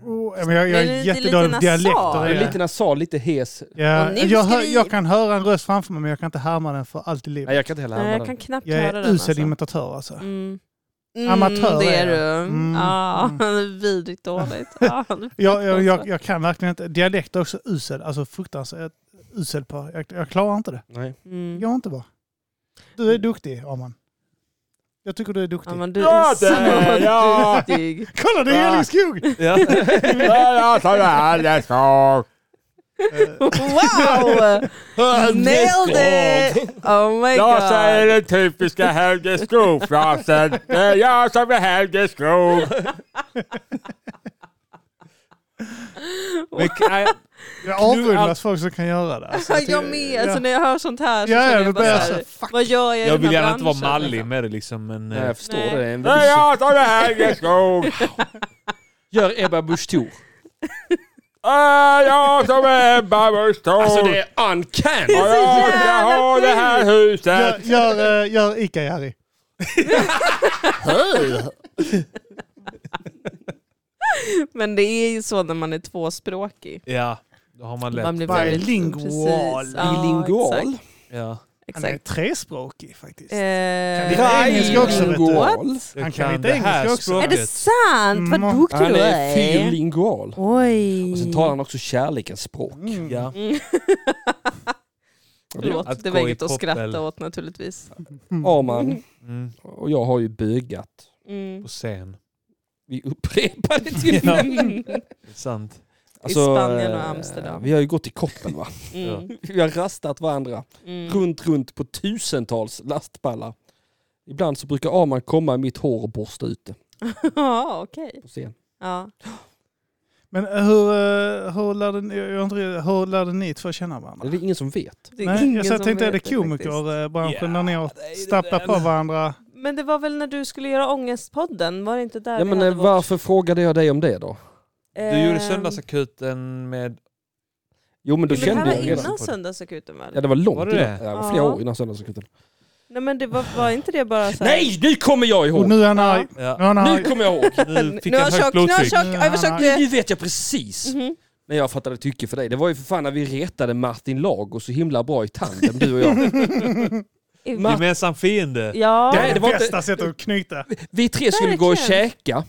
S1: Oh, men jag, jag
S4: Men det är
S1: är
S4: lite
S1: jättedålig på dialekter.
S4: nasal.
S2: Den är
S1: Ja.
S2: lite nasal, lite hes.
S1: Ja,
S4: Och nu
S1: jag,
S4: ska
S1: hör,
S4: vi-
S1: jag kan höra en röst framför mig men jag kan inte härma den för allt i livet.
S2: Nej, jag kan inte heller
S4: Nej,
S2: härma
S4: jag
S2: den.
S4: kan knappt
S1: Jag
S4: höra
S1: är
S4: den.
S1: usel
S4: alltså.
S1: imitatör alltså.
S4: Mm.
S1: Amatör
S4: det
S1: är
S4: är du.
S1: jag. Mm,
S4: Ja,
S1: mm.
S4: vidrigt dåligt. Ja,
S1: Jag,
S4: Alltså.
S1: jag, jag, jag kan verkligen inte. Dialekt är också usel. Alltså fruktansvärt usel på. Jag, jag klarar inte det.
S2: Nej.
S4: Mm.
S1: Jag har inte bra. Du är duktig, Arman. Jag tycker du är duktig.
S4: Ja, men du
S2: Ja,
S4: är så
S2: det- ja.
S4: duktig.
S1: Kolla, det är
S2: Va?
S4: Ah.
S1: Elin Skog!
S3: Ja.
S1: Eh,
S4: Wow! Nailed it! Oh my
S5: Jag säger
S4: god.
S5: den typiska Helge Skog-frasen. Det är jag som är Helge Skog.
S2: Men, nej,
S1: Jag avundas folk som kan göra det. Alltså,
S4: Ja,
S1: tycker-
S4: Jag med. Alltså
S1: Ja.
S4: när jag hör sånt här så
S1: Ja,
S4: känner
S1: ja,
S4: jag
S1: då
S4: bara
S1: börjar jag
S4: såhär,
S1: säga fuck.
S4: vad gör jag i
S3: Jag
S4: den
S3: vill
S4: här
S3: gärna inte vara
S4: branschen?
S3: mallig med det liksom, men... eh,
S2: jag förstår
S4: Nej.
S2: det. det. är en
S5: Det är
S2: väldigt-
S5: jag som är Helge Skog.
S2: Gör Ebba Busch Thor.
S5: Det är jag som är Ebba Busch Thor.
S2: Alltså
S5: Och
S2: det är uncanny!
S5: jag ska
S4: jävla
S5: ha det här huset.
S1: Gör, gör, eh, gör Ica-Jari.
S4: Men det är ju så när man är tvåspråkig.
S3: Ja, då har man lätt.
S4: Man blir väldigt-
S1: Bilingual.
S4: Precis. Ja,
S2: Bilingual.
S4: exakt,
S3: Ja.
S1: Han är
S4: Exakt.
S1: trespråkig faktiskt.
S4: Eh,
S1: Kan vi- engelska också, vet du.
S2: Bilingual.
S3: Du
S1: Han kan
S3: kan
S1: lite
S3: det här
S1: engelska också.
S4: Är
S3: språket.
S4: det sant? Vad
S1: Mm.
S4: duktig
S2: Han
S4: du
S2: är
S4: är.
S2: fyrlingual.
S4: Oj.
S2: Och sen talar han också kärlekens språk.
S1: Mm.
S3: Ja.
S4: Förlåt,
S3: Att
S4: det
S3: gå
S4: var
S3: i
S4: inget att
S3: koppel.
S4: skratta åt naturligtvis.
S2: Arman
S3: Mm.
S2: och jag har ju bögat
S4: Mm.
S3: På scen.
S2: vid upprepade tillfällen.
S4: Mm.
S3: Det är sant.
S4: Spanien och
S2: eh,
S4: Amsterdam.
S2: Vi har ju gått i koppel va?
S4: Mm.
S2: Vi har rastat varandra
S4: Mm.
S2: runt, runt på tusentals lastpallar. Ibland så brukar Arman komma i mitt hår och borsta ut det
S4: Ja, okej.
S2: på scen.
S4: Ja.
S1: Men hur, eh, hur, lärde ni, jag undrar, hur lärde ni två känna varandra?
S2: Det är ingen som vet.
S4: Det är
S1: Nej,
S4: ingen
S1: jag så
S4: som
S1: tänkte, är det
S4: vet faktiskt.
S1: komikerbranschen
S3: Ja,
S1: där ni har
S3: det är det
S1: stapplat
S3: där.
S1: på varandra?
S4: Men det var väl när du skulle göra Ångestpodden? Var det inte där
S2: Ja,
S4: vi
S2: men
S4: hade
S2: eh,
S4: vårt-
S2: varför frågade jag dig om det då?
S3: Du gjorde
S4: Ehm,
S3: Söndagsakuten med...
S2: Jo men då
S4: Men det här
S2: kände
S4: var
S2: jag redan.
S4: innan Söndagsakuten väl?
S2: Ja det var långt
S3: Var det det?
S2: innan. Ja, det var flera
S4: Ja.
S2: år innan söndagsakuten.
S4: Nej men det var, var inte det bara såhär...
S2: Nej nu kommer jag ihåg!
S1: Och nu är han arg. Nu är
S3: Ja.
S1: han
S2: Nu
S1: arg.
S2: kommer jag ihåg!
S3: Nu fick
S4: nu har
S3: jag högt
S4: tjock, nu har
S3: blodtryck.
S4: tjock, ja, jag försökte...
S2: Nu vet jag precis!
S4: Mhm.
S2: när jag fattade tycke för dig. Det var ju för fan när vi retade Martin Lago så himla bra i tandem, du och jag. Ma-
S3: Gemensam fiende.
S4: Ja,
S1: Det
S2: Nej,
S1: är
S2: det
S1: det
S2: var inte-
S1: bästa sättet att knyta.
S2: Vi tre skulle gå och
S4: Verkligen.
S2: käka.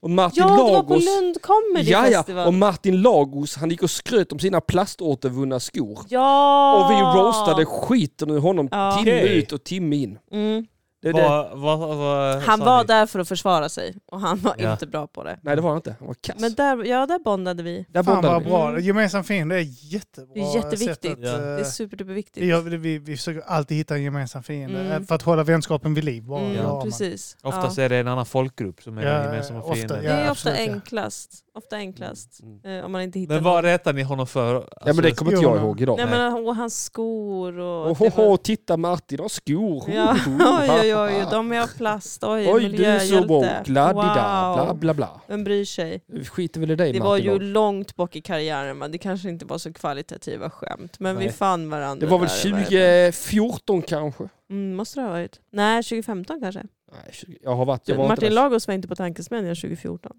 S2: Och Martin
S4: ja det var på
S2: Lagos...
S4: Lund Comedy
S2: ja, ja.
S4: Festival.
S2: Och Martin Lagos, han gick och skröt om sina plaståtervunna skor.
S4: ja!
S2: Och vi roastade skiten ur honom
S4: Ah. Ja.
S2: timme
S3: Okej.
S2: ut och timme in.
S4: Mm.
S2: Det, det.
S3: Vad- vad- vad
S4: Han
S3: sa
S4: var
S3: ni?
S4: där för att försvara sig och han var
S3: Ja.
S4: inte bra på det.
S2: Nej det var han inte, han var kass.
S4: Men där, ja, där bondade vi.
S2: Där
S1: Fan
S2: bondade
S1: vad
S2: vi.
S1: bra.
S4: Mm.
S1: Gemensam fiende är jättebra.
S4: Det är jätteviktigt.
S1: sätt att,
S3: Ja.
S1: eh,
S4: Det är superduperviktigt.
S1: vi, gör- vi, vi försöker alltid hitta en gemensam fiende
S4: Mm.
S1: eh, för att hålla vänskapen vid liv. Bara,
S4: Mm,
S1: det har man.
S4: precis.
S3: Oftast
S4: ja.
S3: är det en annan folkgrupp som är
S1: Ja,
S3: den gemensamma
S1: ofta,
S4: Det
S1: ja.
S3: fienden.
S4: är ofta
S1: absolut, ja.
S4: enklast. Ofta enklast.
S2: Mm.
S4: Eh, om man inte hittar
S3: Men
S4: någon.
S3: vad rätar ni honom för?
S2: Ja men det
S3: Alltså,
S2: kommer inte jag
S1: skorna.
S2: ihåg idag.
S4: Nej, men, och hans skor och...
S2: Åh,
S4: det var-
S2: åh, titta Martin har skor!
S4: Ja, oj, oj, oj, de är av plast. Oj,
S2: Oj du är så
S4: miljöhjälte.
S2: woke, la-di-da,
S4: Wow.
S2: bla bla bla.
S4: Vem bryr sig?
S2: Vi skiter väl i dig
S4: Det
S2: Martin
S4: var ju
S2: Lago.
S4: långt bak i karriären, men det kanske inte var så kvalitativa skämt. Men vi
S2: Nej.
S4: fann
S2: Det
S4: varandra.
S2: var väl
S4: där i varje fall.
S2: 2014 kanske?
S4: Mm, måste det ha varit. Nej, 2015 kanske.
S2: Nej, 20, jag har varit... Jag var, inte
S4: Martin
S2: där,
S4: Lagos var inte på Tankesmedjan 2014.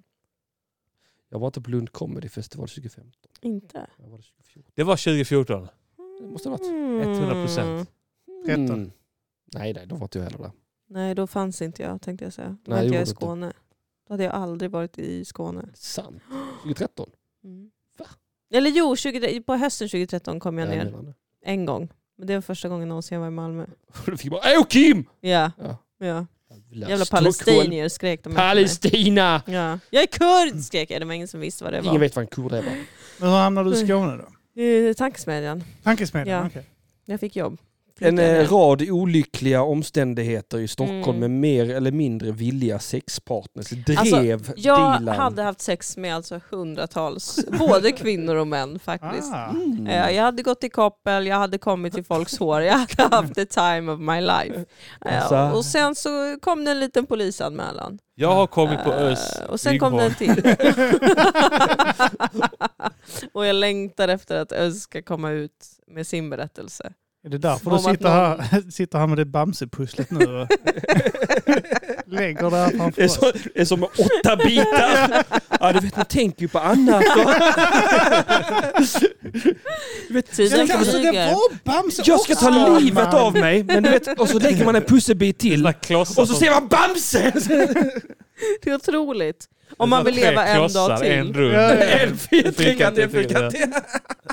S2: jag var inte på Lund Comedy Festival 2015.
S4: Inte?
S2: Jag var där 2014.
S6: Det var 2014.
S2: Det måste ha varit.
S4: Mm.
S6: 100%.
S1: Tretton.
S2: Mm. Nej, nej, då var inte jag heller där.
S4: Nej, då fanns inte jag tänkte jag säga. Då
S2: Nej,
S4: var inte jag
S2: gjorde
S4: i
S2: du
S4: Skåne. Då hade jag aldrig varit i Skåne.
S2: Sant. 2013?
S4: Mm.
S2: Va?
S4: Eller jo, 20, på hösten 2013 kom jag
S2: Ja,
S4: ner
S2: menar det.
S4: en gång. Men det var första gången någonsin jag var i Malmö.
S2: Då fick jag bara Åh Kim!
S4: Ja,
S2: Ja.
S4: ja.
S2: Jävla
S4: Jävla
S2: Stockholm.
S4: palestinier skrek de efter mig.
S2: Palestina!
S4: Ja. Jag är kurd skrek jag, det var ingen som visste vad det
S2: Ingen
S4: var.
S2: vet vad en kurd är va?
S1: Men hur hamnade du i Skåne då?
S4: Eh, Tankesmedjan.
S1: Tankesmedjan?
S4: Mm. Ja.
S1: okej.
S4: Jag fick jobb.
S2: En
S4: Flyttade
S2: eh,
S4: ner.
S2: rad olyckliga omständigheter i Stockholm
S4: Mm.
S2: med mer eller mindre villiga sexpartners drev
S4: Alltså, Jag
S2: Dilan.
S4: hade haft sex med alltså hundratals, både kvinnor och män faktiskt.
S1: Ah.
S2: Mm.
S4: Eh, Jag hade gått i koppel, jag hade kommit till folks hår, jag hade haft the time of my life. Eh,
S2: Alltså.
S4: Och sen så kom det en liten polisanmälan.
S6: Jag har kommit på
S4: Eh,
S6: Ös.
S4: Och sen kom det en
S6: Rygghåll.
S4: till. och jag längtar efter att Özz ska komma ut med sin berättelse.
S1: Är det därför
S4: Om
S1: du
S4: att
S1: sitter, här, sitter här med det Bamse-pusslet nu och lägger det här
S2: Det är,
S1: framför
S2: så,
S1: oss?
S2: det är som med åtta bitar. Ja du vet, man tänker ju på annat.
S4: Tiden flyger.
S1: Alltså, var Bamse
S2: Jag ska ta
S1: också,
S2: livet
S1: man.
S2: av mig, men du vet, och så lägger man en pusselbit till.
S6: Såna klossar
S2: Och så
S6: som-
S2: ser man Bamse!
S4: Det är otroligt. Om man vill leva
S6: Tre
S4: en dag
S6: klossar, En
S4: till.
S6: rund.
S1: Ja, ja.
S2: En fyrkant, en fyrkant.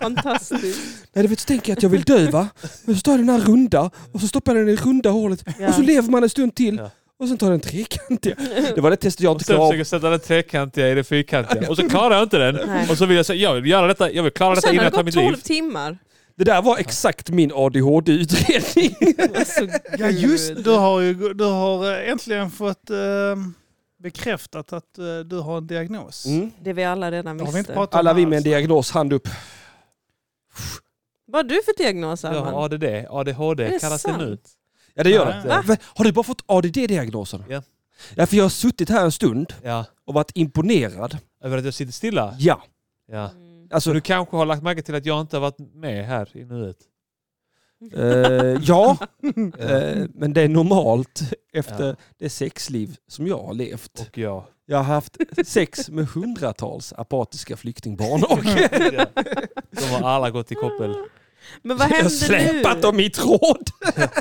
S4: Fantastiskt.
S2: Nej du vet så tänker jag att jag vill dö va? Men så tar jag den här runda och så stoppar jag den i runda hålet
S4: Ja.
S2: och så lever man en stund till
S6: Ja.
S2: och sen tar den trekantiga. Det var det testet jag
S6: Och
S2: inte
S6: sen
S2: klarade
S6: försöker
S2: av.
S6: jag sätta den trekantiga i det fyrkantiga. Och så klarar jag inte den.
S4: Nej.
S6: Och så vill jag säga, jag vill göra detta, jag vill klara
S4: Och
S6: detta
S4: sen
S6: innan
S4: har det
S6: jag tar
S4: gått
S6: mitt
S4: 12
S6: liv.
S4: timmar.
S2: Det där var exakt min ADHD-utredning.
S4: Alltså,
S1: Ja just
S4: gud.
S1: du har ju, du har eh, äntligen fått eh, bekräftat att eh, du har en diagnos.
S6: Mm.
S4: Det vi alla redan
S1: Det har vi inte
S4: visste.
S1: pratat om
S2: Mm. Alla vi med en
S6: Alltså.
S1: alls.
S2: diagnos, hand upp.
S4: Vad har du för diagnos Arman?
S6: Ja, ADD,
S4: Är det
S6: ADHD kallas det nu.
S4: sant?
S2: Ja det gör
S1: Nej.
S2: det.
S1: Va?
S2: Va? Har du bara fått ADD-diagnosen?
S6: Ja.
S2: Ja för jag har suttit här en stund
S6: Ja.
S2: och varit imponerad.
S6: Över att jag sitter stilla?
S2: Ja.
S6: Ja.
S4: Mm.
S2: Alltså,
S6: Så du kanske har lagt märke till att jag inte har varit med här i nuet?
S2: eh, ja. Eh, men det är normalt efter
S6: Ja.
S2: det sexliv som jag har levt.
S6: Och jag.
S2: Jag har haft sex med hundratals apatiska flyktingbarn och
S6: Ja. De har alla gått i koppel.
S4: Mm. Men vad
S2: jag har
S4: händer
S2: släpat
S4: nu?
S2: dem i tråd.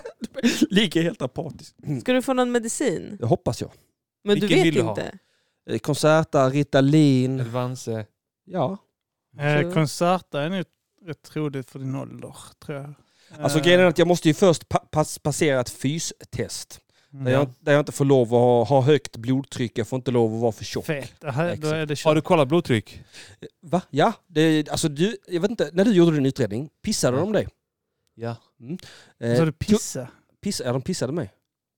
S2: Ligger helt apatisk.
S4: Ska du få någon medicin?
S2: Det hoppas jag.
S4: Men du
S6: Vilken
S4: vet
S6: vill du ha?
S4: inte.
S2: Eh, Concerta, Ritalin.
S6: Elvanse.
S2: Ja.
S1: Eh, Concerta är nog rätt troligt för din ålder, tror jag.
S2: Alltså
S1: Eh,
S2: grejen är att jag måste ju först pa pass passera ett fystest.
S1: mm.
S2: Där, jag, där jag inte får lov att ha, ha högt blodtryck, jag får inte lov att vara för tjock. Eh,
S1: Fet. Det här- Då är det
S6: Har du
S1: kört.
S6: kollat blodtryck?
S2: Va? Ja, det, alltså du, jag vet inte, när du gjorde din utredning, pissade de dig?
S6: Ja.
S1: Så
S2: Eh,
S1: du pissa?
S2: piss, ja, de pissade mig.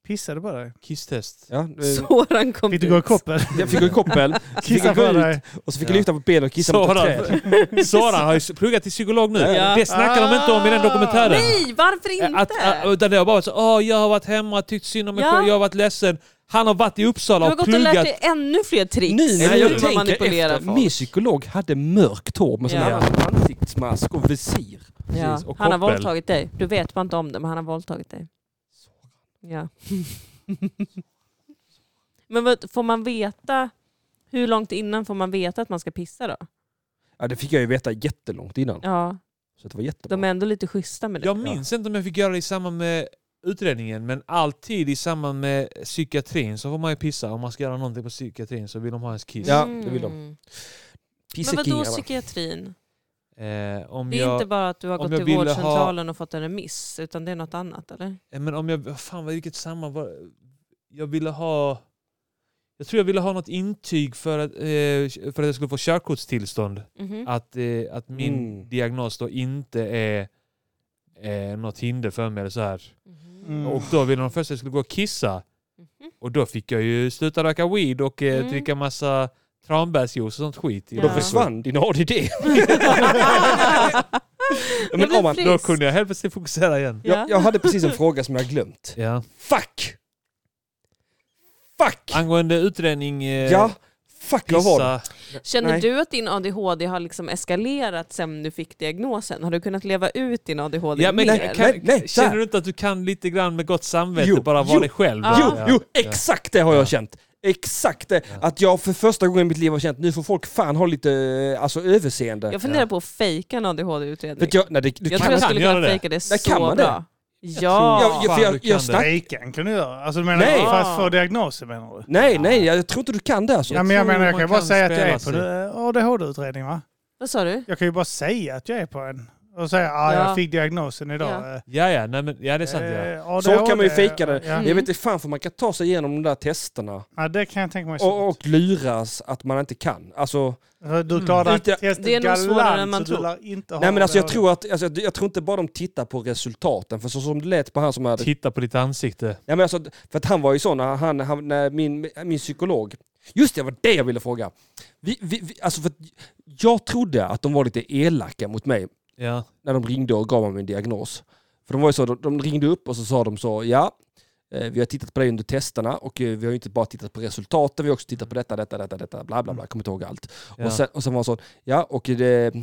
S1: Pissade på dig?
S6: Kisstest.
S2: Ja, eh,
S4: Soran kom
S1: Fick du gå i koppel?
S2: jag fick gå i koppel, fick
S1: Kissa
S2: jag gå
S1: på
S2: ut
S1: dig?
S2: och så fick jag
S6: Ja.
S2: lyfta på benen och kissa mot ett träd.
S6: Soran, Soran har ju pluggat till psykolog nu.
S4: Ja. Ah.
S6: Det snackar de inte om i den dokumentären.
S4: Nej, varför inte?
S6: Att, att, utan det har bara varit så, åh jag har varit hemma, tyckt synd om mig
S4: Ja.
S6: själv, jag har varit ledsen. Han har varit i
S4: du
S6: Uppsala
S4: har
S6: och
S4: gått och lärt
S6: pluggat.
S4: dig ännu fler tricks.
S2: Nu när
S4: hur
S2: jag
S4: man
S2: tänker
S4: manipulerar
S2: efter,
S4: folk.
S2: min psykolog hade mörkt hår med sån
S4: Ja.
S2: här ansiktsmask och visir.
S4: ja.
S6: Precis, och
S4: Han har
S6: koppel.
S4: våldtagit dig. Du vet bara inte om det, men han har våldtagit dig. Ja. men vad, får man veta, hur långt innan får man veta att man ska pissa då?
S2: Ja, det fick jag ju veta jättelångt innan.
S4: Ja,
S2: Så det var jättebra.
S4: de är ändå lite schyssta med det.
S6: Jag minns inte om jag fick göra det i samband med utredningen, men alltid i samband med psykiatrin så får man ju pissa. Om man ska göra någonting på psykiatrin så vill de ha ens kiss.
S2: Ja, det vill de.
S4: Mm. Men vadå
S2: Pissekingar va?
S4: psykiatrin?
S6: Eh, om
S4: Det är
S6: jag,
S4: inte bara att du har
S6: om
S4: gått
S6: jag
S4: till
S6: ville ha-
S4: vårdcentralen och fått en remiss, utan det är något annat eller?
S6: Eh, Men om jag... vad Fan vad vilket samband var Jag ville ha... Jag tror jag ville ha något intyg för att, eh, för att jag skulle få körkortstillstånd.
S4: Mhm.
S6: Att, eh, att min
S2: Mm.
S6: diagnos då inte är eh, något hinder för mig. Eller så här.
S4: Mhm.
S1: Mm.
S6: Och då ville de först att jag skulle gå och kissa.
S4: Mhm.
S6: Och då fick jag ju sluta röka weed och eh,
S4: Mm.
S6: dricka massa tranbärsjuice och sånt skit. i
S4: Ja.
S2: Då
S6: den
S2: försvann din ADD.
S4: Jag
S2: men
S4: blir
S2: om man-
S6: skiten.
S4: frisk.
S6: Då kunde jag helt plötsligt fokusera igen.
S4: Ja.
S2: jag, jag hade precis en fråga som jag glömt.
S6: Ja.
S2: Fuck! Fuck!
S6: Angående utredning, eh,
S2: Ja, fuck vad var det?
S6: pissa.
S4: Känner
S2: Nej.
S4: du att din ADHD har liksom eskalerat sen du fick diagnosen? Har du kunnat leva ut din ADHD
S3: Ja, men,
S4: mer?
S2: nej,
S3: kan,
S2: nej, nej, så här.
S3: känner du inte att du kan lite grann med gott samvete
S2: Jo,
S3: bara vara
S2: jo,
S3: dig själv?
S4: Ja.
S2: Jo,
S3: Ja.
S2: jo, exakt det har jag känt. Exakt det.
S3: Ja.
S2: Att jag för första gången i mitt liv har känt nu får folk fan ha lite eh, alltså, överseende.
S4: Jag funderar
S3: Ja.
S4: på att fejka en
S2: För
S4: ADHD-utredning.
S2: att jag, nej, det, du
S4: Jag
S2: kan
S4: tror jag
S3: kan
S4: skulle
S3: göra
S4: kunna
S3: det.
S4: fejka det
S2: Där
S4: så
S2: kan man det.
S4: bra.
S2: Jag-
S4: Ja,
S2: jag- för
S3: Fan, du kan
S2: jag
S3: det.
S2: snack-
S1: Fejkan kan du göra. Alltså du menar
S2: Nej.
S1: för att
S4: Ja.
S1: få diagnoser menar du?
S2: Nej, nej, jag tror inte du kan det alltså.
S1: Ja, men jag
S3: tror
S1: menar jag
S3: man
S1: kan ju bara
S3: kan
S1: säga att jag är
S3: spela
S1: på eh, ADHD-utredning va?
S4: vad sa du?
S1: Jag kan ju bara säga att jag är på en. Och säga ah,
S4: Ja.
S1: jag fick diagnosen idag.
S3: Ja, ja, nej, men, ja, det är sant. Ja.
S1: Eh,
S2: Så
S1: ADHD,
S2: kan man ju fejka det.
S1: Ja.
S4: Mm.
S2: Jag vet inte fan för man kan ta sig igenom de där testerna
S1: Ja, det kan jag tänka mig.
S2: och,
S1: Och,
S2: och luras att man inte kan. Alltså,
S1: du klarar
S2: Mm.
S1: mm. testet
S4: Det är nog svårare än man
S1: galant så du
S4: tror.
S1: lär inte ha
S2: nej men alltså jag
S1: ADHD.
S2: tror att, alltså, jag tror inte bara de tittar på resultaten för så som det lät på han som hade...
S3: Titta på ditt ansikte.
S2: Ja, men alltså, för att han var ju sån, när han, han, när min, min psykolog. Just det, det var det jag ville fråga. Vi, vi, vi, alltså för att jag trodde att de var lite elaka mot mig
S3: Ja.
S2: när de ringde och gav mig min diagnos. För de var ju så, de, de ringde upp och så sa de så, ja, eh, vi har tittat på dig under testerna och eh, vi har ju inte bara tittat på resultaten, vi har också tittat på detta, detta, detta, detta, bla bla bla, kommer inte ihåg allt.
S3: Mm. Ja.
S2: Och, sen, och sen var det så, ja, och, det,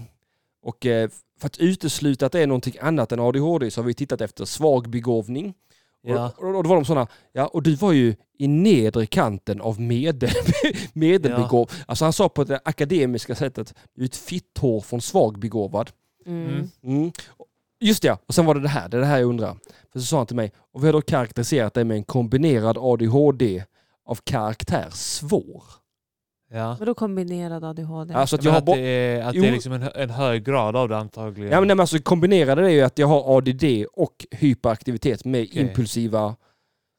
S2: och eh, för att utesluta att det är någonting annat än ADHD så har vi tittat efter svag begåvning.
S3: Ja.
S2: Och, och, och då var de sådana, ja, och du var ju i nedre kanten av medel, medelbegåv. Alltså han sa på det akademiska sättet, du är ett fitthår från svag begåvad.
S4: Mm.
S2: Mm. Just det, ja. och sen var det det här. Det är det här jag undrar. För så sa han till mig, och vi har då karaktäriserat det med en kombinerad ADHD av karaktär svår.
S3: Ja.
S4: Vadå kombinerad ADHD?
S2: Alltså att
S3: Jag
S2: jag har
S3: att,
S2: bo-
S3: det är, att
S2: Jo.
S3: det är liksom en, hö- en hög grad av det antagligen.
S2: ja, men nej, men alltså, kombinerade det är ju att jag har ADD och hyperaktivitet med
S3: Okej.
S2: impulsiva...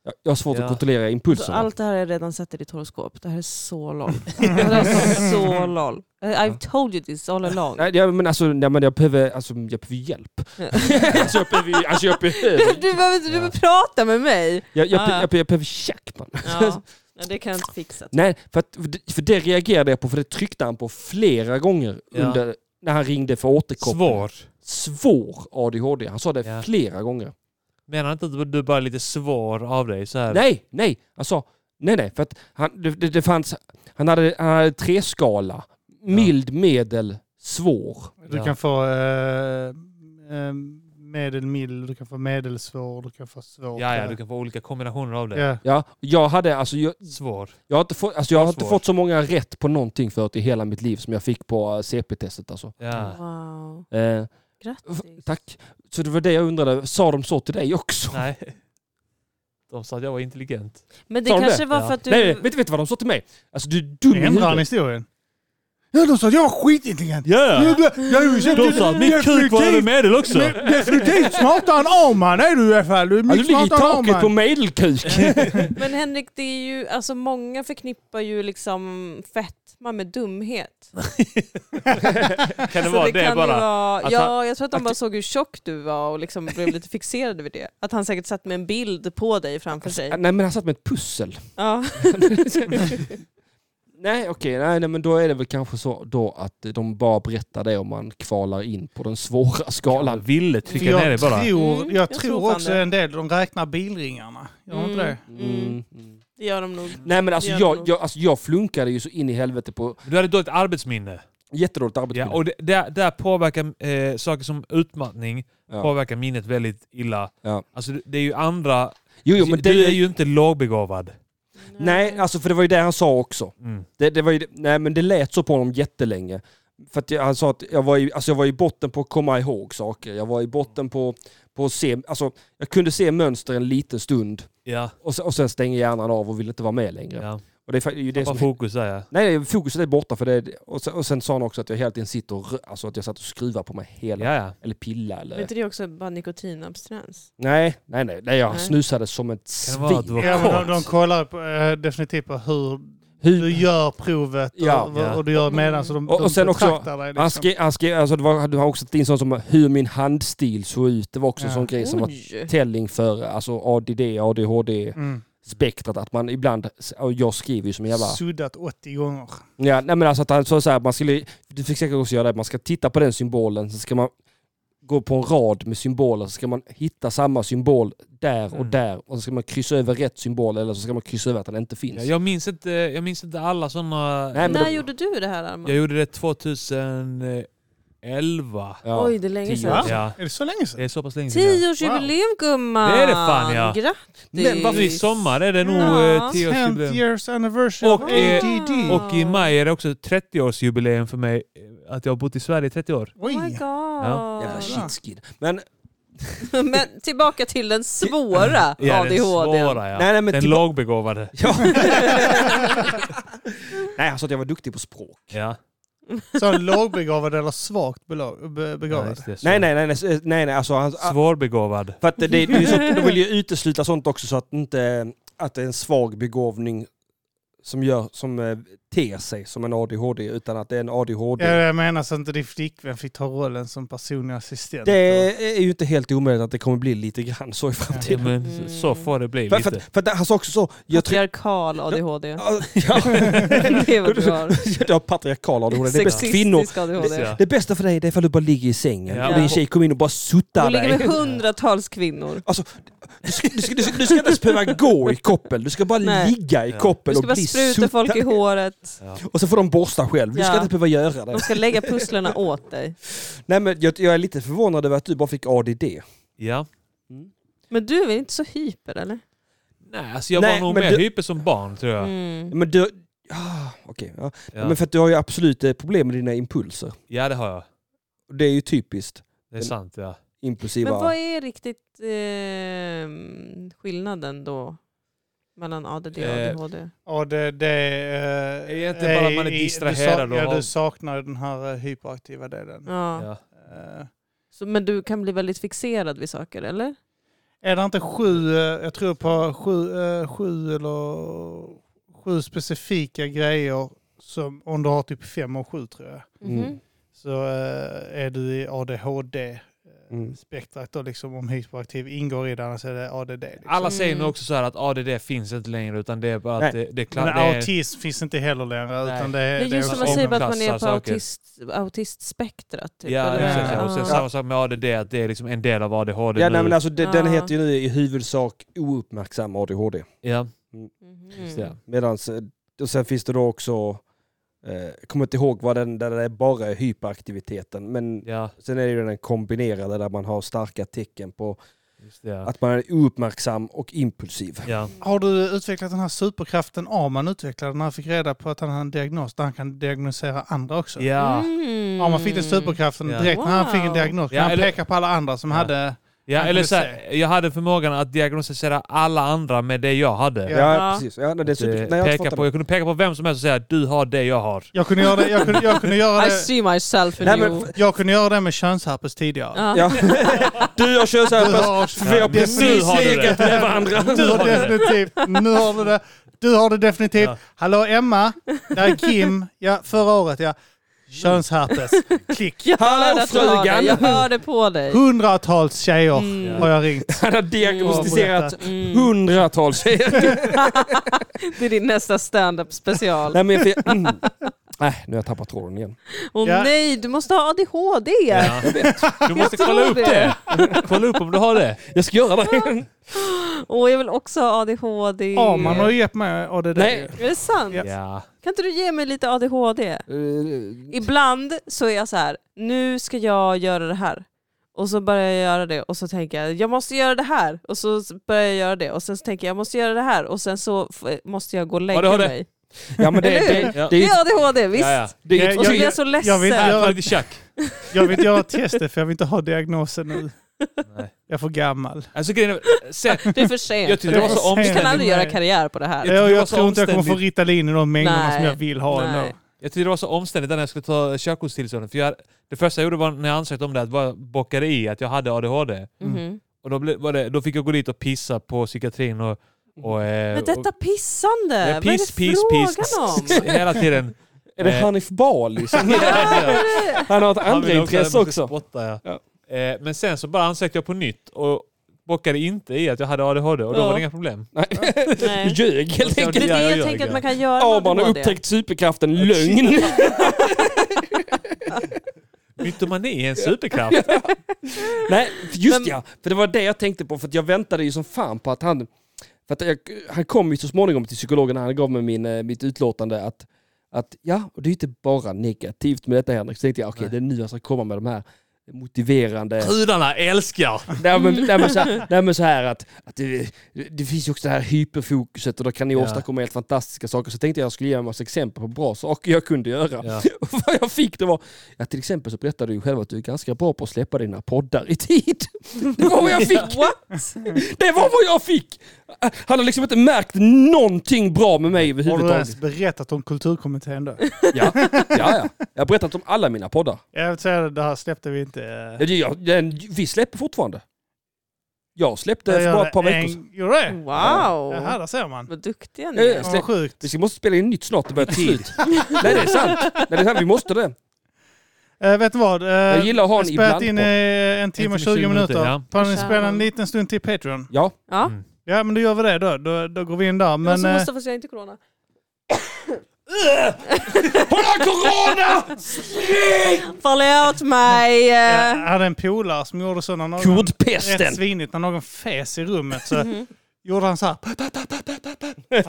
S2: Jag, jag har svårt
S3: Ja. Alltså,
S2: att kontrollera
S4: Så
S2: impulserna.
S4: Alltså, allt det här har jag redan sett i ditt horoskop. Det här är så lol. det här är så lol. I've told you this all along.
S2: Nej, jag, men alltså, nej, men jag behöver, alltså, jag behöver hjälp. alltså, jag behöver, ju- alltså, jag behöver,
S4: Du behöver inte du behöver prata med mig.
S2: jag, jag,
S4: Ah, ja.
S2: jag, jag behöver check, man.
S4: Ja, men det kan jag inte fixa.
S2: Nej, för, att, för det- för det reagerade jag på, för det tryckte han på flera gånger
S3: Ja.
S2: under, när han ringde för återkoppling.
S3: Svår.
S2: Svår ADHD. Han sa det
S3: Ja.
S2: flera gånger.
S3: Menar han inte att du bara är lite svår av dig? Så här.
S2: Nej, nej! Han sa, nej, nej, för att han, det, det, det fanns, han hade, han hade tre skala. Mild, medel, svår.
S1: Du
S3: Ja.
S1: kan få eh, eh, medelmild, du kan få medelsvår, du kan få svår.
S3: Ja, ja, du kan få olika kombinationer av det.
S1: Ja.
S2: Ja, jag hade, alltså jag,
S3: Svår.
S2: jag har, inte, fått, alltså, jag har inte
S3: Svår.
S2: fått så många rätt på någonting förut i hela mitt liv som jag fick på eh, CP-testet alltså.
S3: Ja.
S4: Wow,
S2: Eh,
S4: grattis.
S2: tack. Så det var det jag undrade, sa de så till dig också?
S3: Nej. De sa att jag var intelligent.
S4: Men det
S2: Sa de
S4: kanske
S2: det?
S4: var
S3: Ja.
S4: för att du...
S2: Nej, nej, vet du vet du vad de sa till mig? Alltså du är dum i
S1: Ändrar han
S2: huvudet.
S1: historien? Ja, de sa att jag var skitintelligent.
S3: Ja!
S1: Jag- jag- jag-
S3: De sa att min kuk var över
S1: definitivt-
S3: medel också.
S1: men Definitivt smartare än Arman är du i alla fall. Du är
S2: Ja, du
S1: mycket
S2: ligger i
S1: smartare än
S2: taket på
S1: Arman.
S2: medelkuk.
S4: Men Henrik, det är ju, alltså många förknippar ju liksom fetma med dumhet.
S3: Kan det
S4: Så
S3: vara det,
S4: kan ju
S3: bara?
S4: vara,
S3: Att
S4: ja, jag tror att de
S2: att-
S4: bara såg hur tjock du var och liksom blev lite fixerade vid det. Att han säkert satt med en bild på dig framför sig.
S2: Nej men han satt med ett pussel.
S4: Ja.
S2: Nej okej, nej, nej men då är det väl kanske så då att de bara berättar det om man kvalar in på den svåra
S3: Alla
S2: skalan.
S3: ville
S1: För
S3: trycka ner
S1: Jag
S3: det bara.
S1: tror, jag
S4: Mm, jag tror
S1: tror
S4: fan
S1: också
S4: det.
S1: en del, de räknar bilringarna. Gör de inte det?
S2: Mm. Mm.
S4: Det gör de nog.
S2: Nej men alltså
S4: Det gör det
S2: jag,
S4: nog.
S2: jag, alltså jag flunkade ju så in i helvete på
S3: Du hade dåligt arbetsminne.
S2: jättedåligt arbetsmiljö.
S3: Ja, och det, där, där påverkar eh, saker som utmattning
S2: Ja.
S3: påverkar minnet väldigt illa.
S2: Ja.
S3: Alltså, det- det är ju andra...
S2: Jo, jo, men det,
S3: du är ju inte lågbegåvad.
S2: Nej,
S4: Mm.
S2: alltså för det var ju det han sa också.
S3: Mm.
S2: Det, det var ju, nej men det lät så på honom jättelänge. För att jag, han sa att jag var, i, alltså jag var i botten på att komma ihåg saker. Jag var i botten på, på att se, alltså jag kunde se mönster en liten stund
S3: Ja,
S2: och sen, och sen stänger hjärnan av och vill inte vara med längre.
S3: ja.
S2: Och det är fa- ju det
S3: Tappa
S2: som,
S3: fokus där ja.
S2: nej, nej, fokuset är borta för det. Och sen, och sen sa han också att jag hela tiden sitter och rö- alltså att jag satt och skruvar på mig hela,
S3: Ja, ja.
S2: eller pilla eller...
S4: Men inte det också bara nikotinabstinens?
S2: Nej, nej, nej, nej, jag
S4: Nej.
S2: snusade som ett
S3: Kan det vara
S2: svin.
S3: att du var
S1: Ja, men de,
S3: kort?
S1: de kollar på, eh, definitivt på hur
S2: Hur,
S1: du
S4: Mm.
S1: gör provet och,
S2: Ja.
S1: vad- och du gör medan. Så de,
S2: Och- och
S1: de
S2: sen också-
S1: betraktar dig.
S2: Han
S1: Liksom.
S2: skrev, han skrev, alltså det var, han har också tagit in sånt som hur min handstil såg ut. Det var också en
S1: Ja.
S2: sån grej som var
S4: Oj.
S2: telling för alltså ADD, ADHD
S1: Mm.
S2: spektrat att man ibland, och jag skriver ju som en jävla...
S1: Suddat 80 gånger.
S2: Ja, nej men alltså att han sa så här, man skulle, du fick säkert också göra det, man ska titta på den symbolen, så ska man gå på en rad med symboler så ska man hitta samma symbol där och
S6: Mm.
S2: där och så ska man kryssa över rätt symbol eller så ska man kryssa över att den inte finns.
S6: Ja, jag, minns inte, jag minns inte alla sådana.
S2: Nej, men
S4: När
S2: då-
S4: gjorde du det här Arman?
S6: Jag gjorde det 2011.
S2: Ja.
S4: Oj, det är länge
S6: Tio
S4: sedan.
S1: Va?
S6: år sedan.
S1: Är det så länge sedan?
S6: Det är så pass länge sedan. ja.
S4: Tioårsjubileum gumman!
S6: Det är det fan, ja.
S4: Grattis!
S2: Men varför
S6: Nu I sommar är det nog
S4: Ja.
S6: eh,
S2: typ-
S1: 10
S6: tioårsjubileum.
S1: years anniversary
S6: Och,
S1: of
S6: eh,
S1: ADD.
S6: Och i maj är det också 30-årsjubileum för mig. eh, Att jag har bott i Sverige i 30 år.
S4: Oh my god!
S1: Oj!
S2: Jävla shitskid. Men,
S4: Men tillbaka till den svåra
S6: Ja, det är
S4: ADHD.
S6: svåra, ja.
S2: nej, nej, men typ-
S6: Den
S2: tillba-
S6: lågbegåvade.
S2: ja. nej, han sa att jag var duktig på språk.
S6: Ja.
S1: Så en lågbegåvad eller svagt bela- be-
S6: Ja,
S1: begåvad?
S6: just det, så.
S2: Nej, nej, nej, nej, nej, nej alltså, han,
S6: Svårbegåvad.
S2: För att det, det är så, de vill ju utesluta sånt också så att inte att det är en svag begåvning som, gör, som eh, ter sig som en ADHD utan att det är en ADHD.
S1: Ja, jag menar så att inte din flickvän fick ta rollen som personlig assistent.
S2: det är ju inte helt omöjligt att det kommer bli lite grann så i
S6: Ja,
S2: framtiden.
S6: men så- så får det bli
S2: För, för,
S6: lite.
S2: att- för att han sa också så... Jag tror,
S4: Patriarkal ADHD.
S2: ja,
S4: Det är vad du har.
S2: du har patriarkal ADHD. Det är bäst
S4: Sexistisk
S2: kvinnor.
S4: ADHD.
S6: Ja.
S2: Det bästa för dig det är ifall du bara ligger i sängen
S6: Ja.
S2: och din tjej kommer in och bara suttar
S4: Hon ligger med
S2: dig.
S4: hundratals kvinnor.
S2: Du ska, du, ska, du, ska, du ska inte ens behöva gå i koppel, du ska bara
S4: Nej.
S2: ligga i
S6: Ja.
S2: koppel
S4: Du ska
S2: och
S4: bara
S2: bli
S4: spruta folk i
S2: suttad.
S4: håret.
S2: Och så får de borsta själv. Du ska
S4: Ja.
S2: inte behöva göra det.
S4: De ska lägga pusslerna åt dig.
S2: Nej, men jag, jag är lite förvånad över att du bara fick ADD.
S6: Ja.
S4: Mm. Men du är väl inte så hyper eller?
S6: Nej, alltså jag
S2: Nej,
S6: var nog
S2: men
S6: mer
S2: du-
S6: hyper som barn tror jag.
S4: Mm.
S2: Men du... Ah, okej. ja.
S6: Ja,
S2: Men för att du har ju absolut eh, problem med dina impulser.
S6: ja det har jag.
S2: Och Det är ju typiskt
S6: Det är sant ja.
S2: impulsiva...
S4: Men vad är riktigt eh, skillnaden då? Mellan ADD och
S6: Eh,
S4: ADHD?
S1: Och det, det eh,
S6: Är det inte bara att man är
S1: i- i-
S6: distraherad
S1: Du,
S6: och
S1: sa, ja,
S6: har-
S1: du saknar den här eh, hyperaktiva delen.
S4: Ja.
S6: ja.
S1: Eh,
S4: Så, men du kan bli väldigt fixerad vid saker eller?
S1: Är det inte sju, eh, jag tror på sju, eh, sju eller sju specifika grejer som om du har typ fem och sju tror jag.
S2: Mm.
S4: Mhm.
S1: Så eh, är du i ADHD-spektrat
S2: Mm.
S1: eh, då liksom om hyperaktiv ingår i det annars är det ADD. Liksom.
S6: Alla säger nu
S4: Mm.
S6: också så här att ADD finns inte längre utan det är bara att
S2: Nej.
S6: det, det är klart.
S1: Men
S6: Det är,
S1: autism finns inte heller längre.
S6: Nej.
S1: Utan det, är-
S4: Men
S1: det är
S4: just som
S1: också
S4: man säger bara att man
S6: omklassar
S4: är på
S6: saker.
S4: autist, autistspektrat. Typ,
S6: ja,
S4: eller?
S6: precis,
S1: det?
S6: ja. Och sen
S4: Ja.
S6: samma sak med ADD, att det är liksom en del av ADHD
S2: Ja,
S6: nu.
S2: nej, men alltså, de, Den
S4: Ja. Mm.
S2: heter ju nu i huvudsak ouppmärksam ADHD.
S6: ja.
S4: Mhm.
S6: Just det.
S2: Medans, eh, och sen finns det då också... Eh, jag kommer inte ihåg vad den där det är bara är hyperaktiviteten. Men
S6: ja,
S2: sen är det ju den kombinerade där man har starka tecken på
S6: just det. Ja.
S2: att man är ouppmärksam och impulsiv.
S6: Ja.
S1: Har du utvecklat den här superkraften Arman utvecklade när han fick reda på att han hade en diagnos där han kan diagnosera andra också?
S6: Ja.
S4: Mm.
S1: Arman fick den superkraften
S6: Ja.
S1: direkt när han fick en
S4: Wow.
S1: diagnos.
S6: Ja,
S1: han
S6: eller-
S1: pekade på alla andra som
S6: Ja.
S1: hade...
S6: ja,
S1: Mm. kan
S6: eller
S1: du
S6: så här, jag hade förmågan att diagnostisera alla andra med det jag hade.
S1: Ja.
S2: Ja,
S4: Ja.
S2: precis. Ja, nej, det är
S6: Att, eh,
S2: super... nej, jag har inte
S6: peka
S2: fattat
S6: på, jag kunde peka på vem som helst och säga du har det jag har.
S1: Jag kunde göra det, jag kunde, jag kunde göra
S4: I
S1: det,
S4: see myself in
S2: Nej, men
S4: you.
S2: f-
S1: jag kunde göra det med könsherpes tidigare.
S4: Ja.
S2: Ja. Du har
S1: Du
S2: könsherpes,
S1: har,
S2: vi har
S6: men nu
S2: precis
S6: har du det.
S2: legat med varandra.
S1: du har definitivt, nu har du det. Du har det definitivt.
S6: Ja.
S1: Hallå Emma, där är Kim. Ja, förra året ja. Könsherpes. Klick.
S4: Jag hör
S2: Hallå,
S4: att du har det,
S2: frugan.
S4: jag hör det på dig.
S1: Hundratals tjejer
S4: Mm.
S1: har jag ringt.
S2: Han har diagnostiserat
S4: Mm.
S2: hundratals tjejer.
S4: Det är din nästa stand-up special.
S2: Nej, men jag... fick- Mm. Nej, nu har jag tappat tråden igen.
S4: Åh
S1: Ja.
S4: nej, du måste ha ADHD!
S6: Ja. Du måste
S4: tror
S6: kolla upp
S4: det.
S6: det. Kolla upp om du har det.
S2: Jag ska göra det.
S4: Åh, jag vill också ha ADHD.
S1: Arman har ju gett mig ADD.
S2: Nej.
S4: Är det sant?
S1: Ja.
S6: Ja.
S4: Kan inte du ge mig lite ADHD? Eh, Ibland så är jag så här, nu ska jag göra det här. Och så börjar jag göra det och så tänker jag, jag måste göra det här. Och så börjar jag göra det och sen så tänker jag, jag måste göra det här. Och sen så f- måste jag gå och lägga
S6: Ja, det har det.
S4: mig.
S2: Ja, men det, det, det,
S6: Ja.
S4: Det
S2: är-
S4: är ADHD, visst?
S6: Ja, ja.
S2: det är
S1: Jag-
S2: ju
S4: Och så blir
S2: tydligt.
S4: jag så ledsen.
S1: jag vill inte
S6: Här,
S1: göra-
S6: ta lite tjack.
S1: Jag vill inte göra testet för jag vill inte ha diagnosen nu.
S6: Nej.
S1: Jag är för gammal.
S6: Alltså, grejen är, sen,
S4: Det är för sent.
S6: jag tyckte det var så
S4: du kan
S1: omständigt.
S4: aldrig göra karriär på det här.
S6: Jag
S1: Jag,
S6: tycker
S1: jag,
S6: det var så
S1: tror inte jag kommer få
S6: omständigt.
S1: Ritalin i de mängderna
S4: Nej.
S1: som jag vill ha
S4: Nej.
S1: ändå.
S6: Jag tyckte det var så omständigt när jag skulle ta körkortstillståndet. För jag, det första jag gjorde var när jag ansökte om det att bara bockade i att jag hade ADHD.
S4: Mhm.
S6: Och då, blev, var det, då fick jag gå dit och pissa på psykiatrin och... och eh,
S4: Men detta
S6: och,
S4: pissande,
S6: Ja, piss,
S4: vad är det
S6: piss,
S4: frågan
S6: piss.
S4: om?
S6: hela tiden.
S2: Är det Hanif Bali som... Han har ett
S6: Han
S2: andra
S6: ville
S2: intresse
S6: jag måste
S2: också.
S6: Spotta, ja. Eh, men sen så bara ansökte jag på nytt och bockade inte i att jag hade ADHD och då
S4: Ja.
S6: var det inga problem.
S2: Du
S4: Nej.
S2: ljög helt
S6: Det är
S4: Det
S2: enkelt.
S4: är det
S6: jag gör,
S4: jag tänker att
S6: ja.
S4: man kan göra med
S2: Aban har
S4: ADHD.
S2: upptäckt superkraften lögn.
S3: Mytomani är en superkraft.
S2: Nej, just
S4: Men-
S2: ja. För det var det jag tänkte på. För att jag väntade ju som fan på att han... För att jag, han kom ju så småningom till psykologen när han gav mig min, eh, mitt utlåtande att, att ja, och det är ju inte bara negativt med detta Henrik. Så tänkte jag okej,
S3: Nej.
S2: det är nu jag ska komma med de här motiverande...
S3: Brudarna älskar!
S2: nej, men, nej, men så här, nej men så här att, att det, det finns ju också det här hyperfokuset och då kan ni
S3: Ja.
S2: åstadkomma helt fantastiska saker. Så tänkte jag att jag skulle ge en massa exempel på bra saker jag kunde göra.
S3: Ja.
S2: Och vad jag fick det var, ja, till exempel så berättade du ju själv att du är ganska bra på att släppa dina poddar i tid. Det var vad jag fick! Det var vad jag fick! Han har liksom inte märkt någonting bra med mig
S1: Har du ens
S2: överhuvudtaget.
S1: berättat om kulturkommittén då?
S2: Ja, ja, ja. Jag har berättat om alla mina poddar.
S1: Jag vill säga att det här släppte vi inte. eh,
S2: Ja, det- Jag, den, vi släpper fortfarande. Jag släppte
S1: jag
S2: för bara
S1: gjorde
S2: ett par veckor
S1: en-
S2: sedan.
S1: Gjorde det?
S4: Wow!
S1: Jaha, där ser man.
S4: Vad duktiga ni
S2: Ja,
S4: är.
S2: ja.
S1: Fan, Vad sjukt.
S2: Vi ska- måste spela in nytt snart, det börjar ta slut. Nej det är sant, Nej, det är sant. vi måste det.
S1: Eh, vet du vad? Eh,
S2: Jag gillar att ha en
S1: spelat in
S2: ibland
S1: eh,
S2: på.
S1: en timme och 20 minuter.
S3: ja.
S1: Kan ni
S4: Kära
S1: spela en
S4: nån.
S1: liten stund till Patreon?
S2: Ja,
S4: Ja.
S3: Mm.
S1: Ja, men då gör vi det då. Då, då går vi in där.
S4: jag
S1: Men,
S4: som
S1: eh,
S4: måste få säga inte corona.
S2: Har du corona?
S4: Förlåt mig!
S1: jag
S4: eh.
S1: hade en polare som gjorde så när någon... Rätt
S2: Kodpesten!
S1: svinigt när någon fes i rummet så
S4: Mm-hmm.
S1: gjorde han så här.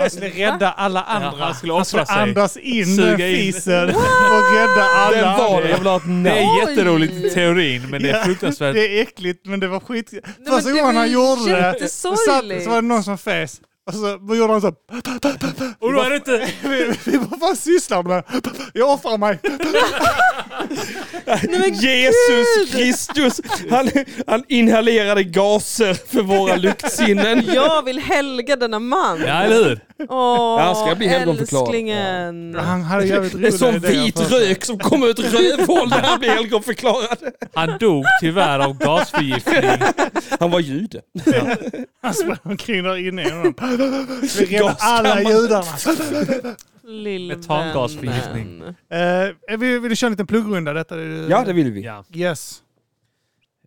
S1: Han skulle rädda alla andra.
S3: han skulle
S1: han
S3: offra
S1: skulle
S3: sig.
S1: andas in
S3: Suga
S1: den
S3: in.
S1: fisen och rädda alla.
S2: Den var det.
S1: andra.
S2: Jag vill ha ett
S3: Det
S2: nej.
S3: är
S4: Oj.
S3: jätteroligt i teorin, men det
S1: Ja,
S3: är fruktansvärt.
S1: Det är äckligt men det var skit. Första
S4: men det
S1: gången
S4: var
S1: han
S4: ju
S1: gjorde det så, satt,
S4: jättesorgligt.
S1: så var det någon som fes. Och så då gjorde han så.
S3: Och då är det inte...
S1: Vi, vi bara, vad sysslar med? Jag offrar mig.
S2: Jesus Kristus! Han, han inhalerade gaser för våra luktsinnen.
S4: Jag vill helga denna man!
S3: Ja, eller hur?
S4: Åh,
S2: Ja, han ska bli helgonförklarad.
S4: älsklingen!
S1: Han hade jävligt alltså.
S2: En sån
S1: roliga idéer.
S2: vit
S1: först.
S2: rök som kom ut rövhål när han blev helgonförklarad.
S3: Han dog tyvärr av gasförgiftning.
S2: Han var jude.
S1: Han sprang omkring där inne. i honom. Vi räddade alla
S2: Gaskammare.
S1: judarna.
S4: Lillvännen.
S3: Metangasförgiftning.
S1: Eh, vill, vill du köra en liten pluggrunda? Detta är,
S2: Ja, det vill vi.
S3: Ja.
S1: Yes.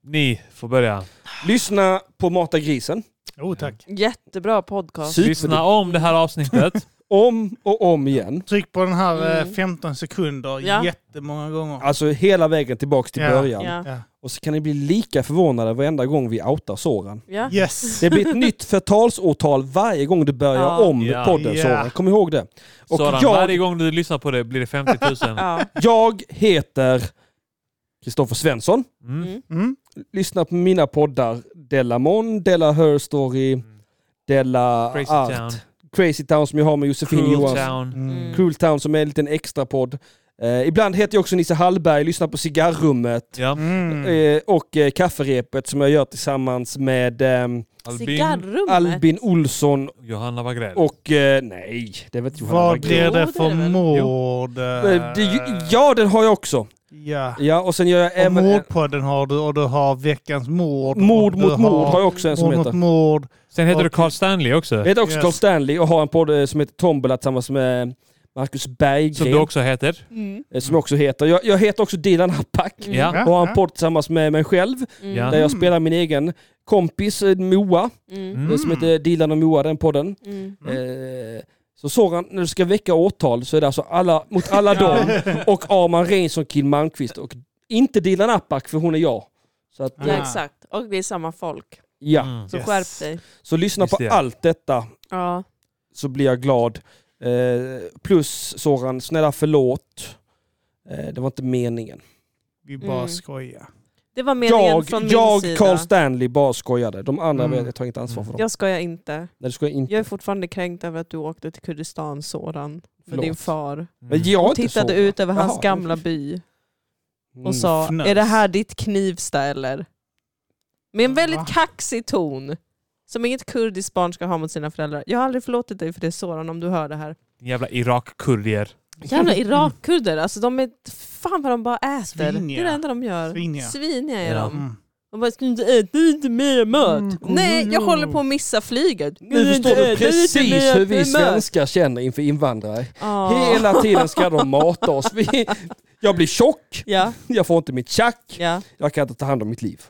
S3: Ni får börja.
S2: Lyssna på Mata grisen.
S1: Jo
S2: Mm.
S1: tack.
S4: Jättebra podcast.
S2: Super-
S3: Lyssna om det här avsnittet.
S2: Om och om igen.
S1: Tryck på den här eh,
S4: Mm.
S1: 15 sekunder
S4: Ja.
S1: jättemånga gånger.
S2: Alltså hela vägen tillbaks till
S1: Ja.
S2: början.
S4: Ja.
S1: Ja.
S2: Och så kan ni bli lika förvånade varenda gång vi outar Soran.
S4: Ja.
S1: Yes.
S2: Det blir ett nytt förtalsårtal varje gång du börjar
S4: Ja.
S2: om
S3: Ja.
S2: podden
S1: Ja.
S2: Soran. Kom ihåg det. Och
S3: Soran, varje
S2: jag,
S3: gång du lyssnar på det blir det 50 000.
S4: Ja.
S2: jag heter Kristoffer Svensson.
S3: Mm.
S1: Mm.
S2: Lyssna på mina poddar Della Mon, Della Her Story, Della
S3: Crazy
S2: Art,
S3: Town,
S2: Crazy Town som jag har med Josefin
S3: Cruel
S2: Johansson.
S3: Town.
S1: Mm.
S2: Cruel Town som är en liten extra podd. Eh, ibland heter jag också Nisse Hallberg, lyssna på Cigarrummet
S3: Ja.
S1: Mm.
S2: eh, och eh, Kafferepet som jag gör tillsammans med ehm,
S3: Albin,
S4: Cigarrummet.
S2: Albin Olsson
S3: Johanna Wagrell.
S2: och... Eh, nej, det vet Johanna
S1: Vad blir
S2: Wagrell.
S1: det
S4: Jo, det är
S1: för
S4: det väl.
S1: mord?
S2: Eh, det är ju- Ja, Eh, den har jag också.
S1: Ja.
S2: Ja, och sen gör jag
S1: Och
S2: även...
S1: mordpodden har du och du har veckans mord.
S2: Mord
S1: och du
S2: mot mord har jag också en som
S1: Mord mot
S2: heter.
S1: mord.
S3: Sen heter du Carl Stanley också.
S2: Jag heter också
S1: Yes.
S2: Carl Stanley och har en podd eh, som heter Tombola tillsammans med Marcus Berggren.
S3: Som du också heter.
S4: Mm.
S2: eh, som jag också heter. Jag, jag heter också Dilan Hapak
S4: Mm.
S3: Ja.
S2: och har en podd tillsammans med mig själv
S4: Mm.
S3: Ja.
S2: där jag
S1: Mm.
S2: spelar min egen kompis eh, Moa,
S4: Mm.
S2: eh,
S3: Mm.
S2: som heter Dilan och Moa, den podden.
S4: Mm.
S2: Eh, Så Soran, när du ska väcka åtal så är det alltså alla mot alla dem och Arman Reinsson, Kim Malmqvist och inte Dilan Apak för hon är jag. Så att,
S1: Ah.
S4: Ja, exakt. Och det är samma folk.
S2: ja.
S3: Mm.
S4: Så
S1: Yes.
S4: skärp dig.
S2: Så lyssna
S3: Just
S2: på
S3: det.
S2: allt detta
S4: Ja.
S2: så blir jag glad. Eh, plus Soran, snälla förlåt. Eh, det var inte meningen.
S1: Vi bara
S4: Mm.
S1: skojar.
S4: Det var meningen
S2: Jag,
S4: från min
S2: jag
S4: sida.
S2: Carl Stanley, bara skojade. De andra,
S1: Mm.
S2: vet- jag tar inte ansvar för dem.
S4: jag skojar inte.
S2: Nej, det ska jag inte.
S4: Jag är fortfarande kränkt över att du åkte till Kurdistan, Soran, med
S2: Förlåt.
S4: din far.
S3: Mm.
S6: Mm.
S2: Men jag är
S4: Och
S2: inte
S4: tittade
S2: Soran.
S4: ut över hans
S2: Jaha.
S4: gamla by
S2: Mm.
S4: och sa,
S1: fnös.
S4: är det här ditt Knivsta eller? Med en
S1: Va?
S4: väldigt kaxig ton. Som inget kurdiskt barn ska ha mot sina föräldrar. Jag har aldrig förlåtit dig för det Soran, om du hör det här.
S3: Din jävla Irak-kurdier.
S4: Jävla Irakkurder, alltså de är... Fan vad de bara äter.
S1: Sviniga.
S4: Det är det enda de gör.
S1: Sviniga.
S4: Sviniga är
S3: Ja.
S4: de.
S1: Mm.
S4: De bara, ska du inte äta lite mer mat?
S1: Mm, kom
S4: Nej,
S1: igen.
S4: jag håller på att missa flyget. Ska
S2: Nu förstår
S4: inte
S2: du
S4: äta lite
S2: precis
S4: mer
S2: hur vi
S4: mat?
S2: svenskar känner inför invandrare.
S4: Ja.
S2: Hela tiden ska de mata oss. Vi, jag blir tjock,
S4: Ja,
S2: jag får inte mitt tjack,
S4: ja.
S2: jag kan inte ta hand om mitt liv.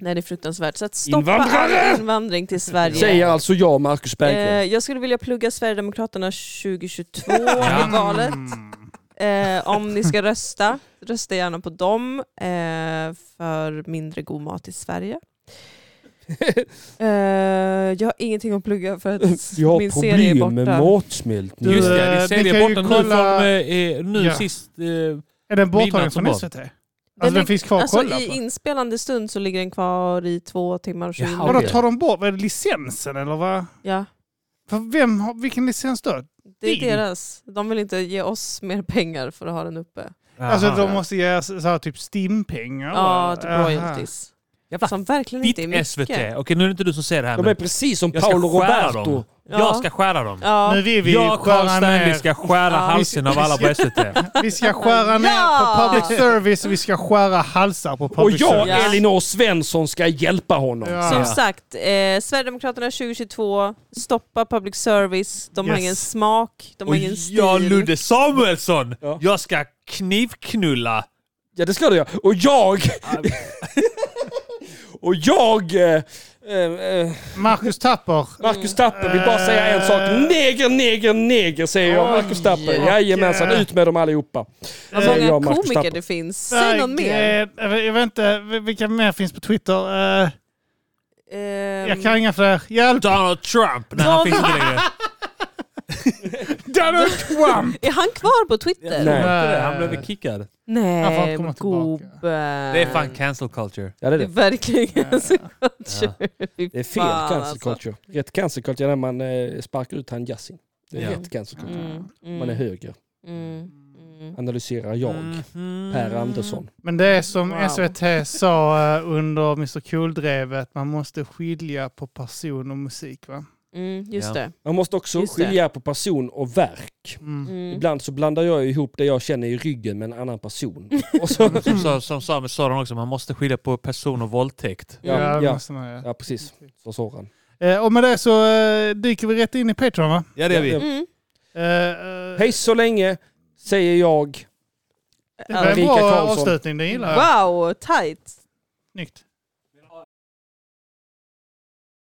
S4: Nej, det är fruktansvärt. Så att stoppa
S2: Invandrare!
S4: all invandring till Sverige.
S2: Säger alltså jag, Marcus
S4: Eh,
S2: Berggren.
S4: jag skulle vilja plugga Sverigedemokraterna 2022
S3: Ja.
S4: i valet.
S1: Mm.
S4: Eh, om ni ska rösta. Rösta gärna på dem eh, för mindre god mat i Sverige. eh, jag har ingenting att plugga för att
S2: Jag har
S4: min serie är
S2: problem med
S4: borta.
S2: matsmältning.
S6: Just
S1: eh,
S6: det,
S1: ni
S6: ni
S1: kan
S6: säljer
S1: ju
S6: bort den nu,
S1: kolla-
S6: från, eh, eh, nu
S1: Ja.
S6: sist. Eh,
S1: Är den borttagen
S6: Midnatt
S1: från
S6: som barn.
S1: SVT? Alltså den
S4: ligger-
S1: finns kvar att
S4: Alltså,
S1: kolla
S4: I
S1: på.
S4: inspelande stund så ligger den kvar i två timmar och tjugo
S6: Jaha.
S1: Vadå,
S4: minuter.
S2: Okej.
S1: tar de bort vad är det, licensen eller vad?
S4: Ja,
S1: För vem har, vilken licens då?
S4: det är
S1: Din.
S4: deras. De vill inte ge oss mer pengar för att ha den uppe.
S1: Alltså
S6: aha.
S1: de måste ge så så här, typ Stim-pengar.
S4: Ja,
S1: va?
S4: typ
S1: Aha.
S4: royalties.
S6: Jävla
S4: Som verkligen inte är
S6: Ditt
S4: mycket.
S6: SVT. Okej, nu är det inte du som ser det här.
S2: De
S6: men
S2: är precis som
S6: jag ska
S2: Paolo
S6: skära
S2: Roberto.
S6: dem.
S4: Ja.
S6: Jag ska skära dem.
S4: Ja.
S1: Nu vill vi
S6: Jag, Carl
S1: skära
S6: Stanley,
S1: ner.
S6: ska skära
S4: Ja.
S6: halsen av alla på SVT.
S1: Vi ska skära ner
S4: Ja!
S1: på public service och vi ska skära halsar på
S2: Och
S1: public
S2: jag,
S1: service.
S4: Ja.
S2: Elinor Svensson, ska hjälpa honom.
S1: Ja.
S4: Som
S6: Ja.
S4: sagt, eh, Sverigedemokraterna 2022, stoppa public service, de har
S1: Yes.
S4: ingen smak, de har
S6: Och
S4: ingen
S6: jag,
S4: stil.
S6: Ludde Samuelsson,
S2: Ja.
S6: jag ska knivknulla.
S2: Ja, det ska du göra. Och jag... och jag... Eh, eh, eh,
S1: Marcus Tapper.
S2: Marcus Tapper vill bara säga en sak. Neger, neger, neger säger jag. Marcus Tapper.
S4: Eh. Oj.
S2: Jajamensan, ut med dem allihopa.
S4: Vad
S2: säger jag,
S4: många
S2: Marcus
S4: komiker
S2: Tapper.
S4: det finns. Säg någon mer.
S1: Eh, Jag vet inte vil- vilka mer finns på Twitter. Eh, Jag
S4: Ehm,
S1: kan inga fler. Hjälp!
S6: Donald Trump! Nej, han
S4: Donald-
S6: finns inte längre.
S1: Donald Trump!
S4: Ehm, Är han kvar på Twitter?
S2: Nej.
S6: Han
S1: Eh,
S6: blev kickad.
S1: Han får
S4: Nej,
S1: inte komma tillbaka.
S4: gubben.
S6: Det är fan cancel culture.
S2: Ja, det är
S4: Det är
S2: det.
S4: verkligen
S1: Ja.
S4: cancel culture. Fy
S2: Det är fel
S4: fan,
S2: cancel
S4: alltså.
S2: culture. Rätt cancel culture är när man eh, sparkar ut han Yasin. Det är
S6: Ja.
S2: rätt cancel culture.
S4: Mm, mm,
S2: Man är höger.
S4: mm, mm.
S2: Analyserar jag.
S6: Mhm.
S2: Per Andersson.
S1: Men det är som
S4: Wow.
S1: SVT sa eh, under Mr Cool-drevet, man måste skilja på person och musik va?
S4: Mm, just
S6: Ja.
S4: det.
S2: Man måste också
S4: Just det.
S2: skilja på person och verk.
S1: Mm.
S4: Mm.
S2: Ibland så blandar jag ihop det jag känner i ryggen med en annan person. Och så,
S6: Som, sa- som sa, sa de också, man måste skilja på person och våldtäkt.
S2: Ja,
S4: Mm.
S1: Ja,
S2: ja.
S1: Måste man, göra.
S2: ja, precis. Så sa han.
S1: Eh, och med det så eh, dyker vi rätt in i Patreon va?
S6: Ja, det är
S2: Ja.
S6: vi.
S4: Mm.
S1: Eh, eh,
S2: Hej så länge, säger jag.
S1: det var en
S2: Ulrika
S1: bra
S2: Karlsson.
S1: avslutning, det gillar jag.
S4: Wow, tight.
S1: Snyggt.